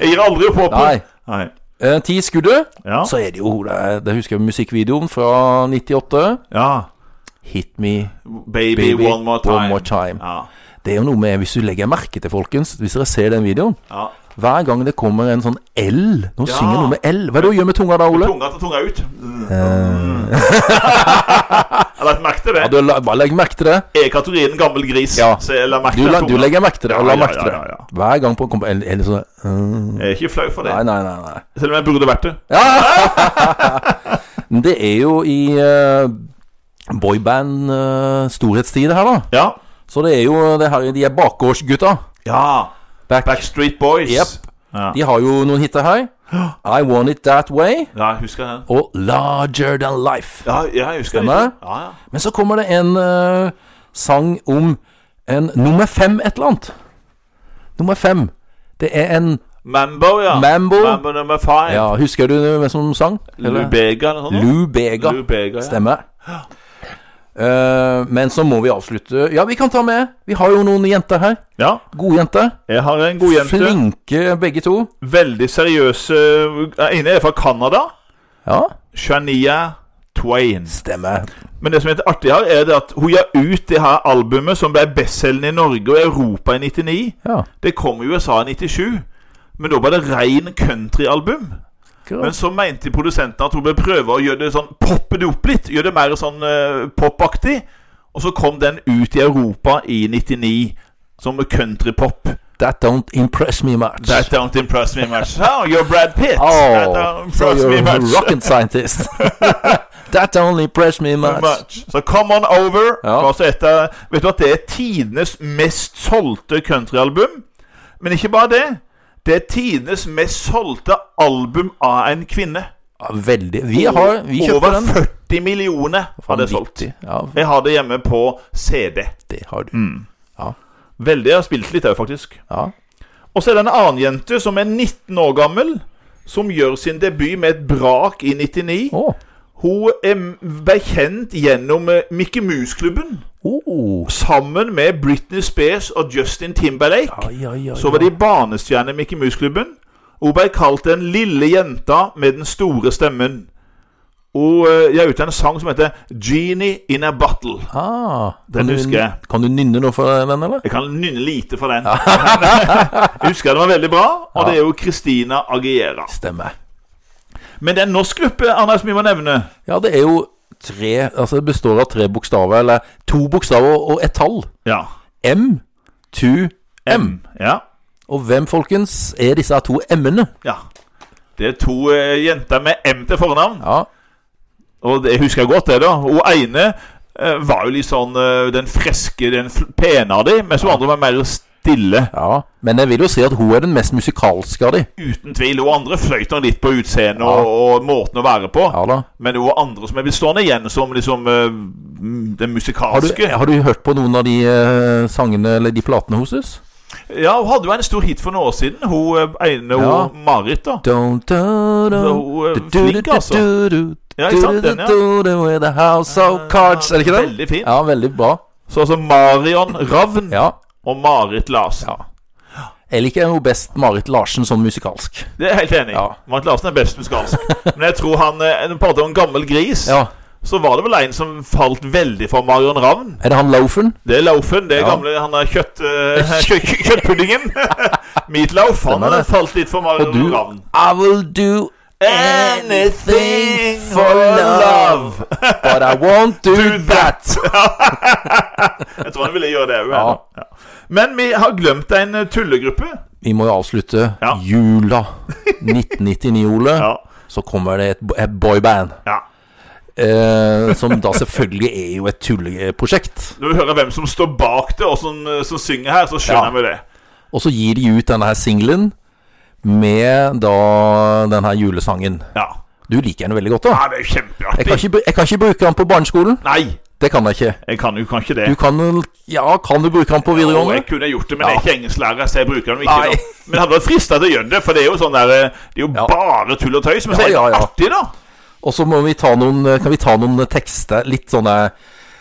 jeg gir aldri opp håpet.
Nei.
Nei.
Eh, ti skuddet,
Ja.
så er det jo hun der Det husker jeg musikkvideoen fra 98.
ja.
'Hit me
Baby,
Baby,
one more time.
One More Time.
Ja.
Det er jo noe med Hvis du legger merke til, folkens, hvis dere ser den videoen
ja.
Hver gang det kommer en sånn L Nå
Ja.
synger noe med L. Hva er det hun gjør med tunga da, Ole?
Tunga til tunga ut. Mm. jeg har lagt merke til
Eh. Ja,
det.
du, la, bare legg merke til det.
Er Katarina en gammel gris?
Ja.
Så jeg la merke
Du,
til
la,
tunga.
du legger merke til det. og
Ja,
La
ja,
merke til
ja, ja,
det.
ja.
Hver gang på kommer en, en sånn mm,
Jeg er ikke flau for det.
Nei, nei, nei. nei.
Selv om jeg burde vært det.
Men Det er jo i eh, boyband-storhetstid her, da.
Ja.
Så det er jo det her, de er bakgårdsgutta.
ja.
Back.
Backstreet Boys.
Jep.
Ja.
De har jo noen hiter her. I Want It That Way
ja, jeg husker den.
og Larger Than Life.
Ja, ja, jeg husker
Stemmer.
den. Ja, ja.
Men så kommer det en eh, sang om en nummer fem et eller annet. Nummer fem. Det er en
Mambo, ja.
Mambo.
Mambo nummer five.
Ja, husker du hvem som sang? Eller?
Lubega eller noe sånt.
Lou Bega.
Lou Bega, ja.
Stemmer. Eh, men så må vi avslutte Ja, vi kan ta med. Vi har jo noen jenter her.
Ja,
Gode jenter.
jeg har en god jente.
Flinke begge to.
Veldig seriøse Den ene er fra Canada.
Ja,
Shania Twain.
stemmer.
Men det som er litt artig her, er det at hun ga ut det her albumet som ble bestselgende i Norge og Europa i 99.
Ja,
Det kom i USA i 97. Men da var det rein countryalbum. Men
akkurat.
så mente produsenten at hun bør prøve å gjøre det sånn poppe det opp litt. Gjøre det mer sånn eh, popaktig. Og så kom den ut i Europa i 99 som countrypop.
That don't impress me much.
That don't impress me much. Oh, you're Brad Pitt. that don't
oh, so
impress
you're
me
a
much.
rocket scientist. That don't impress me much.
much. Så Come On Over
Ja.
var altså et av Vet du at det er tidenes mest solgte countryalbum? Men ikke bare det. Det er tidenes mest solgte album av en kvinne.
Ja, Veldig. Vi har Vi kjøpte
Over
den.
40 millioner har det solgt.
Vanvittig. Ja,
Jeg har det hjemme på CD.
det har
Mm.
du.
Veldig. Jeg har spilt litt òg, faktisk.
Ja.
Og så er det en annen jente som er 19 år gammel, som gjør sin debut med et brak i 99.
Å.
Hun er ble kjent gjennom eh, Mickey Mouse-klubben.
Oh.
Sammen med Britney Spears og Justin Timberlake
Ja, ja, ja,
så var de banestjerner i Mickey Mouse-klubben. Hun ble kalt den lille jenta med den store stemmen. Og eh, jeg er ute av en sang som heter 'Genie in a Bottle'.
Ah,
Den
kan du-
husker jeg.
Kan du nynne noe for den, eller?
Jeg kan nynne lite for den. jeg husker den var veldig bra, og det er jo Christina Agiera.
Stemmer.
Men det er en norsk gruppe Anders, vi må nevne.
Ja, det er jo tre Altså, det består av tre bokstaver, eller to bokstaver og et tall.
Ja.
M, to, M.
Ja.
Og hvem, folkens, er disse her to M-ene?
ja. Det er to eh, jenter med M til fornavn.
Ja,
Og det husker jeg godt, det, da. Hun ene eh, var jo litt sånn eh, den friske, den fl- pene av dem, mens hun andre var mer stille.
ja. Men jeg vil jo si at hun er den mest musikalske av de.
Uten tvil. Hun andre fløyt nok litt på utseendet og, og måten å være på.
Ja da.
Men det var andre som er blitt stående igjen som liksom eh, m- den
Har du,
musikalske.
har du hørt på noen av de eh, sangene eller de platene hos oss?
Ja, hun hadde jo en stor hit for noen år siden, hun eh, ene
Ja.
hun Marit, da.
Don't, don't,
Så
don't.
hun er flink, altså. Ja, ikke sant, den, ja. Ah,
We're the house of cards. Er det ikke den?
Veldig fin.
Ja, veldig bra.
Sånn som Marion Ravn
Ja.
og Marit Larsen.
Ja. Jeg liker jo best Marit Larsen sånn musikalsk.
Det er jeg helt enig i.
Ja.
Marit Larsen er best musikalsk. Men jeg tror han eh, En prater om en gammel gris.
Ja.
Så var det vel en som falt veldig for Marion Ravn.
Er det han Lofen?
Det er Laufen. Det er
Ja.
gamle Han er kjøtt... eh, kjø kjø kjøttpuddingen. Meatloaf. Han
Stemmer det.
eh, falt litt for Marion
Og du
Ravn.
I will do anything for love, but I won't do that.
Jeg tror han ville gjøre det òg.
Ja.
Ja. Men vi har glemt en eh, tullegruppe.
Vi må jo avslutte
Ja.
jula 1999-jule.
Ja.
Så kommer det et, bo- et boyband,
ja.
eh, som da selvfølgelig er jo et tulleprosjekt.
Når vi hører hvem som står bak det, og som, eh, som synger her,
Ja.
så skjønner vi det.
Og så gir de ut denne her singelen med da den her julesangen.
Ja.
Du liker den veldig godt, da.
ja, det er jo
Jeg kan
kjempeartig.
ikke, bru- jeg kan ikke bruke den på barneskolen.
Nei,
Det kan jeg ikke.
jeg kan jo kan ikke det.
Du kan vel- Ja, kan du bruke den på
Og
videregående?
jeg kunne gjort det, men jeg
Ja.
er ikke engelsklærer, så jeg bruker den jo ikke.
Nei.
nå. Men det hadde vært frista til å gjøre det, for det er jo sånn der eh, Det er jo
Ja.
bare tull og tøys. Men så er det
Ja, ja, ja.
artig, da.
Og så må vi ta noen Kan vi ta noen tekster? Litt sånne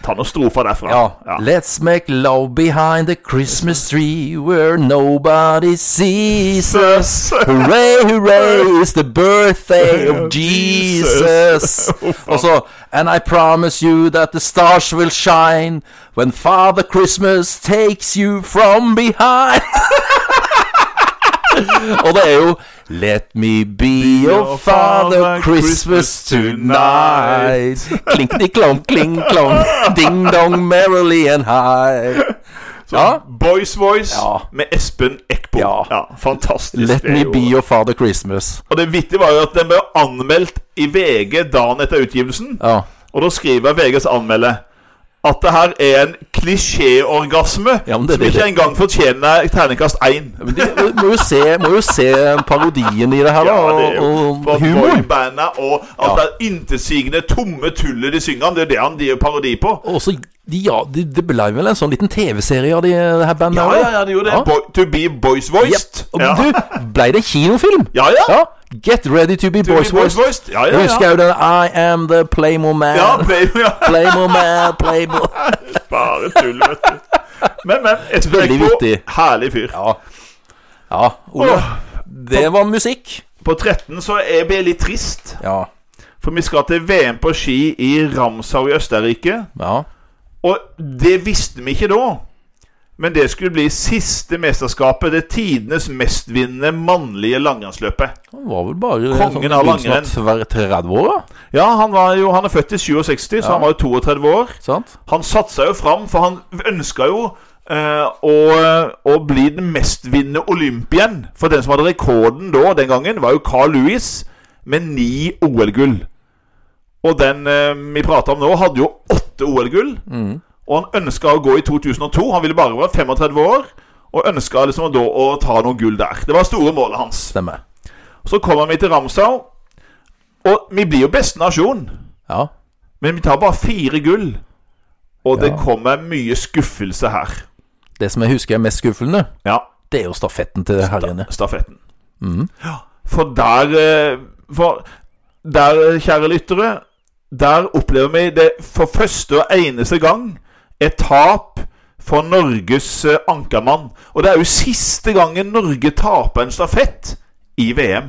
Ta noen strofer derfra.
Ja. Let's make love behind the Christmas tree where nobody sees us. Hooray, hooray, it's the birthday of oh, Jesus. Og så And I promise you that the stars will shine when Father Christmas takes you from behind. Og det er jo Let me be your father Christmas tonight. Klinkedi-klonk, kling-klonk, ding-dong merrily and high. Ja.
Boys Voice
Ja.
med Espen Eckbo.
Ja.
fantastisk.
Let
det er
me
jo-
be your father Christmas.
Og det vittige var jo at den ble anmeldt i VG dagen etter utgivelsen.
Ja.
Og da skriver VGs anmelder at det her er en klisjéorgasme
Ja, men det er
som
det-
ikke engang fortjener terningkast én.
Men de må jo se, må jo se parodien i det her, da.
Ja,
Og,
det er jo
og
for
humoren.
boybanda og at det er intetsigende, tomme tullet de synger om. Det er jo det han de gjør parodi på.
Og også, de, ja, det det ble vel en sånn liten TV-serie av de, det her bandet?
Ja,
her, da?
ja, ja, det er jo det.
Ja.
Boy, to be boys voiced.
Og
Ja.
Du, ble det kinofilm?
Ja, ja.
ja. Get ready to be
To be
boys
boys
voiced.
voiced. Ja, ja,
Jeg
ja.
husker jo den I am the Playmo man.
ja, play, ja.
Playmo man, Playmo
Bare tull, vet du. Men, men. Espen
Veldig
Eckbo,
vittig.
herlig fyr.
Ja. Ja, Ole.
Åh.
Det var musikk.
På 13 så er jeg litt trist,
Ja.
for vi skal til VM på ski i Ramsau i Østerrike.
ja.
Og det visste vi ikke da. Men det skulle bli siste mesterskapet, det tidenes mestvinnende mannlige langrennsløpet.
Han var vel bare sånn
Kongen av
begynnelsen
langrenn.
tver- 30 år, da.
Ja, han, var jo, han er født i 67, så han var jo 32 år.
Sant?
Han satsa jo fram, for han ønska jo eh, å, å bli den mestvinnende olympien. For den som hadde rekorden da, den gangen, var jo Carl Lewis med ni OL-gull. Og den eh, vi prater om nå, hadde jo åtte OL-gull. Og han ønska å gå i 2002. Han ville bare være 35 år. Og ønska liksom da å ta noen gull der. Det var store målet hans.
Stemmer.
Så kommer vi til Ramsau, og vi blir jo beste nasjon.
Ja.
Men vi tar bare fire gull. Og det
Ja.
kommer mye skuffelse her.
Det som jeg husker er mest skuffende,
Ja,
det er jo stafetten til herrene.
stafetten.
Mm.
Ja, For der eh, For der, eh, kjære lyttere, der opplever vi det for første og eneste gang et tap for Norges eh, ankermann. Og det er jo siste gangen Norge taper en stafett i VM.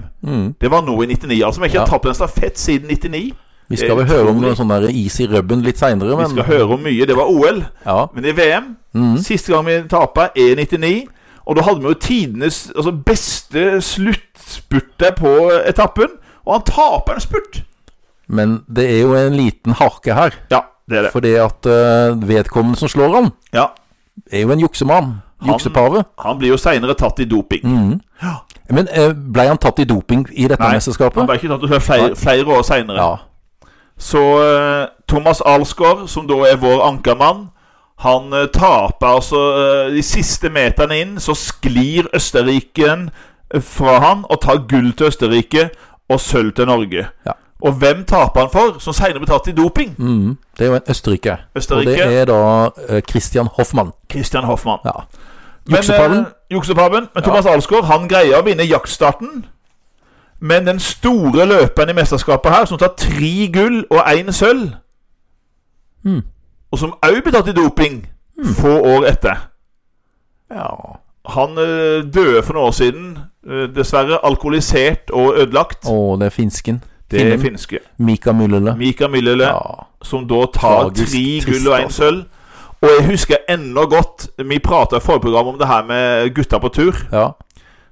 Det var nå i 99, altså. Vi har ikke
Mm. Ja.
tapt en stafett siden 99.
Vi skal vel høre om noe sånn der is i rubben litt seinere,
Vi
men
skal høre om mye. Det var OL.
ja.
Men i VM, siste gang vi tapte, er 99. Og da hadde vi jo tidenes altså beste sluttspurt der på etappen. Og han taper en spurt!
Men det er jo en liten hake her.
Ja, det er det.
Fordi at eh, vedkommende som slår han,
Ja,
er jo en juksemann. Juksepave.
Han blir jo seinere tatt i doping.
Men eh, ble han tatt i doping i dette
han
mesterskapet?
ble ikke tatt det var flere, flere år seinere.
Ja.
Så eh, Thomas Alsgaard, som da er vår ankermann, han eh, taper altså eh, de siste meterne inn. Så sklir Østerriken eh, fra han og tar gull til Østerrike og sølv til Norge.
Ja.
Og hvem taper han for, som senere ble tatt i doping?
Mm, det er jo en østerriker. Og
Østerrike.
det er da eh, Christian Hoffmann.
Christian Hoffmann.
Ja.
Men,
Juksepaven.
eh, Juksepaven. Men Thomas Alsgaard han greier å vinne jaktstarten. Men den store løperen i mesterskapet her, som tar tre gull og én sølv
Hmm.
Og som òg ble tatt i doping få år etter.
Ja.
Han eh, døde for noen år siden, eh, dessverre. Alkoholisert og ødelagt.
Og det er finsken.
det er
Finnen.
finske.
Mika Myllylä.
Mika Myllylä,
Ja.
som da tar
Tragisk
tre
trist,
gull og én
altså.
sølv. Og jeg husker ennå godt Vi prata i forrige program om det her med gutta på tur.
ja.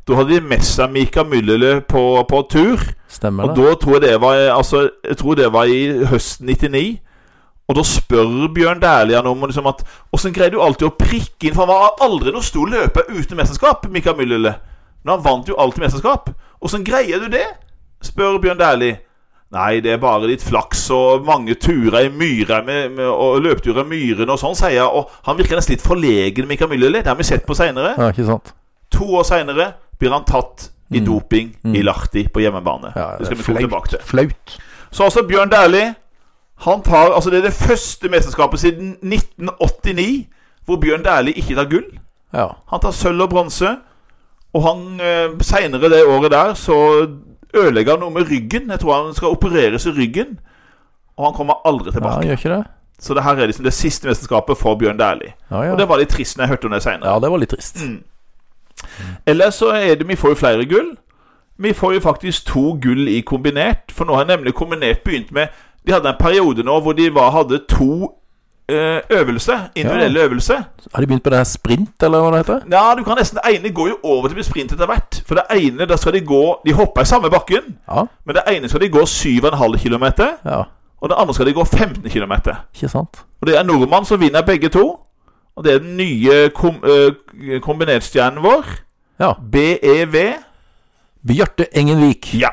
Da hadde de med seg Mika Myllylä på, på tur.
Stemmer det.
Og da tror jeg det var Altså, jeg tror det var i høsten 99. Og da spør Bjørn Dæhlie han om liksom at Åssen greide du alltid å prikke inn? For han var aldri noen stor løper uten mesterskap, Mika Myllylä. Men han vant jo alltid mesterskap. Åssen greier du det? spør Bjørn Dæhlie. Nei, det er bare litt flaks og mange turer i myra med, med, og løpeturer i myrene og sånn, sier jeg. Og han virker nesten litt forlegen, Mika Myllylä. Det har vi sett på seinere.
Ja, ikke sant.
To år seinere blir han tatt i doping i Lahti på hjemmebane.
Mm. Ja,
det skal vi komme tilbake til.
Flaut.
Så altså Bjørn Dæhlie Han tar Altså, det er det første mesterskapet siden 1989 hvor Bjørn Dæhlie ikke tar gull.
Ja.
Han tar sølv og bronse. Og han eh, seinere det året der så ødelegger han noe med ryggen. Jeg tror han skal opereres i ryggen. Og han kommer aldri
ja,
tilbake.
gjør ikke det?
Så det her er liksom det siste mesterskapet for Bjørn Dæhlie.
Ja, ja.
Og det var Mm. litt trist når jeg hørte om det seinere.
ja, det var litt trist.
Ellers så er det, vi får jo flere gull. Vi får jo faktisk to gull i kombinert. For nå har nemlig kombinert begynt med De hadde en periode nå hvor de var, hadde to eh, øvelser. Individuelle øvelser.
Har de begynt på det her sprint, eller hva det heter?
Ja, du kan nesten Det ene går jo over til å bli sprint etter hvert. For det ene, da skal de gå De hopper i samme bakken.
Ja.
Men det ene skal de gå 7,5 km.
ja.
Og det andre skal de gå 15 km.
Ikke sant?
Og det er en nordmann som vinner begge to. Og det er den nye kom, eh, kombinertstjernen vår. E
Ja.
BEV.
Bjarte Engenvik.
Ja.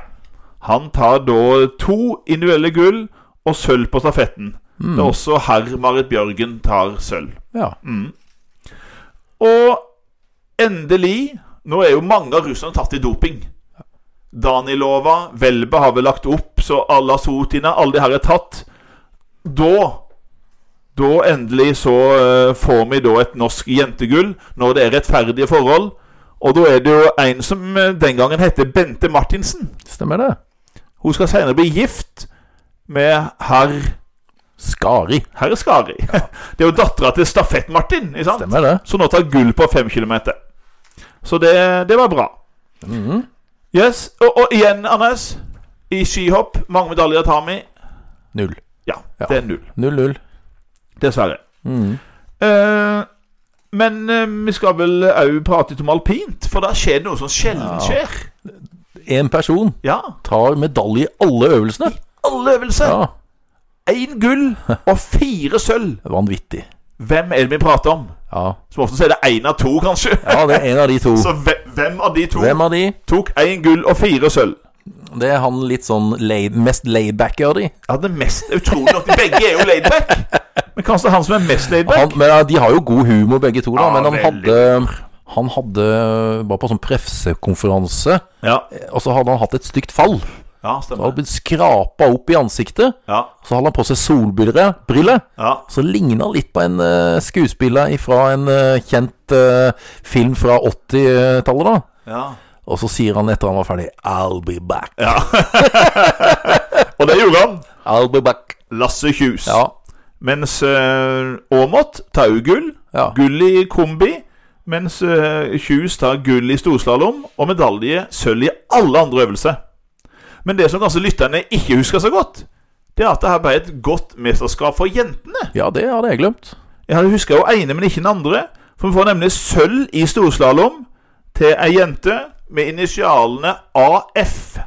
Han tar da to individuelle gull og sølv på stafetten.
Mm.
Det er også herr Marit Bjørgen tar sølv. Mm.
Ja.
Og endelig Nå er jo mange av russerne tatt i doping. Danilova, Welbe har vel lagt opp, så alla Sotina, alle de her er tatt. Da Da endelig så eh, får vi da et norsk jentegull, når det er rettferdige forhold. Og da er det jo en som eh, den gangen heter Bente Martinsen.
Stemmer det.
Hun skal senere bli gift med herr
Skari.
herr Skari. Det er jo dattera til Stafett-Martin, ikke sant?
Stemmer det.
som nå tar gull på fem kilometer. Så det, det var bra.
Mm.
Yes, og, og igjen, Anders. I skihopp, mange medaljer tar vi.
Null.
Ja,
Ja.
det er null.
Null, null.
Dessverre.
Mhm.
Eh, men eh, vi skal vel òg prate litt om alpint, for der skjer det noe som sjelden skjer.
En person
Ja.
tar medalje i alle øvelsene.
Alle øvelser.
Ja.
Én gull og fire sølv.
Vanvittig.
Hvem er det vi prater om?
Ja.
Som ofte så er det én av to, kanskje.
ja, det er en av de to.
Så hve- hvem av de to
Hvem av de?
tok én gull og fire sølv?
Det er han litt sånn lay, mest laidback av de.
Ja, det mest utrolig nok. De begge er jo laidback. Men kanskje han som er mest laidback?
Han, men ja, De har jo god humor, begge to, da.
Ja,
men han
veldig.
hadde Han hadde Var på sånn pressekonferanse,
Ja,
og så hadde han hatt et stygt fall.
ja
Han hadde
stemmer.
blitt skrapa opp i ansiktet.
Ja,
Så hadde han på seg solbriller. briller,
ja.
Så ligna han litt på en eh, skuespiller fra en eh, kjent eh, film fra 80-tallet, da.
ja.
Og så sier han etter han var ferdig I'll be back.
Og det gjorde han.
I'll be back.
Lasse Kjus.
Ja.
Mens eh, Aamodt tar jo gull.
Ja.
Gull i kombi. Mens eh, Kjus tar gull i storslalåm og medalje sølv i alle andre øvelser. Men det som kanskje lytterne ikke husker så godt, det er at det her ble et godt mesterskap for jentene.
Ja, det hadde jeg glemt.
Jeg hadde huska jo ene, men ikke den andre. For vi får nemlig sølv i storslalåm til ei jente med initialene AF.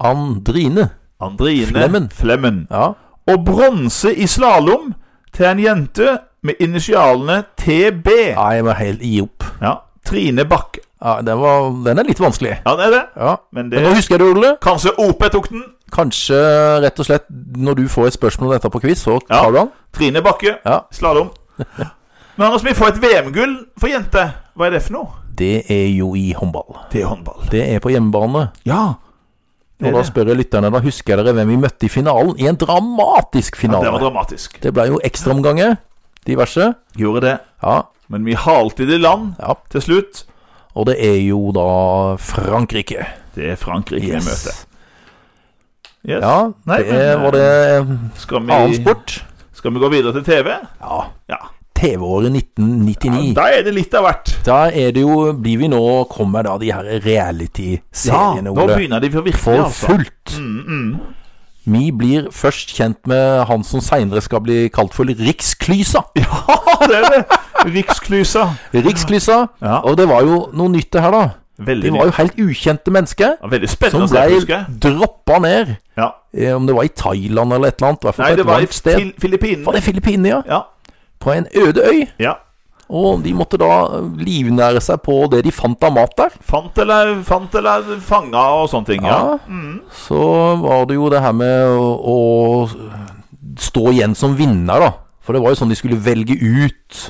Andrine.
Andrine
Flemmen.
Flemmen.
Ja.
Og bronse i slalåm til en jente med initialene TB.
Nei, jeg må helt gi opp.
Ja, Trine Bakke.
Ja, den, var, den er litt vanskelig.
Ja, det er det.
Ja.
Men det
Men nå husker jeg det, Ole.
Kanskje OP tok den.
Kanskje rett og slett når du får et spørsmål om dette på quiz, så
Ja.
tar du den.
Trine Bakke.
Ja.
Slalåm. Men Anders, vi får et VM-gull for jenter. Hva er det for noe?
Det er jo i håndball.
Det er håndball.
Det er på hjemmebane.
Ja.
Og
Det er
da
det.
spør jeg lytterne, da husker dere hvem vi møtte i finalen? I en dramatisk
Ja, det
finale.
var dramatisk.
det ble jo ekstraomganger, diverse.
Gjorde det.
Ja,
Men vi halte det i land
ja.
til slutt.
Og det er jo da Frankrike.
Det er Frankrike vi møter. Yes.
Ja,
Nei,
det
men, eh,
var det annen
Skal, vi,
sport.
skal vi gå videre til TV?
Ja.
Ja.
TV-året 1999.
Da er det litt av hvert.
Da er det jo Blir vi nå Kommer da de her
Ja,
reality-seriene,
nå
Ole?
begynner de for virkelig,
For
altså.
fullt.
Mm, mm.
Vi blir først kjent med han som seinere skal bli kalt for Riksklysa.
Ja, det er det. Riksklysa.
Riksklysa.
Ja.
Og det var jo noe nytt, det her, da.
Veldig,
De var jo helt ukjente mennesker
ja, veldig
som
spennende å se, husker
ble
jeg.
droppa ned.
Ja.
Eh, Om det var i Thailand eller et eller annet. i hvert fall
Nei,
på et
det var i
varmt sted.
Fil- Filippinene.
Var det Filippinene, ja?
Ja.
På en øde øy.
ja.
Og de måtte da livnære seg på det de fant av mat der.
Fant eller, fant eller fanga og sånne ting. Ja.
Ja. Så var det jo det her med å, å stå igjen som vinner, da. For det var jo sånn de skulle velge ut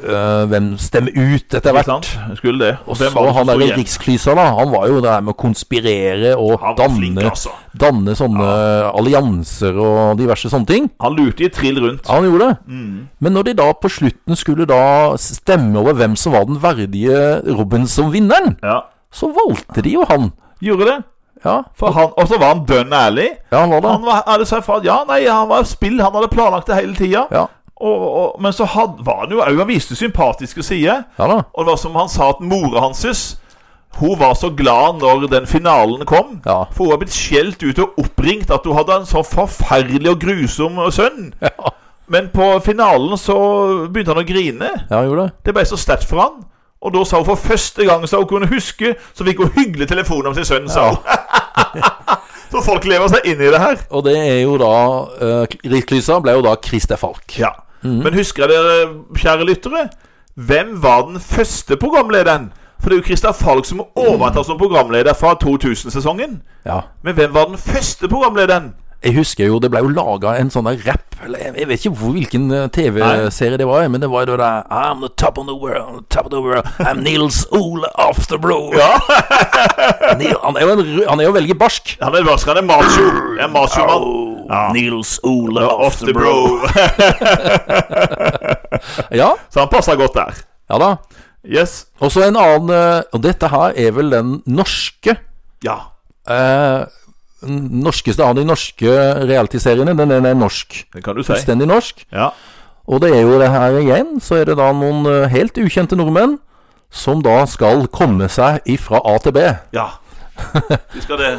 eh, hvem stemme ut etter
Ikke
hvert.
sant? Skulle det.
Og
Hvem
så
var det som
han
sto
der
igjen?
riksklysa, da. Han var jo det her med å konspirere og
Han var
danne,
flink, altså.
danne sånne allianser og diverse sånne ting.
Han lurte i trill rundt.
Ja, han gjorde det.
Mm.
Men når de da på slutten skulle da stemme over hvem som var den verdige Robin som vinneren,
Ja.
så valgte de jo han.
Gjorde det.
Ja,
For han, og så var han dønn ærlig.
ja han var det.
Han var, hadde sagt fra at ja, nei, han var spill, han hadde planlagt det hele tida.
Ja,
Og, og, men så had, var han jo òg Han viste sympatiske sider.
ja da.
Og det var som han sa at mora hans Hun var så glad når den finalen kom.
Ja.
For hun var blitt skjelt ut og oppringt at hun hadde en så forferdelig og grusom sønn.
Ja,
Men på finalen så begynte han å grine.
han gjorde det.
Det ble så sterkt for han. Og da sa hun for første gang så hun kunne huske, så fikk hun hyggelig telefon om sin sønn, sa hun. så folk lever seg inn i det her.
Og det er jo da uh, Riksklysa ble jo da Christer Falk.
Ja. Men husker dere, kjære lyttere, hvem var den første programlederen? For det er jo Christer Falk som overtar som programleder fra 2000-sesongen.
Ja.
Men hvem var den første programlederen?
Jeg husker jo det ble jo laga en sånn der rap eller jeg- Jeg vet ikke hvor, hvilken eh, TV-serie det var, men det var jo det der I'm the top of the world, top of the world, I'm Nils Ole Afterbro.
Ja,
Neil, han, er jo en, ru- han er jo veldig barsk.
han er varskere enn Macho. En macho-mann. Ja.
Nils Ole
Off the bro.
Ja,
Så han passer godt der.
ja da.
Yes.
Og så en annen eh, Og dette her er vel den norske
Ja.
eh, n- Norskeste av de norske realityseriene. Den den er norsk.
Det kan du si.
Fullstendig norsk.
Ja.
Og det er jo det her igjen, så er det da noen eh, helt ukjente nordmenn som da skal komme seg ifra A til B.
Ja. Vi skal det.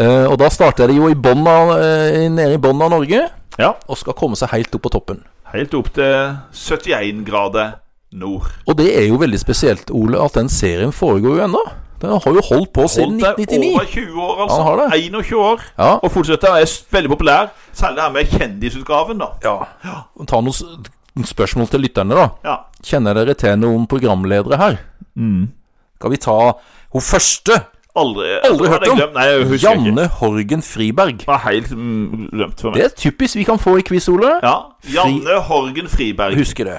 Eh, og da starter de jo i bånn av, eh, nede i bunnen av Norge,
Ja.
og skal komme seg helt opp på toppen.
Helt opp til 71 grader nord.
Og det er jo veldig spesielt, Ole, at den serien foregår jo ennå. Den har jo holdt på siden
Holdt deg over
1999.
20 år, altså.
Han har det.
21 år.
Ja.
Og fortsetter å være s- veldig populær. Særlig det her med kjendisutgaven, da.
ja. Ta noen s- spørsmål til lytterne, da.
Ja.
Kjenner dere til noen programledere her? Skal vi ta hun første?
Aldri,
Aldri hørt
hadde jeg
om.
glemt. Nei, jeg husker ikke.
Janne Horgen Friberg.
Det var helt mm, glemt for meg.
Det er typisk vi kan få i quiz, Ole.
Ja. Janne Horgen Friberg.
Husker det.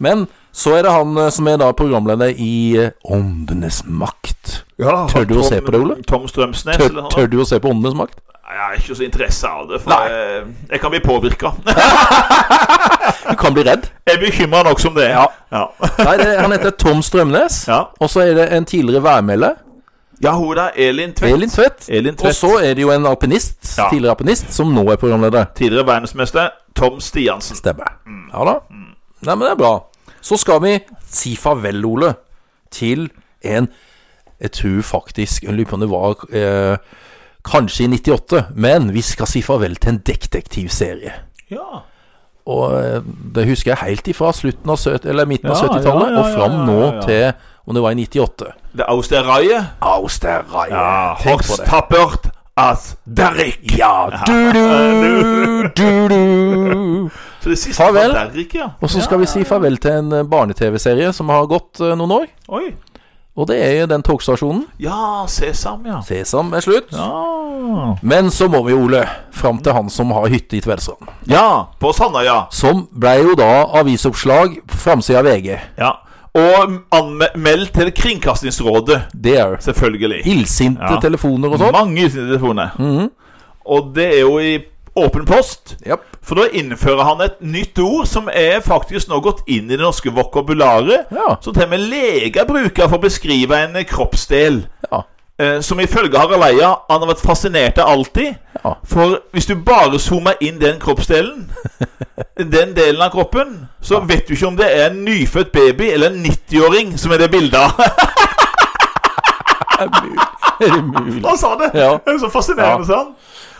Men så er det han eh, som er da programleder i eh, Åndenes makt.
Ja,
Tør du å
Ah, Tom-
se på det, Ole?
Tom Strømsnes?
Tør,
eller noe
tør du å se på Åndenes makt?
Nei, Jeg har ikke så interesse av det, for
Nei.
jeg, jeg kan bli påvirka.
Du kan bli redd.
jeg er bekymra nok som det er.
Ja.
Ja.
Nei, det, han heter Tom Strømnes.
Ja.
Og så er det en tidligere værmelder.
ja, hun der, Elin Tvedt.
Elin Tvedt.
Elin
Og
Tvedt.
så er det jo en alpinist,
Ja.
tidligere alpinist, som nå er programleder.
Tidligere verdensmester Tom Stiansen.
Stemmer. Ja da. Nei, men det er bra. Så skal vi si farvel, Ole, til en Jeg tror faktisk Jeg lurer på om det var eh, Kanskje i 98, men vi skal si farvel til en detektivserie.
Ja.
Og eh, det husker jeg helt ifra slutten av søt, eller midten av
Ja,
70-tallet
ja, ja,
og fram
ja, ja,
nå
ja.
til om det var i 98.
Det austerreiet.
Austerreier.
Ja,
Tenk på det.
Horstappert as Derrick.
Ja, du-du, du-du.
Så det siste
Farvel.
var Derrick, ja.
Og så skal vi si farvel til en eh, barne-TV-serie som har gått eh, noen år.
Oi.
Og det er den togstasjonen.
Ja, Sesam, ja.
Sesam er slutt.
Ja,
Men så må vi, Ole, fram til han som har hytte i Tvedestrand.
ja på Sandøya.
Som ble jo da avisoppslag på framsida av VG.
Ja. Og anmeld til Kringkastingsrådet,
Det er jo
selvfølgelig.
illsinte
Ja.
telefoner og sånn. Mhm.
Mange telefoner. Og det er jo i åpen post.
Japp.
For da innfører han et nytt ord som er faktisk nå gått inn i det norske vokabularet.
Ja.
Som til og med leger bruker for å beskrive en eh, kroppsdel.
Ja.
Eh, som ifølge Harald Eia han har vært fascinert av alltid.
Ja.
For hvis du bare zoomer inn den kroppsdelen, den delen av kroppen, så vet du ikke om det er en nyfødt baby eller en 90-åring som er det bildet av.
Er det mulig? Er det mulig?
Han sa det!
Ja.
Det er så fascinerende,
Ja.
sa han.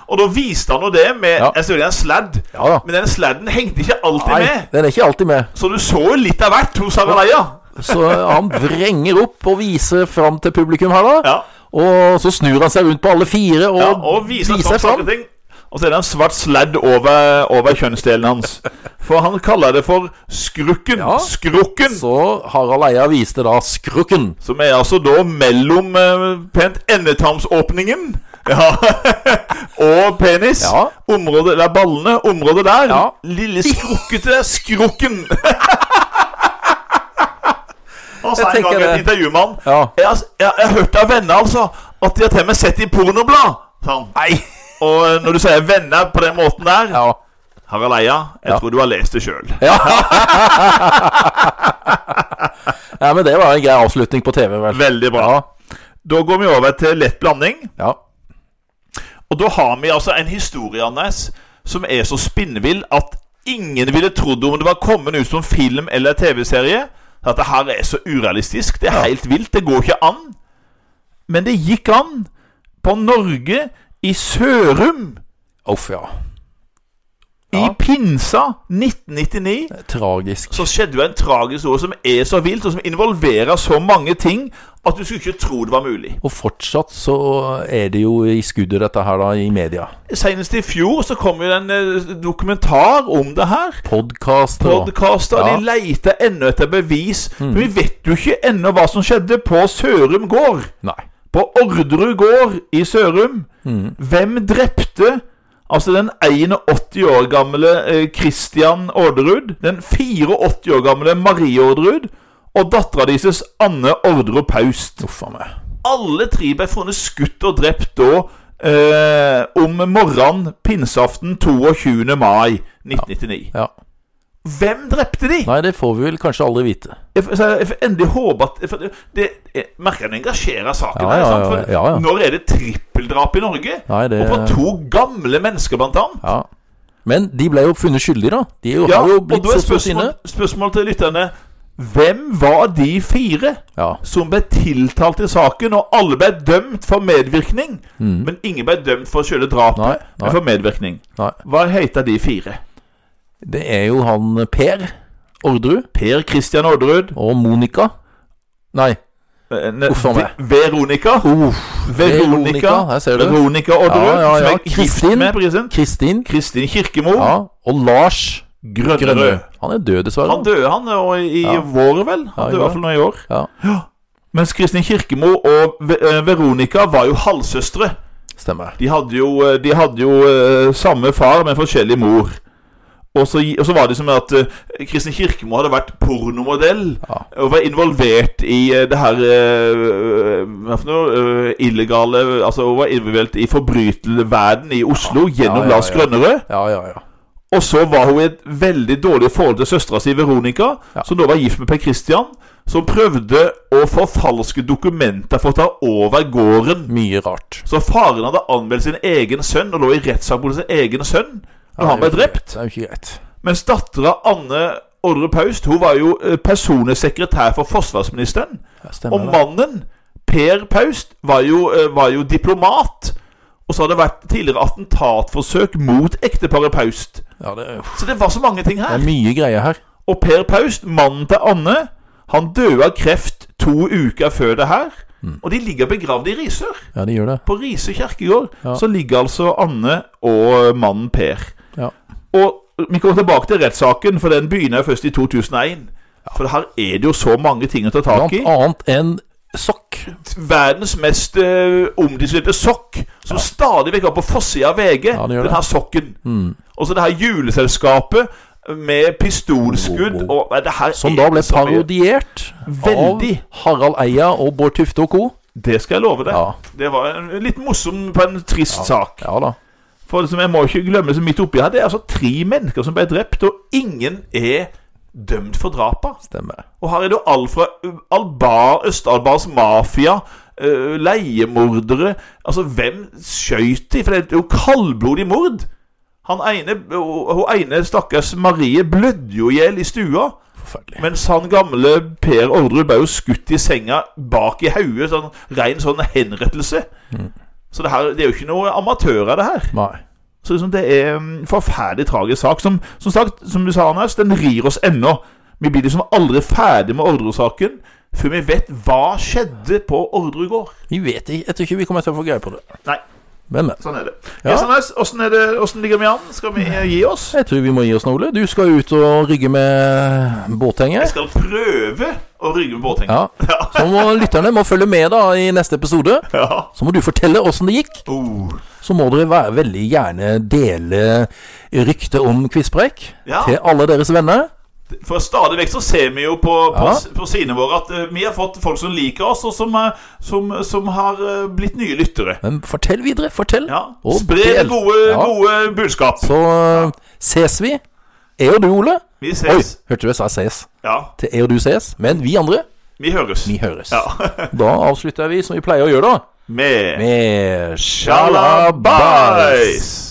Og da viste han jo det med
Ja.
jeg selvfølgelig en sladd.
Ja da.
Men den sladden hengte ikke alltid
Nei,
med.
den er ikke alltid med.
Så du så jo litt av hvert hos Harald Eia.
Så eh, han vrenger opp og viser fram til publikum her, da.
Ja.
Og så snur han seg rundt på alle fire og,
Ja, og viser
viser
sånn
seg fram.
saker ting. Og så er det en svart sladd over, over kjønnsdelen hans. For han kaller det for skrukken.
Ja.
Skrukken.
Så Harald Eia viste da skrukken.
Som er altså da mellom eh, pent endetarmsåpningen ja. og penis.
Ja.
Området der ballene, området der.
Ja.
Lille skrukkete skrukken. Han sa
Jeg
en gang
tenker
i et
det.
intervju med han
Ja.
jeg, har- jeg, jeg har hørt av venner altså at de har til og med sett i pornoblad. sa han. Og eh, når du sier venner på den måten der
Ja.
Harald Eia, jeg
Ja.
tror du har lest det sjøl.
ja, men det var en grei avslutning på TV, vel.
Veldig bra.
Ja.
Da går vi over til lett blanding.
ja.
Og da har vi altså en historie, Anders, som er så spinnvill at ingen ville trodd om det var kommet ut som film eller TV-serie. At det her er så urealistisk. Det er helt vilt. Det går ikke an. Men det gikk an på Norge i Sørum
Uff, ja.
i
Ja.
pinsa 1999.
Tragisk.
Så skjedde jo en tragisk ord som er så vilt, og som involverer så mange ting at du skulle ikke tro det var mulig.
Og fortsatt så er det jo i skuddet, dette her, da, i media.
Senest i fjor så kom jo en eh, dokumentar om det her.
Podkaster og
podkaster.
Ja.
De leter ennå etter bevis. Men vi vet jo ikke ennå hva som skjedde på Sørum gård.
Nei.
På Orderud gård i Sørum. Hvem drepte altså den 81 år gamle eh, Christian Orderud? Den 84 år gamle Marie Orderud? Og dattera deres Anne Orderud Paust.
Uff a meg.
Alle tre ble funnet skutt og drept da. eh, om morgenen pinseaften 22. mai 1999.
Ja.
Hvem drepte de?
Nei, det får vi vel kanskje aldri vite.
Jeg, får- så jeg, jeg får endelig håpe at jeg, får- det, jeg merker den engasjerer saken.
Ja,
her,
ja,
sant? For
ja, ja, ja.
Når er det trippeldrap i Norge?
Nei, det-
Og på to gamle mennesker, blant annet.
Ja. Men de ble jo funnet skyldige, da. De er jo,
Ja,
har jo
og
blitt
da er
så stort inne.
spørsmål, spørsmål til lytterne Hvem var de fire
Ja.
som ble tiltalt i saken, og alle ble dømt for medvirkning?
Mm.
Men ingen ble dømt for selve drapet,
Nei,
men
nei.
for medvirkning.
Nei.
Hva heter de fire?
Det er jo han Per Orderud
Per Christian Orderud.
og Monica. Nei.
eh, ne-
Uff a meg.
Ve- Veronica. Veronica,
Veronica, her ser du.
Veronica Orderud,
Ja, ja, ja.
som er gift
Kristin.
med president.
Kristin.
Kristin Kirkemo.
Ja. Og Lars
Grønnerød.
Grønnerød. Han er død, dessverre.
Han døde, han, og i
Ja.
vår, vel? Han
Ja, i
døde i
går.
hvert fall nå i år.
Ja,
Mens Kristin Kirkemo og Ve- eh, Veronica var jo halvsøstre.
stemmer.
De hadde jo, eh, de hadde jo eh, samme far, men forskjellig mor. Og så, gi- og så var det som at eh, Kristin Kirkemo hadde vært pornomodell
Ja.
og var involvert i eh, det her eh, Hva for noe? eh, illegale Altså hun var involvert i forbrytelverden i Oslo gjennom
Ja, ja,
Lars
ja.
Grønnerød.
Ja, ja, ja.
Og så var hun i et veldig dårlig forhold til søstera si Veronica,
Ja.
som da var gift med Per Christian, som prøvde å forfalske dokumenter for å ta over gården.
Mye rart.
Så faren hadde anmeldt sin egen sønn og lå i rettssak mot sin egen sønn når han ble
Det er jo ikke greit.
drept.
Det er jo ikke greit.
Mens dattera Anne Orderud Paust hun var jo eh, personlig sekretær for forsvarsministeren.
Ja,
Og
stemmer det.
mannen, Per Paust, var jo, eh, var jo diplomat. Og så har det vært tidligere attentatforsøk mot ekteparet Paust.
Ja, det, er-
Så det var så mange ting
det
her.
er mye greier her.
Og Per Paust, mannen til Anne, han døde av kreft to uker før det her.
Mm.
Og de ligger begravd i Risør.
Ja, de gjør det.
På Risør kirkegård
Ja.
så ligger altså Anne og mannen Per.
Ja.
Og vi kommer tilbake til rettssaken, for den begynner jo først i 2001. For her er det jo så mange ting å ta tak
Blant
i.
annet en sokk.
Verdens mest eh, omdiskuterte sokk, som stadig vekk var på forsida av VG.
Ja, det gjør
den
det.
her sokken.
Hmm.
Og så det her juleselskapet med pistolskudd
Wow, wow.
og nei, det her
Som
er
da ble
så mye.
parodiert
Veldig.
av Harald Eia og Bård Tufte og co.
Det skal jeg love deg.
Ja.
Det var en, en litt morsom på en trist sak.
Ja da.
For liksom, jeg må ikke glemme som midt oppi her, det er altså tre mennesker som ble drept, og ingen er dømt for drapa.
Stemmer.
Og her er det jo alt fra uh, Albar, Øst-Albars mafia, uh, leiemordere Altså, hvem skøyt de? For det er jo kaldblodig mord. Han ene, uh, hun ene stakkars Marie blødde jo i hjel i stua.
Forferdelig.
Mens han gamle Per Orderud ble jo skutt i senga bak i hodet. Sånn ren sånn henrettelse. Så det, her, det er jo ikke noe amatører, det her.
Nei.
Så liksom det er en forferdelig tragisk sak. Som, som sagt, som du sa, Anders, den rir oss ennå. Vi blir liksom aldri ferdig med Orderud-saken før vi vet hva skjedde på Orderud gård.
Vi vet ikke. Jeg tror ikke vi kommer til å få greie på det.
Nei,
Men, men.
sånn er det.
Ja.
Yes, Anders, åssen er det, åssen ligger vi an? Skal vi eh, gi oss?
Jeg tror vi må gi oss nå, Ole. Du skal ut og rygge med
Jeg
båthenger.
skal prøve å rygge med båthengen.
Ja. Så må lytterne må følge med da i neste episode.
Ja.
Så må du fortelle åssen det gikk.
Oh.
Så må dere være veldig gjerne dele ryktet om Kvisspreik
Ja.
til alle deres venner.
For stadig vekk så ser vi jo på, på,
Ja.
s- på sidene våre at eh, vi har fått folk som liker oss, og som, eh, som, som har eh, blitt nye lyttere.
Men fortell videre. Fortell.
Ja.
Og
Spre det
del.
gode,
Ja.
gode budskap.
Så eh, ses vi. Jeg og du, Ole.
Vi
Oi,
ses.
hørte du jeg sa ses?
Ja.
Til jeg og du ses. Men vi andre,
Vi høres.
vi høres.
Ja.
Da avslutter vi som vi pleier å gjøre, da.
Med
Med
Shalabais!